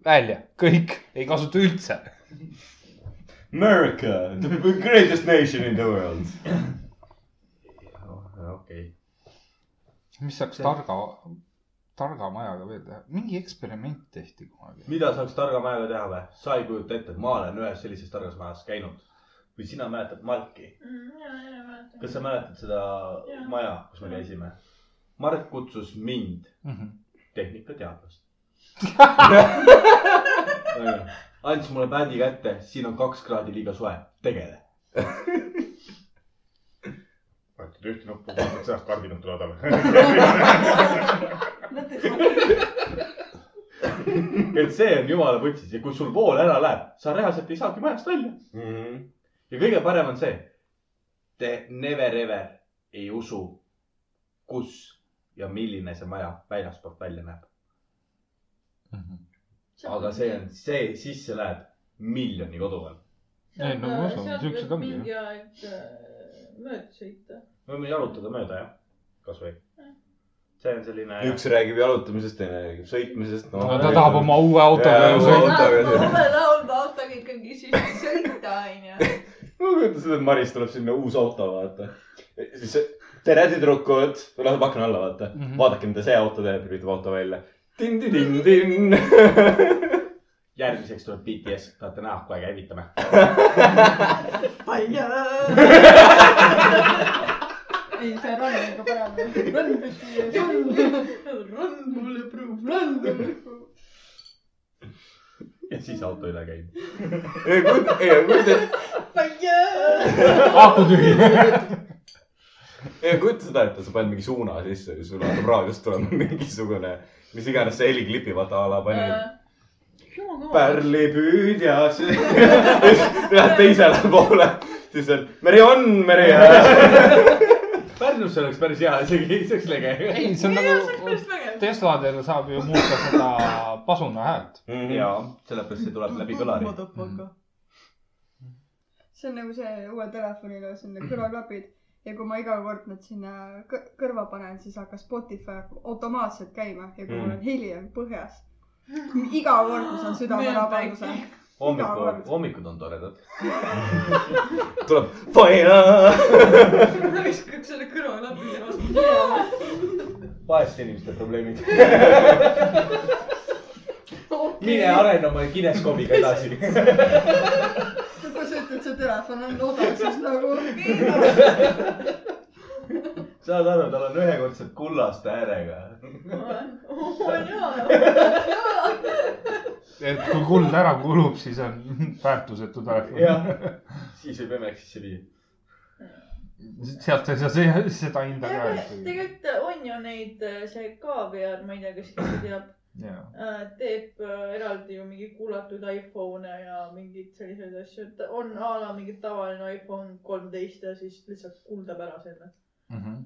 S4: välja , kõik , ei kasuta üldse .
S19: America , the greatest nation in the world .
S5: okei .
S4: mis saaks targa , targa majaga veel teha , mingi eksperiment tehti kunagi .
S5: mida saaks targa majaga teha või ? sa ei kujuta ette , ma olen ühes sellises targas majas käinud . kui sina mäletad Marki , kas sa mäletad seda
S6: Jaa.
S5: maja , kus me käisime ? Mark kutsus mind ,
S4: Mm-hmm.
S5: tehnikateadlast . andis mulle pädi kätte , siin on kaks kraadi liiga soe , tegele .
S1: vajutad ühte nuppu , vaatad sealt kardinat tuleb adale .
S5: et see on jumala putsis ja kui sul vool ära läheb , sa reaalselt ei saagi majast välja . ja kõige parem on see . Te never ever ei usu , kus ja milline see maja väljaspoolt välja näeb . aga see on , see sisse läheb miljoni kodu all .
S4: Ei, no ma usun, siuksed ongi, jah.
S6: mingi aeg äh, mööda sõita .
S5: me võime jalutada mööda jah , kasvõi . see on selline .
S19: üks räägib jalutamisest , teine räägib sõitmisest no,
S4: no ta tahab . oma uue autoga
S5: nagu
S19: Jaa,
S4: ju
S19: ma-
S4: sõita .
S6: laulma , laulma autoga ikkagi siis sõita onju .
S19: ma kujutan seda , et Maris tuleb sinna uus auto , vaata . siis tere , tüdrukud , läheb akna alla , vaata mm .
S4: Mhm.
S19: -hmm. vaadake , mida see auto teeb , lülitab auto välja . tin-tin-tin-tin .
S5: järgmiseks tuleb BTS , tahate näha , kohe käivitame .
S8: ei , see Ron on ikka parem .
S6: mulle pruub randum .
S5: ja siis auto üle käib .
S19: ei , kujuta ,
S4: aku tühi .
S19: ei kujuta seda , et sa paned mingi suuna sisse ja sul hakkab raadiost tulema mingisugune , mis iganes see heliklipi vaata a la pani . pärlipüüdjas . Läheb teisele poole , siis on Meri-Ann , Meri-Ann .
S5: Pärnus oleks päris hea isegi , see oleks lege .
S4: ei , see on nagu , Tesladel saab ju muuta seda pasuna häält .
S19: Mhm.
S5: ja sellepärast see tuleb läbi kõlari .
S8: see on nagu see uue telefoni loos on need
S3: Mhm.
S8: kõrvaklapid ja kui ma iga kord nad sinna kõ- kõrva panen , siis hakkab Spotify hakkab automaatselt käima ja kui mul
S3: Mhm.
S8: on heli on põhjas , iga kord ma saan südamerabanduse .
S5: hommikud , hommikud on toredad .
S19: tuleb Fire .
S6: ma viskaks selle kõrva läbi ja vastu .
S5: vaeste inimeste probleemid . mine arene oma kineskoobiga edasi .
S8: kui sa ütled , see telefon on odav , siis nagu
S5: saad aru , tal on ühekordselt kullaste äärega .
S6: oo jaa .
S4: et kui kuld ära kulub , siis on väärtusetu telefon .
S5: jah , siis võib emeks sisse viia .
S4: sealt ei saa see , seda hinda ka .
S6: tegelikult on ju neid , see KVR , ma ei tea , kas keegi teab ,
S4: jaa ,
S6: teeb äh, eraldi ju mingi kullatud iPhone'e ja mingeid selliseid asju , et on a la mingi tavaline iPhone kolmteist ja siis lihtsalt kuldab ära selle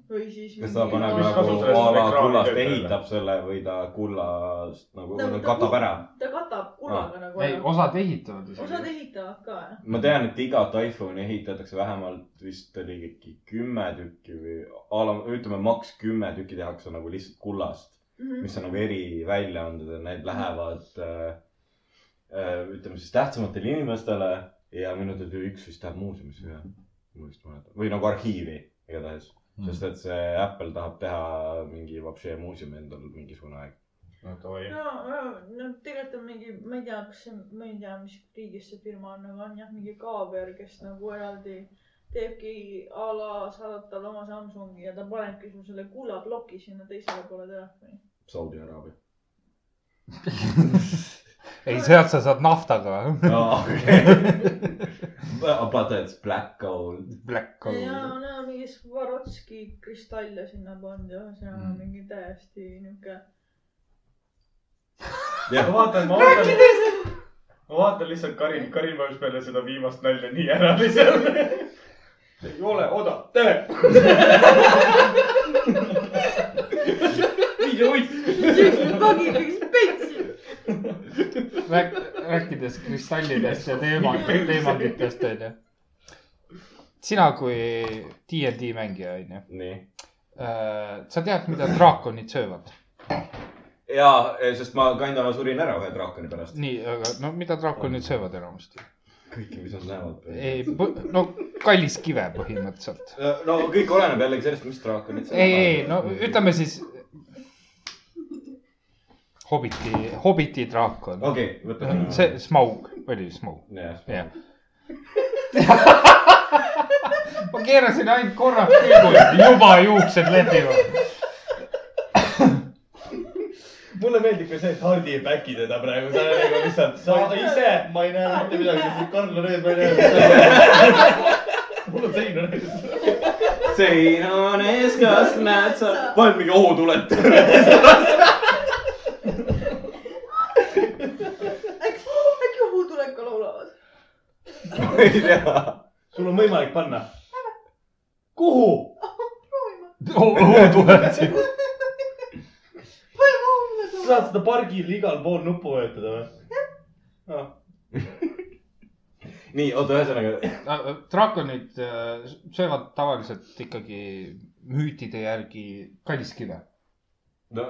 S6: või siis .
S19: kas ta Mhm. paneb
S1: Mis
S19: nagu
S1: kasu sellest
S19: a la
S1: ekraani
S19: kullast
S1: töötajale?
S19: ehitab selle või ta kullast nagu
S6: Ta- ta-
S19: katab ära ?
S6: ta katab kullaga nagu
S4: ei ,
S6: ära .
S4: osad ehitavad
S6: osad
S4: isegi .
S6: ehitavad ka jah .
S1: Mm.
S19: ma tean , et igat iPhone'i ehitatakse vähemalt vist oli äkki kümme tükki või a la ütleme maks kümme tükki tehakse nagu lihtsalt kullast ,
S6: Mhm.
S19: mis on nagu eriväljaanded ja need lähevad äh, äh, ütleme siis tähtsamatele inimestele ja minu teada üks vist läheb muuseumisse ka , ma vist mäletan , või nagu arhiivi igatahes mm. , sest et see Apple tahab teha mingi vapšee muuseumi endal mingisugune aeg .
S1: no davai .
S6: no , no tegelikult on mingi , ma ei tea , kas see , ma ei tea , mis riigis see firma on , aga on jah , mingi kaaber , kes nagu eraldi teebki a la saadab talle oma Samsungi ja ta panebki sul selle kulla ploki sinna teisele poole telefoni .
S19: Saudi Araabia .
S4: ei , sealt sa saad naftaga .
S19: aa , okei . But it's black gold .
S4: Black
S6: ja
S4: Gold .
S6: no mingi Swarovski kristalle sinna pannud ja ühesõnaga
S4: Mm.
S6: mm. mingi täiesti niuke .
S19: jah
S1: ma , vaatan , ma vaatan , ma vaatan lihtsalt Karin , Karin vajus peale seda viimast nalja nii ära lihtsalt . ei ole odav telefon . viige uis .
S6: pagi kõik spetsi .
S4: rääkides kristallidest ja teemad , teemantidest onju . sina kui DLD mängija onju ,
S5: nii .
S4: sa tead , mida draakonid söövad .
S5: jaa , sest ma kinda surin ära ühe draakoni pärast .
S4: nii , aga no mida draakonid söövad enamasti ?
S5: kõike , mis nad näevad .
S4: ei , no kallis kive põhimõtteliselt .
S5: no kõik oleneb jällegi sellest , mis draakonid
S4: ei , ei , no ütleme siis . hobiti , hobiti draakon okay. .
S5: okei , võtame .
S4: Mhm. see Smaug , oli Smaug ,
S5: jah ,
S4: jah . ma keerasin ainult korraks külgu , juba juuksed lehvivad .
S5: mulle meeldib ka see , et Hardi ei back'i teda praegu , ta nagu lihtsalt , sa ise .
S7: ma ei näe mitte midagi , Karl on ees , ma ei näe mitte midagi . mul on seina näinud .
S5: sein on ees , kas näed sa ? paned mingi ohutulet .
S6: äkki , äkki ohutuleka laulavad ?
S5: ma ei tea .
S7: sul on võimalik panna . kuhu ?
S4: tuleb siin .
S7: sa saad seda pargil igal pool nuppu vajutada või ?
S5: nii , oota , ühesõnaga .
S4: draakonid äh, söövad tavaliselt ikkagi müütide järgi kalliskive .
S5: no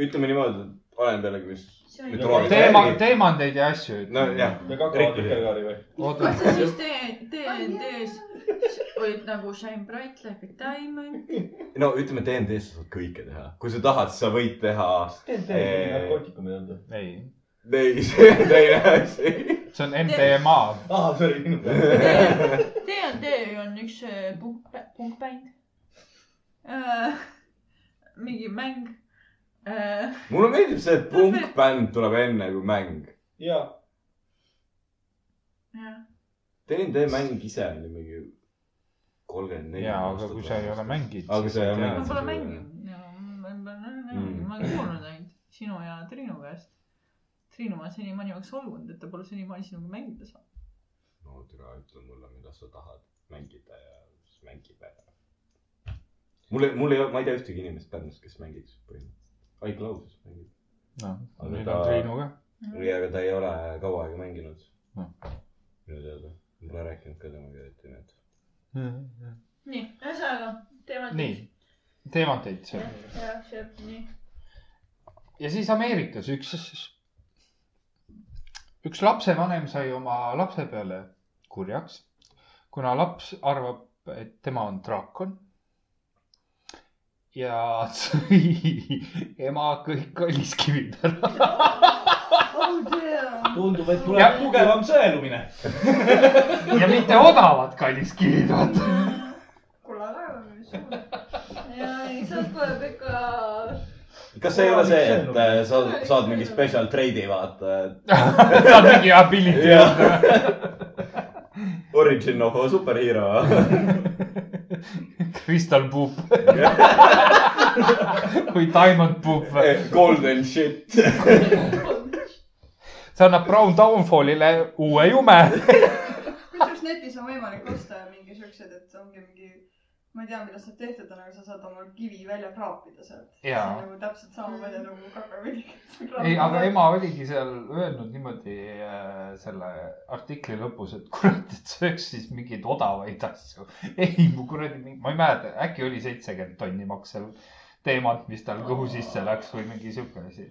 S5: ütleme niimoodi , et olen jällegi , mis .
S4: teema , teemandeid ja asju .
S5: nojah ,
S7: ja kakao vikerkaari või ?
S4: oota
S6: kas , sa siis DND-s olid nagu Shine Bright Like a Diamond ?
S5: no ütleme , DND-s sa saad kõike teha , kui sa tahad , sa võid teha .
S7: TNT on narkootikumid olnud .
S4: ei ,
S5: ei , see on teine asi .
S4: see on MDMA .
S7: aa , sorry , minu peal .
S6: DND on üks äh, punk , punkbänd äh, . mingi mäng äh, .
S5: mulle meeldib see , et punkbänd tuleb enne kui mäng .
S7: jaa ,
S5: DND mäng ise on ju mingi kolmkümmend neli .
S4: ja , aga kui sa ei ole . mänginud .
S5: Aga sa ei ole
S6: ma
S5: mänginud.
S6: pole mänginud . ma olen kuulnud ainult sinu ja Triinu käest . Triinu on senimaani oleks solvunud , et ta pole senimaani sinuga mängida saanud .
S5: no türa , ütle mulle , mida sa tahad mängida ja siis mängime . mul , mul ei ole , ma ei tea ühtegi inimest Pärnus , kes mängiks põhimõtteliselt . Aik Lausus mängib .
S4: noh ,
S5: Aga
S4: nüüd
S5: ta-
S4: on Triinu ka .
S5: või , aga ta ei ole kaua aega mänginud
S4: Noh.
S5: minu teada . ma pole rääkinud ka temaga eriti , nii et .
S6: nii , ühesõnaga teeme .
S4: nii , teemandeid sööb .
S6: jah , see , nii .
S4: ja siis Ameerikas üks , üks lapsevanem sai oma lapse peale kurjaks , kuna laps arvab , et tema on draakon . ja sõi ema kõik kalliskivid ära .
S7: tundub , et
S4: Ja-
S7: tuleb tugevam sõelumine .
S4: ja mitte odavad kalliskivid , vaata .
S19: kulla väga suur .
S6: ja ei , sealt tuleb ikka .
S5: kas see ei ole see , et äh, sa saad mingi special trade'i vaata , et
S4: ta on mingi ability .
S5: origin of a superhero ?
S4: Crystal Poop või Diamond Poop .
S5: Eh, Golden shit .
S4: see annab Brown Downfallile uue jume
S19: kusjuures netis on võimalik osta mingi siuksed , et ongi mingi , ma ei tea , millest nad tehtud on , aga sa saad oma kivi välja kraapida sealt . see
S4: Jaa.
S19: on nagu täpselt
S8: Mhm.
S19: sama välja nagu kakavilik .
S4: ei , aga . ema oligi seal öelnud niimoodi äh, selle artikli lõpus , et kurat , et sööks siis mingeid odavaid asju . ei , mu kuradi , ma ei mäleta , äkki oli seitsekümmend tonni maksev teemant , mis tal kõhu sisse läks või mingi sihuke asi .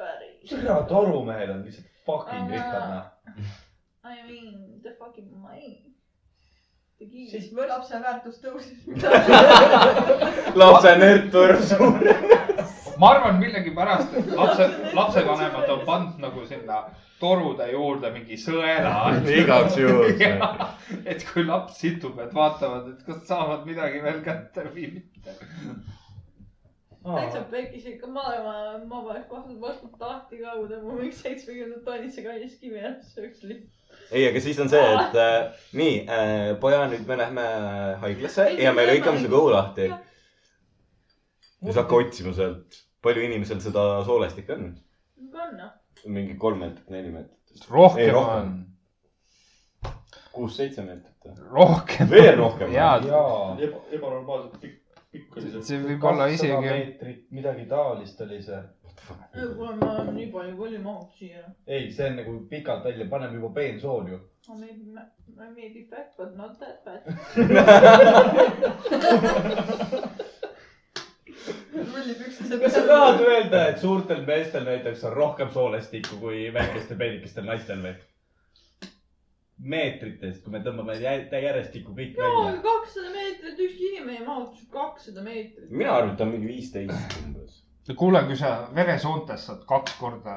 S6: päris .
S7: türa torumehel on lihtsalt fucking
S6: Aga-
S7: rikkad noh .
S6: I mean the fucking money .
S19: siis lapse väärtus tõusis .
S5: lapse nerd põrsub .
S4: ma arvan millegipärast , et lapse , lapsevanemad on pannud nagu sinna torude juurde mingi sõela .
S5: igaks juhuks .
S4: et kui laps situb , et vaatavad , et kas saavad midagi veel kätte või mitte .
S6: täitsa pekkis ikka maailma , ma poleks vastu , vastu tahti ka , kui tema mingi seitsmekümnendat tonnist see kallis kivi ära sööks lihtsalt .
S5: ei , aga siis on see , et äh, nii äh, , poja , nüüd me lähme äh, haiglasse ja me lõikame su kõhu lahti . siis hakka otsima sealt , palju inimesel seda soolestikku on ?
S6: kanna .
S5: mingi kolm meetrit , neli meetrit , Ei,
S4: rohkem
S5: rohkem.
S4: on ,
S5: kuus-seitse meetrit .
S4: rohkem .
S5: veel rohkem ?
S4: jaa ,
S7: jaa . ebanormaalselt pikk , pikk oli see .
S4: see võib olla isegi ,
S7: meetrit , midagi taolist oli see .
S6: kuule , ma olen nii palju kolimahuks siia .
S3: ei , see on nagu pikalt välja , paneme juba peensool ju .
S6: I may be, ma- I may be fat but not that fat .
S8: rullib
S3: kas sa tahad öelda , et suurtel meestel näiteks on rohkem soolestikku kui väikestel peenikestel naistel või ? meetritest , kui me tõmbame jä- järjestikku kõik
S6: jaa ,
S3: välja .
S6: kakssada meetrit , ükski inimene ei mahuks kakssada meetrit .
S5: mina arvan , et ta on mingi viisteist umbes .
S4: kuule , kui sa veresoontes saad kaks korda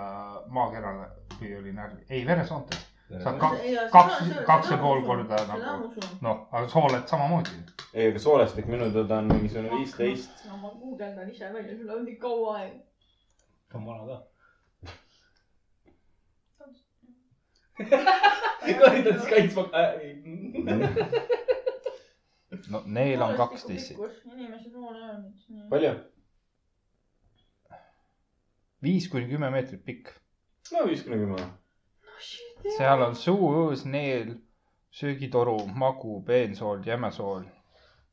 S4: maakerale või oli närv , ei veresoontes saad kaks , kaks , kaks ja pool korda nagu noh , aga sooled samamoodi .
S5: ei , aga soolestik minu teada on mingisugune viisteist .
S6: no ma guugeldan ise välja , sul on nii kaua aega .
S3: ta on vana ka . koridoris kaitsma äh, .
S5: Mhm.
S4: no neil on kaksteist ,
S6: inimesed on öelnud .
S5: palju ?
S4: viis kuni kümme meetrit pikk .
S5: no viis kuni kümme .
S6: Oh,
S4: seal on suu , õõs , neel , söögitoru , magu , peensool , jämesool .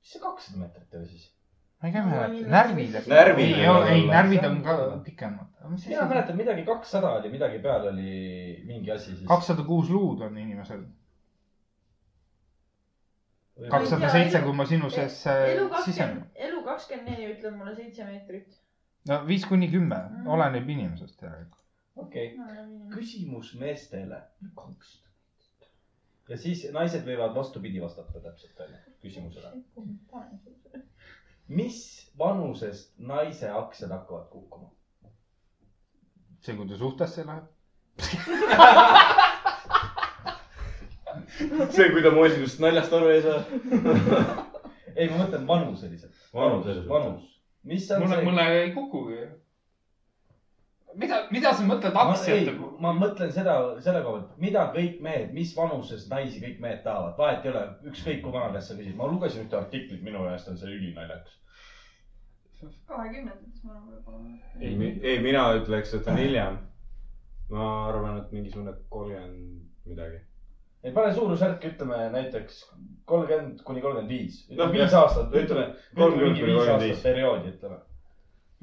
S3: mis see kakssada meetrit oli siis ?
S4: ma ei tea , närvid .
S5: Närvid
S4: ei
S5: võivad ,
S4: ei
S5: olla.
S4: närvid on ka pikemad .
S3: mina mäletan midagi kakssada oli , midagi peal oli mingi asi siis .
S4: kakssada kuus luud on inimesel . kakssada seitse , kui ma sinu sees äh,
S6: elu
S4: sisenen .
S6: kakskümmend , elu kakskümmend neli ütleb mulle seitse meetrit .
S4: no viis kuni kümme , oleneb inimesest järelikult .
S3: okei okay. , küsimus meestele . kakssada ja siis naised võivad vastupidi vastata täpselt onju küsimusele . mis vanusest naise aktsiad hakkavad kukkuma ?
S4: see , kui ta suhtesse läheb .
S5: see , kui ta mu esimesest naljast aru ei saa .
S3: ei , ma mõtlen vanuseliselt .
S5: Vanuseliselt.
S3: vanus . mis on
S12: mulle ,
S3: see ?
S12: mulle ei kukugi . mida , mida sa mõtled nagu?
S3: ma
S12: aktsiate
S3: ei ,
S12: puhul ?
S3: ma mõtlen seda , selle koha pealt , mida kõik mehed , mis vanuses naisi kõik mehed tahavad , vahet ei ole , ükskõik kui vana käest sa küsid , ma lugesin ühte artiklit , minu meelest on see ülinaljakas .
S8: kahekümnendates ma arvan võib-olla .
S5: ei , ei , mina ütleks , et on hiljem . ma arvan , et mingisugune kolmkümmend midagi .
S3: ei pane suurusjärk , ütleme näiteks kolmkümmend kuni kolmkümmend viis .
S5: Noh,
S3: ütleme viis
S5: jah.
S3: aastat , ütleme , ütleme
S5: kolmkümmend
S3: mingi
S5: kuni
S3: viis
S5: kolmkümmend
S3: aastat
S5: viis .
S3: perioodi , ütleme .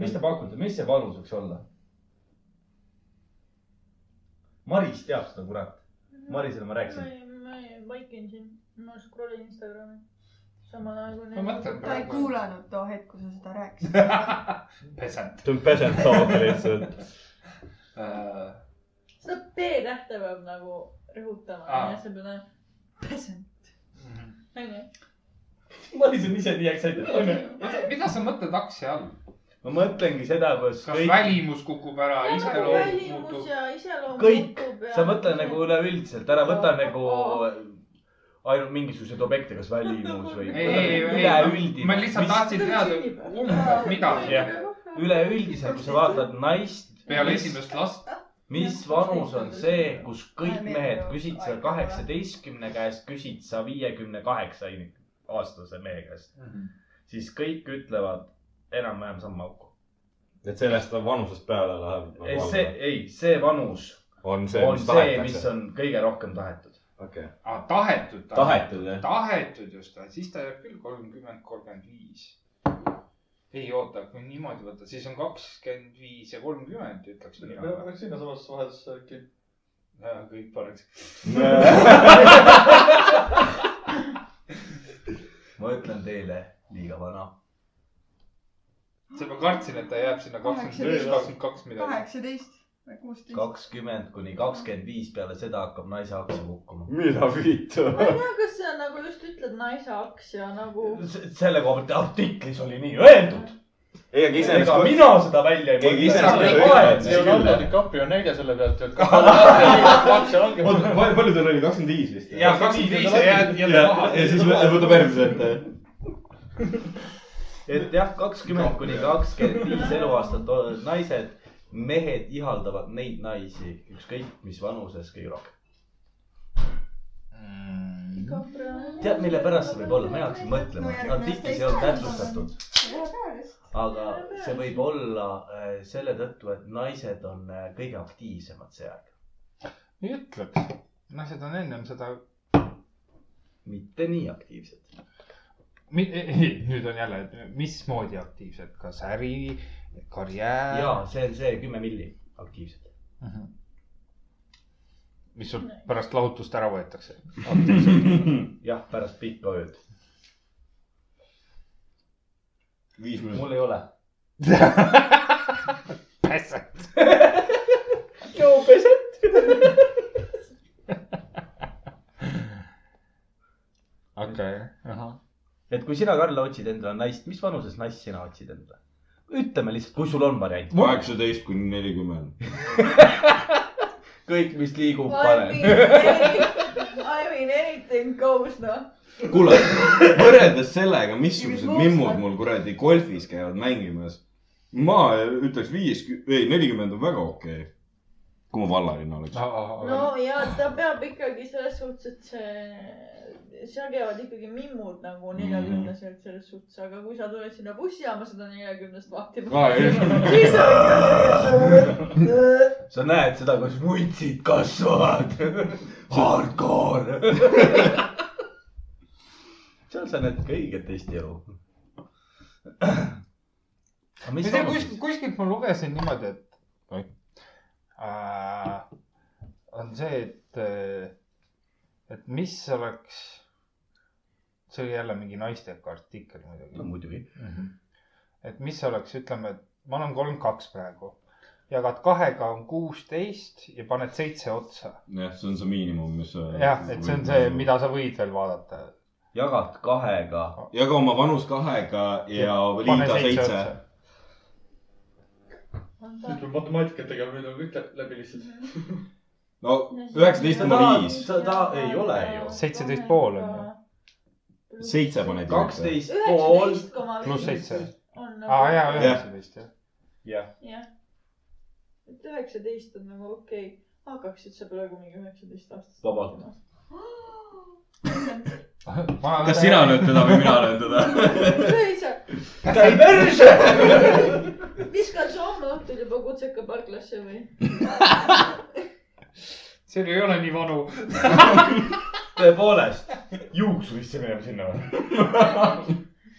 S3: mis te pakute , mis see vanus võiks olla ? Maris teab seda kurat . Marisele
S6: ma
S3: ma rääkisin .
S6: ei , ma ei , vaikin siin , ma scrollin Instagrami . samal ajal kui .
S12: ma mõtlen
S8: ta ei
S12: praegu .
S8: kuulanud too hetk , kui sa seda rääkisid .
S12: pesend .
S5: see on pesend saada lihtsalt .
S6: seda P-tähte peab nagu rõhutama
S12: Aa.
S6: ja sa pead olema peasant , onju .
S3: Maris on ise nii eksalteeritud .
S12: mida sa mõtled aktsia all ?
S3: ma mõtlengi seda , kus
S12: kas Kõik... välimus kukub ära , iseloom muutub
S6: välimus ? ja iseloom
S3: Kõik.
S6: muutub ja .
S3: sa mõtle nagu . üleüldiselt , ära võta nagu ainult mingisuguseid objekte , kas välimus või
S12: ei , ei , ei , ma
S3: üleüldine .
S12: lihtsalt tahtsin teada umbes midagi
S3: Jah. üleüldiselt , kui sa vaatad naist ,
S12: peale esimest last .
S3: mis vanus on see , kus kõik mehed , küsid sa kaheksateistkümne käest , küsid sa viiekümne kaheksa aastase mehe käest , siis kõik ütlevad enam-vähem sama auku .
S5: et sellest vanusest peale läheb .
S3: ei , see , ei , see vanus
S5: on see ,
S3: on
S5: mis
S3: see , mis
S5: tahetakse .
S3: on kõige rohkem tahetud .
S5: okei .
S12: Ah, tahetud .
S5: tahetud jah ?
S12: tahetud just , siis ta jääb küll kolmkümmend , kolmkümmend viis . ei oota , kui niimoodi võtta , siis on kakskümmend viis ja kolmkümmend , ütleks mina .
S7: peaks sinnasamasse vahetusse äkki .
S12: kõik paneks .
S3: ma ütlen teile , liiga vana .
S12: see ma kartsin , et ta jääb sinna kakskümmend üks , kakskümmend kaks midagi .
S8: kaheksateist või kuusteist .
S3: kakskümmend kuni kakskümmend viis peale seda hakkab naise aktsiad hukkuma .
S5: mida viitu ?
S6: ma ei tea , kas sa nagu just ütled naise aktsia nagu .
S3: Uhh, selle koha pealt artiklis oli nii öeldud .
S5: ei , aga iseenesest
S3: ega . mina seda välja ei
S5: Keegi ise seda ei
S3: mõelnud .
S7: Leonardo DiCaprio näide selle pealt ju , et kaks ja ongi .
S5: oota , palju tal oli , kakskümmend viis vist ?
S12: ja kakskümmend viis ja jääd jälle maha .
S5: ja siis võ- võtab järgmise ette .
S3: et jah , kakskümmend kuni kakskümmend viis eluaastat o- naised , mehed ihaldavad neid naisi ükskõik mis vanuses kõige rohkem . tead , mille pärast see võib olla , ma ei hakka siin mõtlema , artiklis ei olnud täpsustatud , aga see võib olla äh, selle tõttu , et naised on äh, kõige aktiivsemad see aeg .
S4: ei ütleks , naised on ennem Noh, seda ,
S3: mitte nii aktiivsed .
S4: nüüd on jälle , mismoodi aktiivsed , kas äri , karjäär .
S3: jaa , see on see kümme milli aktiivselt .
S4: mis sul pärast lahutust ära võetakse .
S3: jah , pärast pikka ööd .
S5: viis
S3: mul ei ole .
S4: pässet . okei , ahah .
S3: et kui sina , Karl , otsid endale naist , mis vanuses naist sina otsid endale ? ütleme lihtsalt , kui sul on variant .
S5: kaheksateist kuni nelikümmend .
S3: kõik , mis liigub ,
S6: I
S3: pane .
S6: mean, I mean anything goes noh .
S5: kuule , võrreldes sellega , missugused mimmud mul kuradi golfis käivad mängimas . ma ütleks viis , ei nelikümmend on väga okei okay. . kui ma vallaline oleks .
S6: no ja ta peab ikkagi selles suhtes , et see , seal käivad ikkagi mimmud nagu neljakümneselt selles suhtes , aga kui sa tuled sinna bussijaama seda neljakümnest vahtima , siis on
S3: sa näed seda , kuidas vuntsid kasvavad . Hardcore . seal sa näed ikka õiget Eesti elu . aga
S4: ma
S3: mis
S4: ei tea ,
S3: vanuses
S4: kuskilt , kuskilt ma lugesin niimoodi , et Oi. äh, on see , et , et mis oleks , see oli jälle mingi naisteka artikkel muidugi
S3: no, ? muidugi .
S4: et mis oleks , ütleme , et ma olen kolmkümmend kaks praegu , jagad kahega on kuusteist ja paned seitse otsa .
S5: jah , see on see miinimum , mis .
S4: jah , et see on see ,.
S3: nagu-
S4: mida sa võid veel vaadata .
S3: jagad kahega .
S5: jaga oma vanus kahega ja liida seitse .
S7: nüüd peab matemaatikat tegema , nüüd on kõik lä- läbi lihtsalt .
S5: no üheksateist koma viis ,
S3: sa ta ei ole ju .
S4: seitseteist pool on ju .
S5: seitse paned .
S3: kaksteist pool .
S6: üheksateist koma viis .
S4: Pluss seitse.
S6: nagu on
S4: aa jaa ,
S6: nagu ,
S4: üheksateist jah .
S6: jah . et üheksateist on nagu okei okay. , hakkaksid sa praegu mingi üheksateist aastast .
S3: Vabalt. .
S5: kas sina ? lööd teda või mina löön teda ?
S6: seitse ,
S3: käi perse .
S6: viskan su homme õhtul juba kutseka parklasse või ?
S20: see ei ole nii vanu .
S3: tõepoolest , juuksurisse minema sinna või ?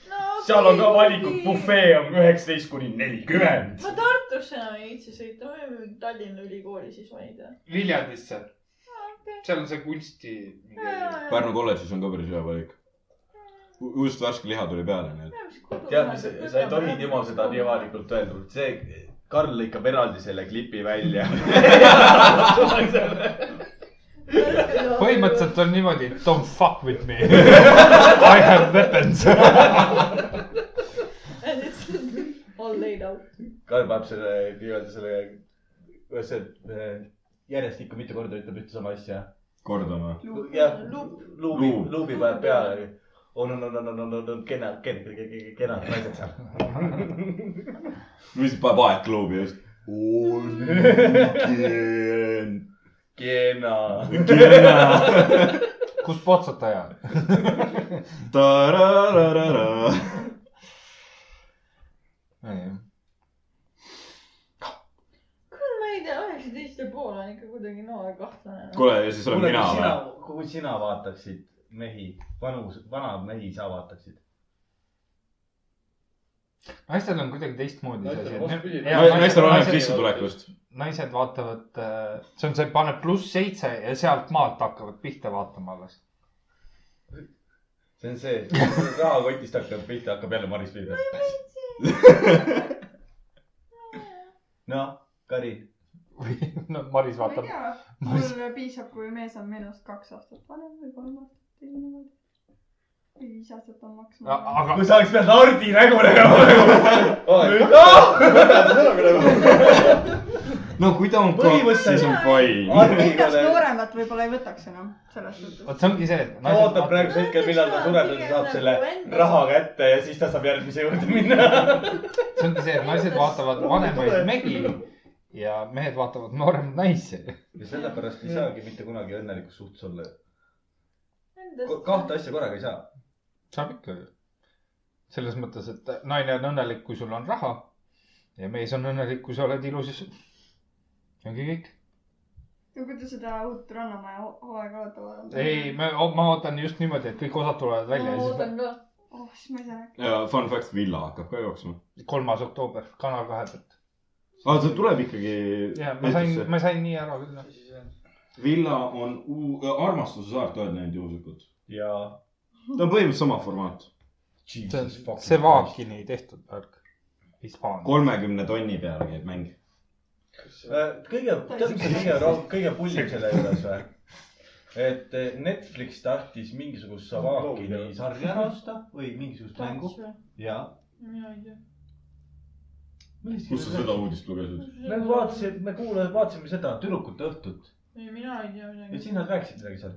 S6: no,
S3: seal on ka valikud , bufee on üheksateist kuni nelikümmend .
S6: ma Tartusse enam ei viitsi sõita , ma võin Tallinna Ülikooli siis valida .
S20: Viljandisse , seal on see kunsti .
S5: Pärnu kolledžis on ka päris hea valik . just värske liha tuli peale , nii et .
S3: tead , mis , sa ei tohi Timo seda nii avalikult öelda , see , Karl lõikab eraldi selle klipi välja .
S4: põhimõtteliselt on niimoodi , don't fuck with me . I have weapons .
S6: All laid out .
S3: Karl paneb selle nii-öelda selle , kuidas see , järjest ikka mitu korda ütleb ühte sama asja .
S5: kordame .
S3: jah , luubi , luubi paneb peale . on , on , on , on , on , on , on kena , kena , kena naised seal .
S5: või siis paneb aegklubi just . kena .
S3: kena .
S4: kust otsad ta jääb ?
S5: tarararara .
S6: kuule , ma ei tea , üheksateist ja pool on ikka kuidagi noor kahtlane . noh.
S5: kuule , ja siis olen mina või ??
S3: kui sina vaataksid mehi , vanus , vana mehi sa vaataksid ?
S4: naistel on kuidagi teistmoodi see
S7: Naistel on
S4: asi
S7: vastupidi. .
S5: naistel oleneb sissetulekust .
S4: naised vaatavad , see on see , paneb pluss seitse ja sealt maalt hakkavad pihta vaatama alles .
S3: see on see , rahakotist hakkab pihta , hakkab jälle Maris pihta . noh , Karin ,
S4: või no Maris
S8: ma ei
S4: vaatab ,
S8: tea ,
S4: Maris-
S8: mul piisab , kui mees on minust kaks aastat vanem või kolm aastat või niimoodi . või viis aastat on maksimum .
S4: aga
S3: kui sa oleks pidanud Hardi nägu nägema .
S5: no kui ta on kaks ,
S3: Põhimõtteliselt-
S5: siis on fine .
S3: Hardi
S8: endast nooremat võib-olla ei võtaks enam selles suhtes .
S4: vot see ongi see , et naised
S3: ootab
S4: vaatavad ,
S3: praegusel hetkel , millal ta sureb ja ta saab selle
S6: nagu
S3: raha kätte ja siis ta saab järgmise juurde minna .
S4: see ongi see , et naised vaatavad vanemaid mehi ja mehed vaatavad nooremaid naisi .
S3: ja sellepärast ei saagi mitte kunagi õnnelikus suhtes olla . kahte asja korraga ei saa .
S4: saab ikka ju . selles mõttes , et naine on õnnelik , kui sul on raha ja mees on õnnelik , kui sa oled ilus ja su- see ongi kõik .
S8: ja kui te seda uut Rannamaja ho- hooaega ootama .
S4: ei ,. ma , ma ootan just niimoodi , et kõik osad tulevad välja
S6: ma
S4: ja siis ma...
S6: ootan ka .
S8: oh , siis ma ei saa .
S11: ja fun fact , Villa hakkab ka jooksma .
S4: kolmas oktoober , Kanal kahe pealt .
S11: aa , see tuleb ikkagi .
S4: ja ma sain , ma sain nii ära küll .
S11: Villa on uu- , armastuse saart , oled näinud juhuslikult ? jaa . ta on põhimõtteliselt sama formaat .
S4: see , see Vaakini tehtud värk . Hispaania .
S11: kolmekümne tonni peale käib mäng .
S3: Äh, kõige , tead , mis on kõige , kõige pullim selle juures või ? et eh, Netflix tahtis mingisugust Savakini sarja ära osta või mingisugust mängu ja .
S6: mina ei tea .
S11: kus sa seda uudist lugesid ?
S3: me vaatasime , me kuulasime , vaatasime seda tüdrukute õhtut
S6: ei , mina ei tea
S3: ja
S6: midagi .
S3: siis nad rääkisid midagi seal .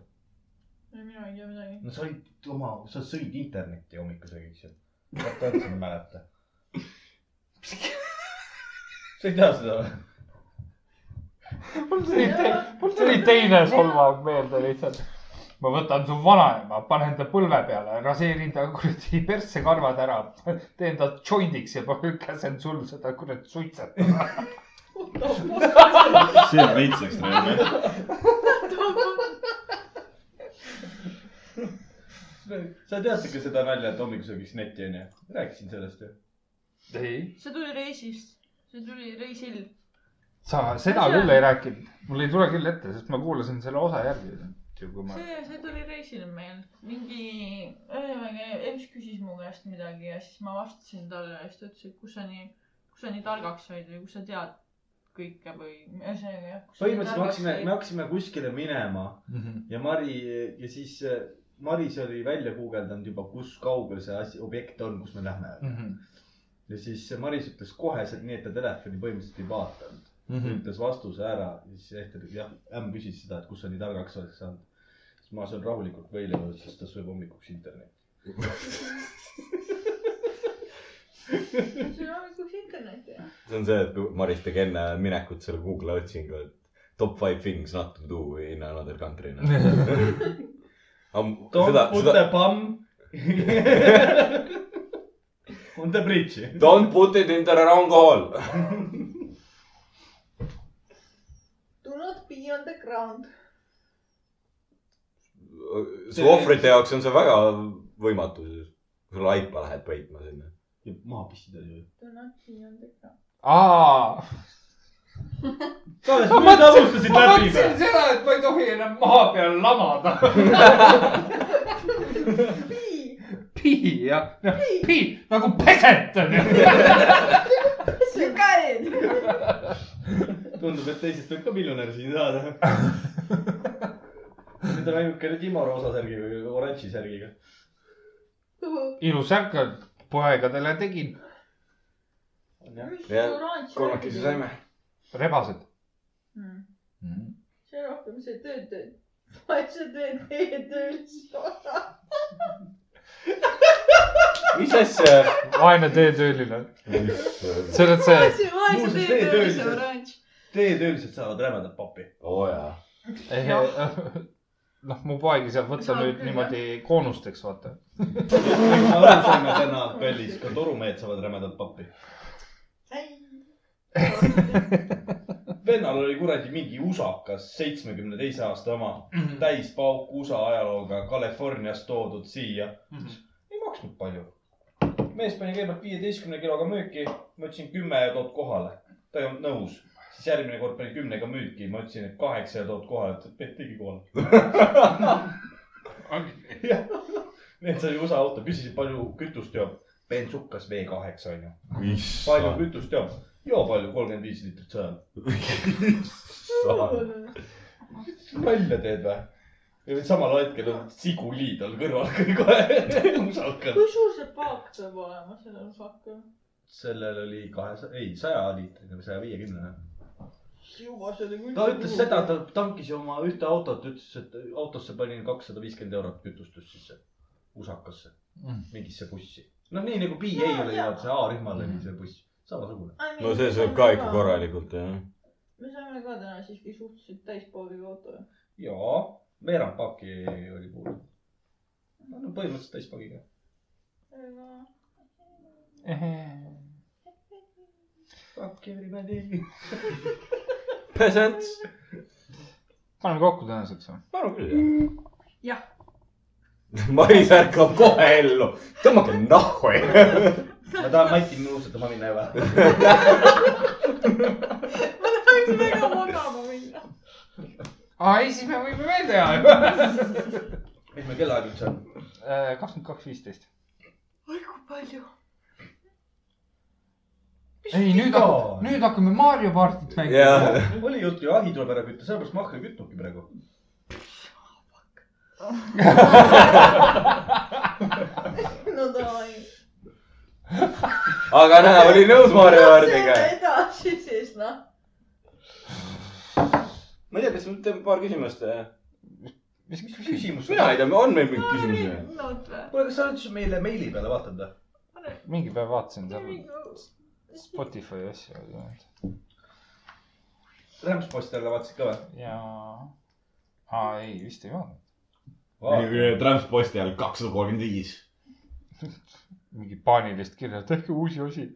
S6: ei , mina ei tea midagi .
S3: no sa olid oma , sa sõid internetti hommikusöögi , eks ju . vaata , et sa ei mäleta . sa ei tea seda või ?
S4: mul tuli , mul tuli teine solvang meelde lihtsalt . ma võtan su vanaema , panen ta põlve peale , raseerin ta kuradi persse karvad ära , teen ta joindiks ja käsen sul seda kuradi suitsetada .
S11: see on veits ekstreemne .
S3: sa tead ikka seda nalja , et hommikusöögiks netti onju ? rääkisin sellest ju .
S4: ei ,
S6: see tuli reisist , see tuli reisil .
S4: sa seda
S6: See-
S4: küll ei rääkinud , mul ei tule küll ette , sest ma kuulasin selle osa järgi . kui ma ,
S6: see , see tuli reisil meil , mingi , ühesõnaga Ems küsis mu käest midagi ja siis ma vastasin talle ja siis ta ütles , et kus sa nii , kus sa nii targaks said või kus sa tead kõike või ühesõnaga jah .
S3: põhimõtteliselt me hakkasime , me hakkasime kuskile minema
S5: Mhm.
S3: ja Mari ja siis äh, Maris oli välja guugeldanud juba , kus kaugel see asi , objekt on , kus me lähme .
S5: Mhm.
S3: ja siis see Maris ütles koheselt nii , et ta telefoni põhimõtteliselt ei vaadanud mm .
S5: Mhm.
S3: -hmm. ütles vastuse ära ja siis Ehter , jah , ämm küsis seda , et kus sa nii targaks oled saanud . siis ma söön rahulikult võileiba , sest ta sööb hommikuks internetti .
S6: see on hommikuks internet jah .
S5: see on see , et kui Maris tegi enne minekut selle Google otsingu , et top five things not to do in another country .
S3: Don't
S5: seda ,
S3: put
S5: seda
S3: the bomb on the bridge .
S19: Don't put it in the wrong hole .
S6: Do not be on the ground .
S5: su ohvrite jaoks on see väga võimatu , kui sa laipa lähed peitma sinna .
S3: maha pistida ju .
S6: Do not be on the ground .
S4: aa ,
S3: sa alles nüüd alustasid
S4: ma
S3: läbi või
S4: mõtlesin ? seda , et ma ei tohi enam maa peal lamada . pii , jah , noh pii nagu pesetan .
S3: tundub , et teisest võib ka miljonär siin saada . nüüd on ainukene Timo roosa särgiga või oranži särgiga .
S4: ilus ärk , poegadele tegin ,
S5: Jah,
S6: oranž .
S19: kolmekesi saime .
S4: rebased .
S6: Mm. see rohkem see tööd teeb . vaid sa teed teie töölist osa .
S19: mis asja ?
S4: vaene teetööline , see on see ,
S6: vaid sa teed
S3: Muuseas, teie
S6: töölist
S3: töölised-
S6: oranž .
S3: teetöölised saavad rämedat pappi .
S5: oo jaa .
S4: noh , mu poeg ei saa võtta
S6: Saab
S4: nüüd
S6: küll,
S4: niimoodi koonusteks , vaata .
S3: me aru saime täna , kallis , ka torumehed saavad rämedat pappi . vennal oli kuradi mingi usakas , seitsmekümne teise aasta oma , täispauk USA ajalooga Californiast toodud siia mm . -hmm. ei maksnud palju . mees pani kõigepealt viieteistkümne kiloga müüki , ma ütlesin kümme ja tood kohale . ta ei olnud nõus . siis järgmine kord pani kümnega müüki , ma ütlesin , et kaheksa ja tood kohale , ta ütles , et tegi kohale . Need sai USA auto , küsisid palju kütust joob . bensukas V kaheksa onju . palju
S5: issand ,
S3: kütust joob ? joo palju , kolmkümmend viis liitrit sajab .
S5: issand .
S3: nalja teed või ? ja nüüd samal hetkel on siguli tal kõrval kohe usakad .
S6: kui suur see paak peab olema , selle osaka ?
S3: sellel oli kahesaja , ei saja liitrine või saja viiekümnene .
S6: juba see oli küll .
S3: ta ütles seda , ta tankis ju oma ühte autot , ütles , et autosse panin kakssada viiskümmend eurot kütustust sisse , usakasse ,
S5: Mm.
S3: mingisse bussi . noh , nii nagu BA
S6: Jaa,
S3: oli
S6: jaa.
S3: ja see A-rühmal
S5: Mm.
S3: oli see buss , samasugune .
S5: no see sööb ka ikka . korralikult jah .
S6: me saime ka täna siiski suhteliselt täispoogiga auto .
S3: jaa , veerand paaki oli puudu . no põhimõtteliselt täispagiga . Fuck everybody .
S19: Peasants .
S4: paneme kokku tänaseks või ?
S5: ma arvan küll jah .
S1: Maris ärkab kohe ellu , tõmmake nahku .
S3: ma tahan Mati nuusutama minna juba .
S6: ma tahaks väga magama minna .
S21: aa , ei , siis me võime veel teha ju .
S3: mis meil kellaaeg üldse on ?
S4: Äh, kakskümmend kaks , viisteist .
S6: oi kui palju .
S4: ei , nüüd hakkame , nüüd hakkame Mario kaartit mängima .
S1: jah ,
S3: oli juttu ju ahi tuleb ära kütta , sellepärast Mahkel kütubki praegu .
S6: no davai .
S1: aga näe , oli nõus Maarja Kaardiga .
S6: edasi siis noh .
S1: ma ei tea , kas me teeme paar küsimust .
S4: mis , mis küsimus ?
S3: küsimus .
S1: mina ei tea , on meil mingeid küsimusi või ?
S3: kuule , kas sa oled siis meile meili peale vaadanud või ?
S4: mingi päev vaatasin seal Spotify asju
S3: Rämpsposti alla vaatasid ka
S4: ja , aa ei , vist ei vaadanud .
S3: või ?
S5: tramposti all kakssada kolmkümmend viis .
S4: mingi paanilist kirja , tehke uusi osi .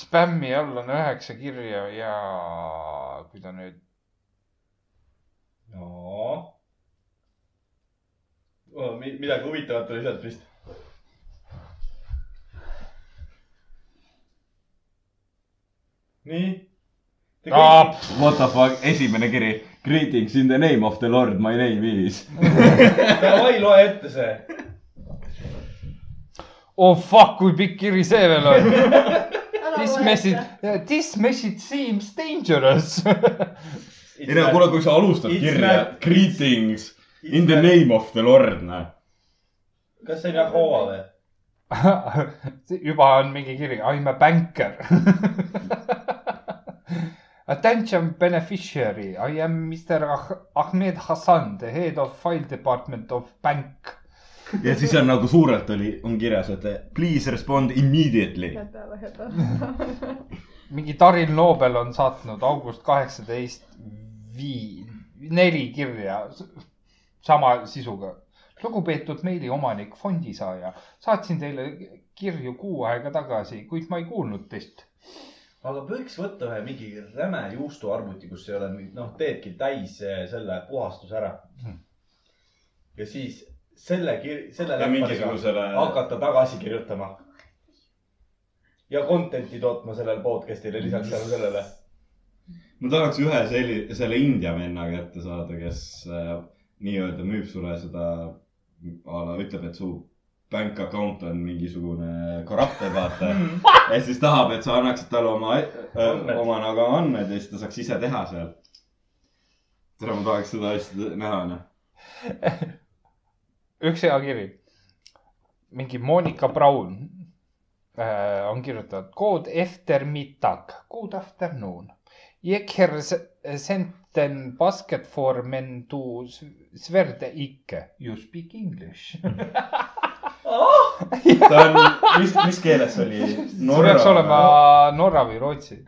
S4: spämmi all on üheksa kirja ja kui ta nüüd ,
S3: no . midagi huvitavat oli sealt vist . nii .
S4: Aa,
S1: What the fuck , esimene kiri . Greetings in the name of the lord , my name is .
S3: Davai , loe ette see .
S4: oh fuck , kui pikk kiri see veel on .
S6: äh,
S4: This message , this message seems dangerous .
S5: ei no kuule , kui sa alustad
S3: It's
S5: kirja
S3: not-
S5: Greetings in the . name of the lord , noh .
S3: kas see on Yahoo või ?
S4: juba on mingi kiri , I m a banker . Attention beneficiary , I am Mr ah Ahmed Hassan , the head of file department of bank .
S5: ja siis on nagu suurelt oli , on kirjas , et please respond immediately .
S22: häda , häda .
S4: mingi Darin Loobel on saatnud august kaheksateist vii- , neli kirja s- sama sisuga . lugupeetud meiliomanik , fondisaaja , saatsin teile kirju kuu aega tagasi , kuid ma ei kuulnud teist .
S3: aga võiks võtta ühe mingi räme juustuarvuti , kus ei ole mingit , noh , teedki täis eh, selle puhastuse ära .
S5: Hmm.
S3: ja siis selle , selle
S5: ja
S3: läppariga
S5: mingisugusele .
S3: hakata tagasi kirjutama . ja content'i tootma sellele podcast'ile lisaks tänu sellele .
S5: ma tahaks ühe selli- , selle India venna kätte saada , kes äh, nii-öelda müüb sulle seda , a la ütleb , et su bank account on mingisugune karakter , vaata . ja siis tahab , et sa annaksid talle oma
S3: Andmed. ,
S5: oma nagu andmed ja siis ta saaks ise teha seal . tere , ma tahaks seda asja näha , noh .
S4: üks hea kiri . mingi Monika Braun äh, on kirjutanud good after middag , good afternoon . Jeker s- sent an basket for men to s- sverde ikke . You speak english .
S5: ta on , mis , mis keeles see oli ?
S4: see peaks olema Norra või Rootsi .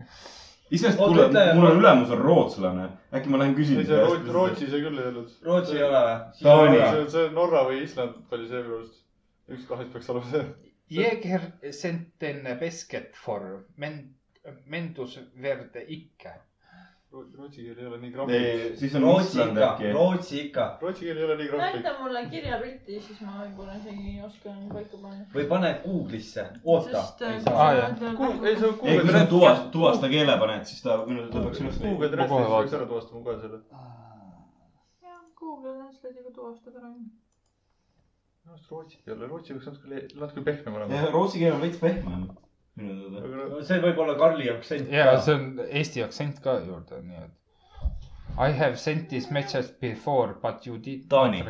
S5: iseenesest ,
S3: Oota,
S5: kuule
S3: ütle- ,
S5: mul on ülemus on rootslane , äkki ma lähen
S7: ei ,
S5: küsin .
S7: see Rootsi , Rootsi see küll ei olnud .
S3: Rootsi ei ole või ?
S5: Taani.
S7: see on see Norra või Island oli see minu arust . üks kahest peaks olema see .
S4: Jeker sent an basket for men , men to sverde ikke .
S7: Rootsi keel ei ole nii
S5: ei ,
S7: kramplik .
S5: siis on
S3: Rootsi
S5: Island
S3: ikka ,
S5: äkki .
S3: Rootsi ikka
S7: Rootsi keel ei ole nii kramplik .
S6: näita mulle kirjapilti , siis ma võib-olla isegi oskan paika panna .
S3: või pane Google'isse , oota .
S6: äh,
S4: Aa,
S5: Ah,
S4: jah.
S7: ei , see on
S5: ei , kui sa
S7: Google
S5: tuvast , tuvasta keele paned , siis ta minu arust lõpuks
S7: Translate .
S5: üles
S7: Google
S4: Ma kohe
S7: Translate peaks
S4: vaatan.
S7: ära tuvastama , ma kohe selle .
S6: Google Translate'iga tuvastad ära .
S7: minu arust Rootsi ei ole , Rootsi peaks natuke , natuke pehmem olema .
S5: leiab . rootsi keel on veits pehmem minu teada .
S7: aga no
S3: see võib olla Karli aktsent
S4: ja . see on eesti aktsent ka juurde , nii et . I have sent this message before but you did .
S5: Taani. .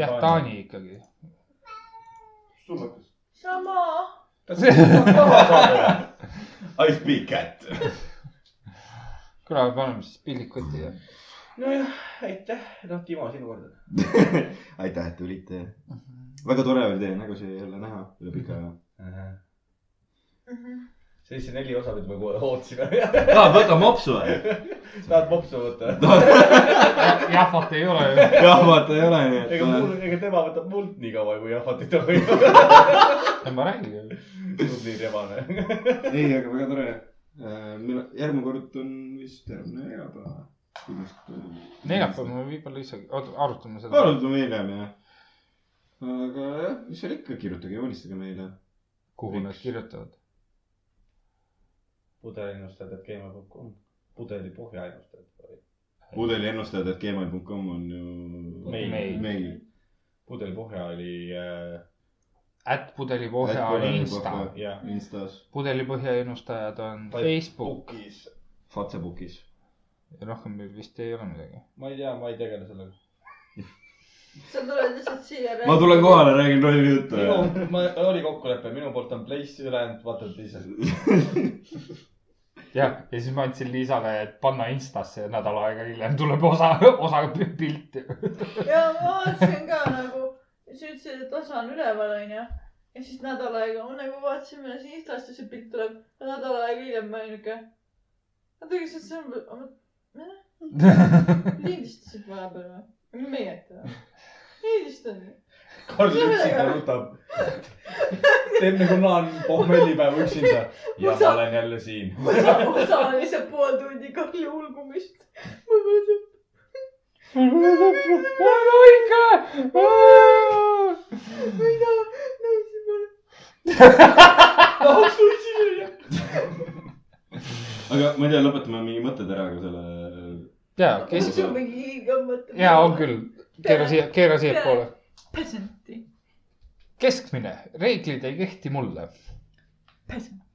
S4: jah , Taani ikkagi .
S6: sama .
S5: I speak cat .
S4: kuule , paneme siis pillid kotti ja .
S3: nojah , aitäh , noh , Timo , sinu kord .
S5: aitäh , et tulite . väga tore oli teie nägusid jälle näha üle pika aja .
S6: mhm.
S3: sellise neli osa , mida me kohe ootasime .
S5: tahad võtta mopsu või ?
S3: tahad mopsu võtta ?
S4: jahvat ei ole ju .
S5: jah , vaata ei ole nii ,
S3: ega
S5: et .
S3: mul , ega tema võtab mult nii kaua , kui jahvat ei tohi .
S4: ma räägin ju .
S3: tubli rebane .
S5: Äh, ei , aga väga tore . meil järgmine kord on vist järgmine neljapäev . sellest .
S4: neljapäev me võib-olla isegi , oota , arutame seda .
S5: arutame hiljem jah . aga jah , mis seal ikka , kirjutage , joonistage meile .
S4: kuhu nad kirjutavad .
S3: pudeliennustajad , et keemia kokku on . pudeli põhja ennustajad või ?
S5: pudeliennustajad.gmail.com on ju
S3: Meil.
S4: Meil.
S5: meil .
S3: pudeli põhja oli äh,
S4: ätt pudelipohja on Insta ,
S3: jah ,
S5: Instas ,
S4: pudelipõhja ennustajad on
S3: Tai-
S4: Facebook
S3: Bookis .
S5: Facebookis .
S4: ja rohkem meil vist ei ole midagi .
S3: ma ei tea , ma ei tegele sellega .
S6: sa tuled lihtsalt siia .
S5: ma tulen . kohale , räägin lolli juttu .
S3: minu , ma , oli kokkulepe , minu poolt on Place , ülejäänud vaatavad ise .
S4: jah , ja siis ma andsin Liisale , et panna Instasse ja nädal aega hiljem tuleb osa , osa pi- pilti .
S6: ja ma vaatasin ka nagu , sa ütlesid , et osa on üleval , onju . ja siis nädal aega , ma nagu vaatasin , milles Instast ja see pilt tuleb . ja nädal aega hiljem ma olin niuke . ma tegin lihtsalt , see on , lindistasid vahepeal või ? või meie ette või ? lindistan .
S3: Karl üksinda nutab . teeb nagu naan pohmellipäev üksinda . ja ma olen jälle siin .
S6: osa , osa on lihtsalt pool tundi Karli ulgumist . ma mõtlen ,
S4: ma olen õige .
S6: ma ei taha , naisi peale .
S5: aga ma ei tea , lõpetame mingi mõtted ära ka selle .
S4: ja , kes ,
S6: see on mingi hiigam mõte .
S4: ja on . küll , keera siia , keera siiapoole .
S23: pesenti ,
S4: keskmine , reeglid ei kehti mulle .
S23: pesenti .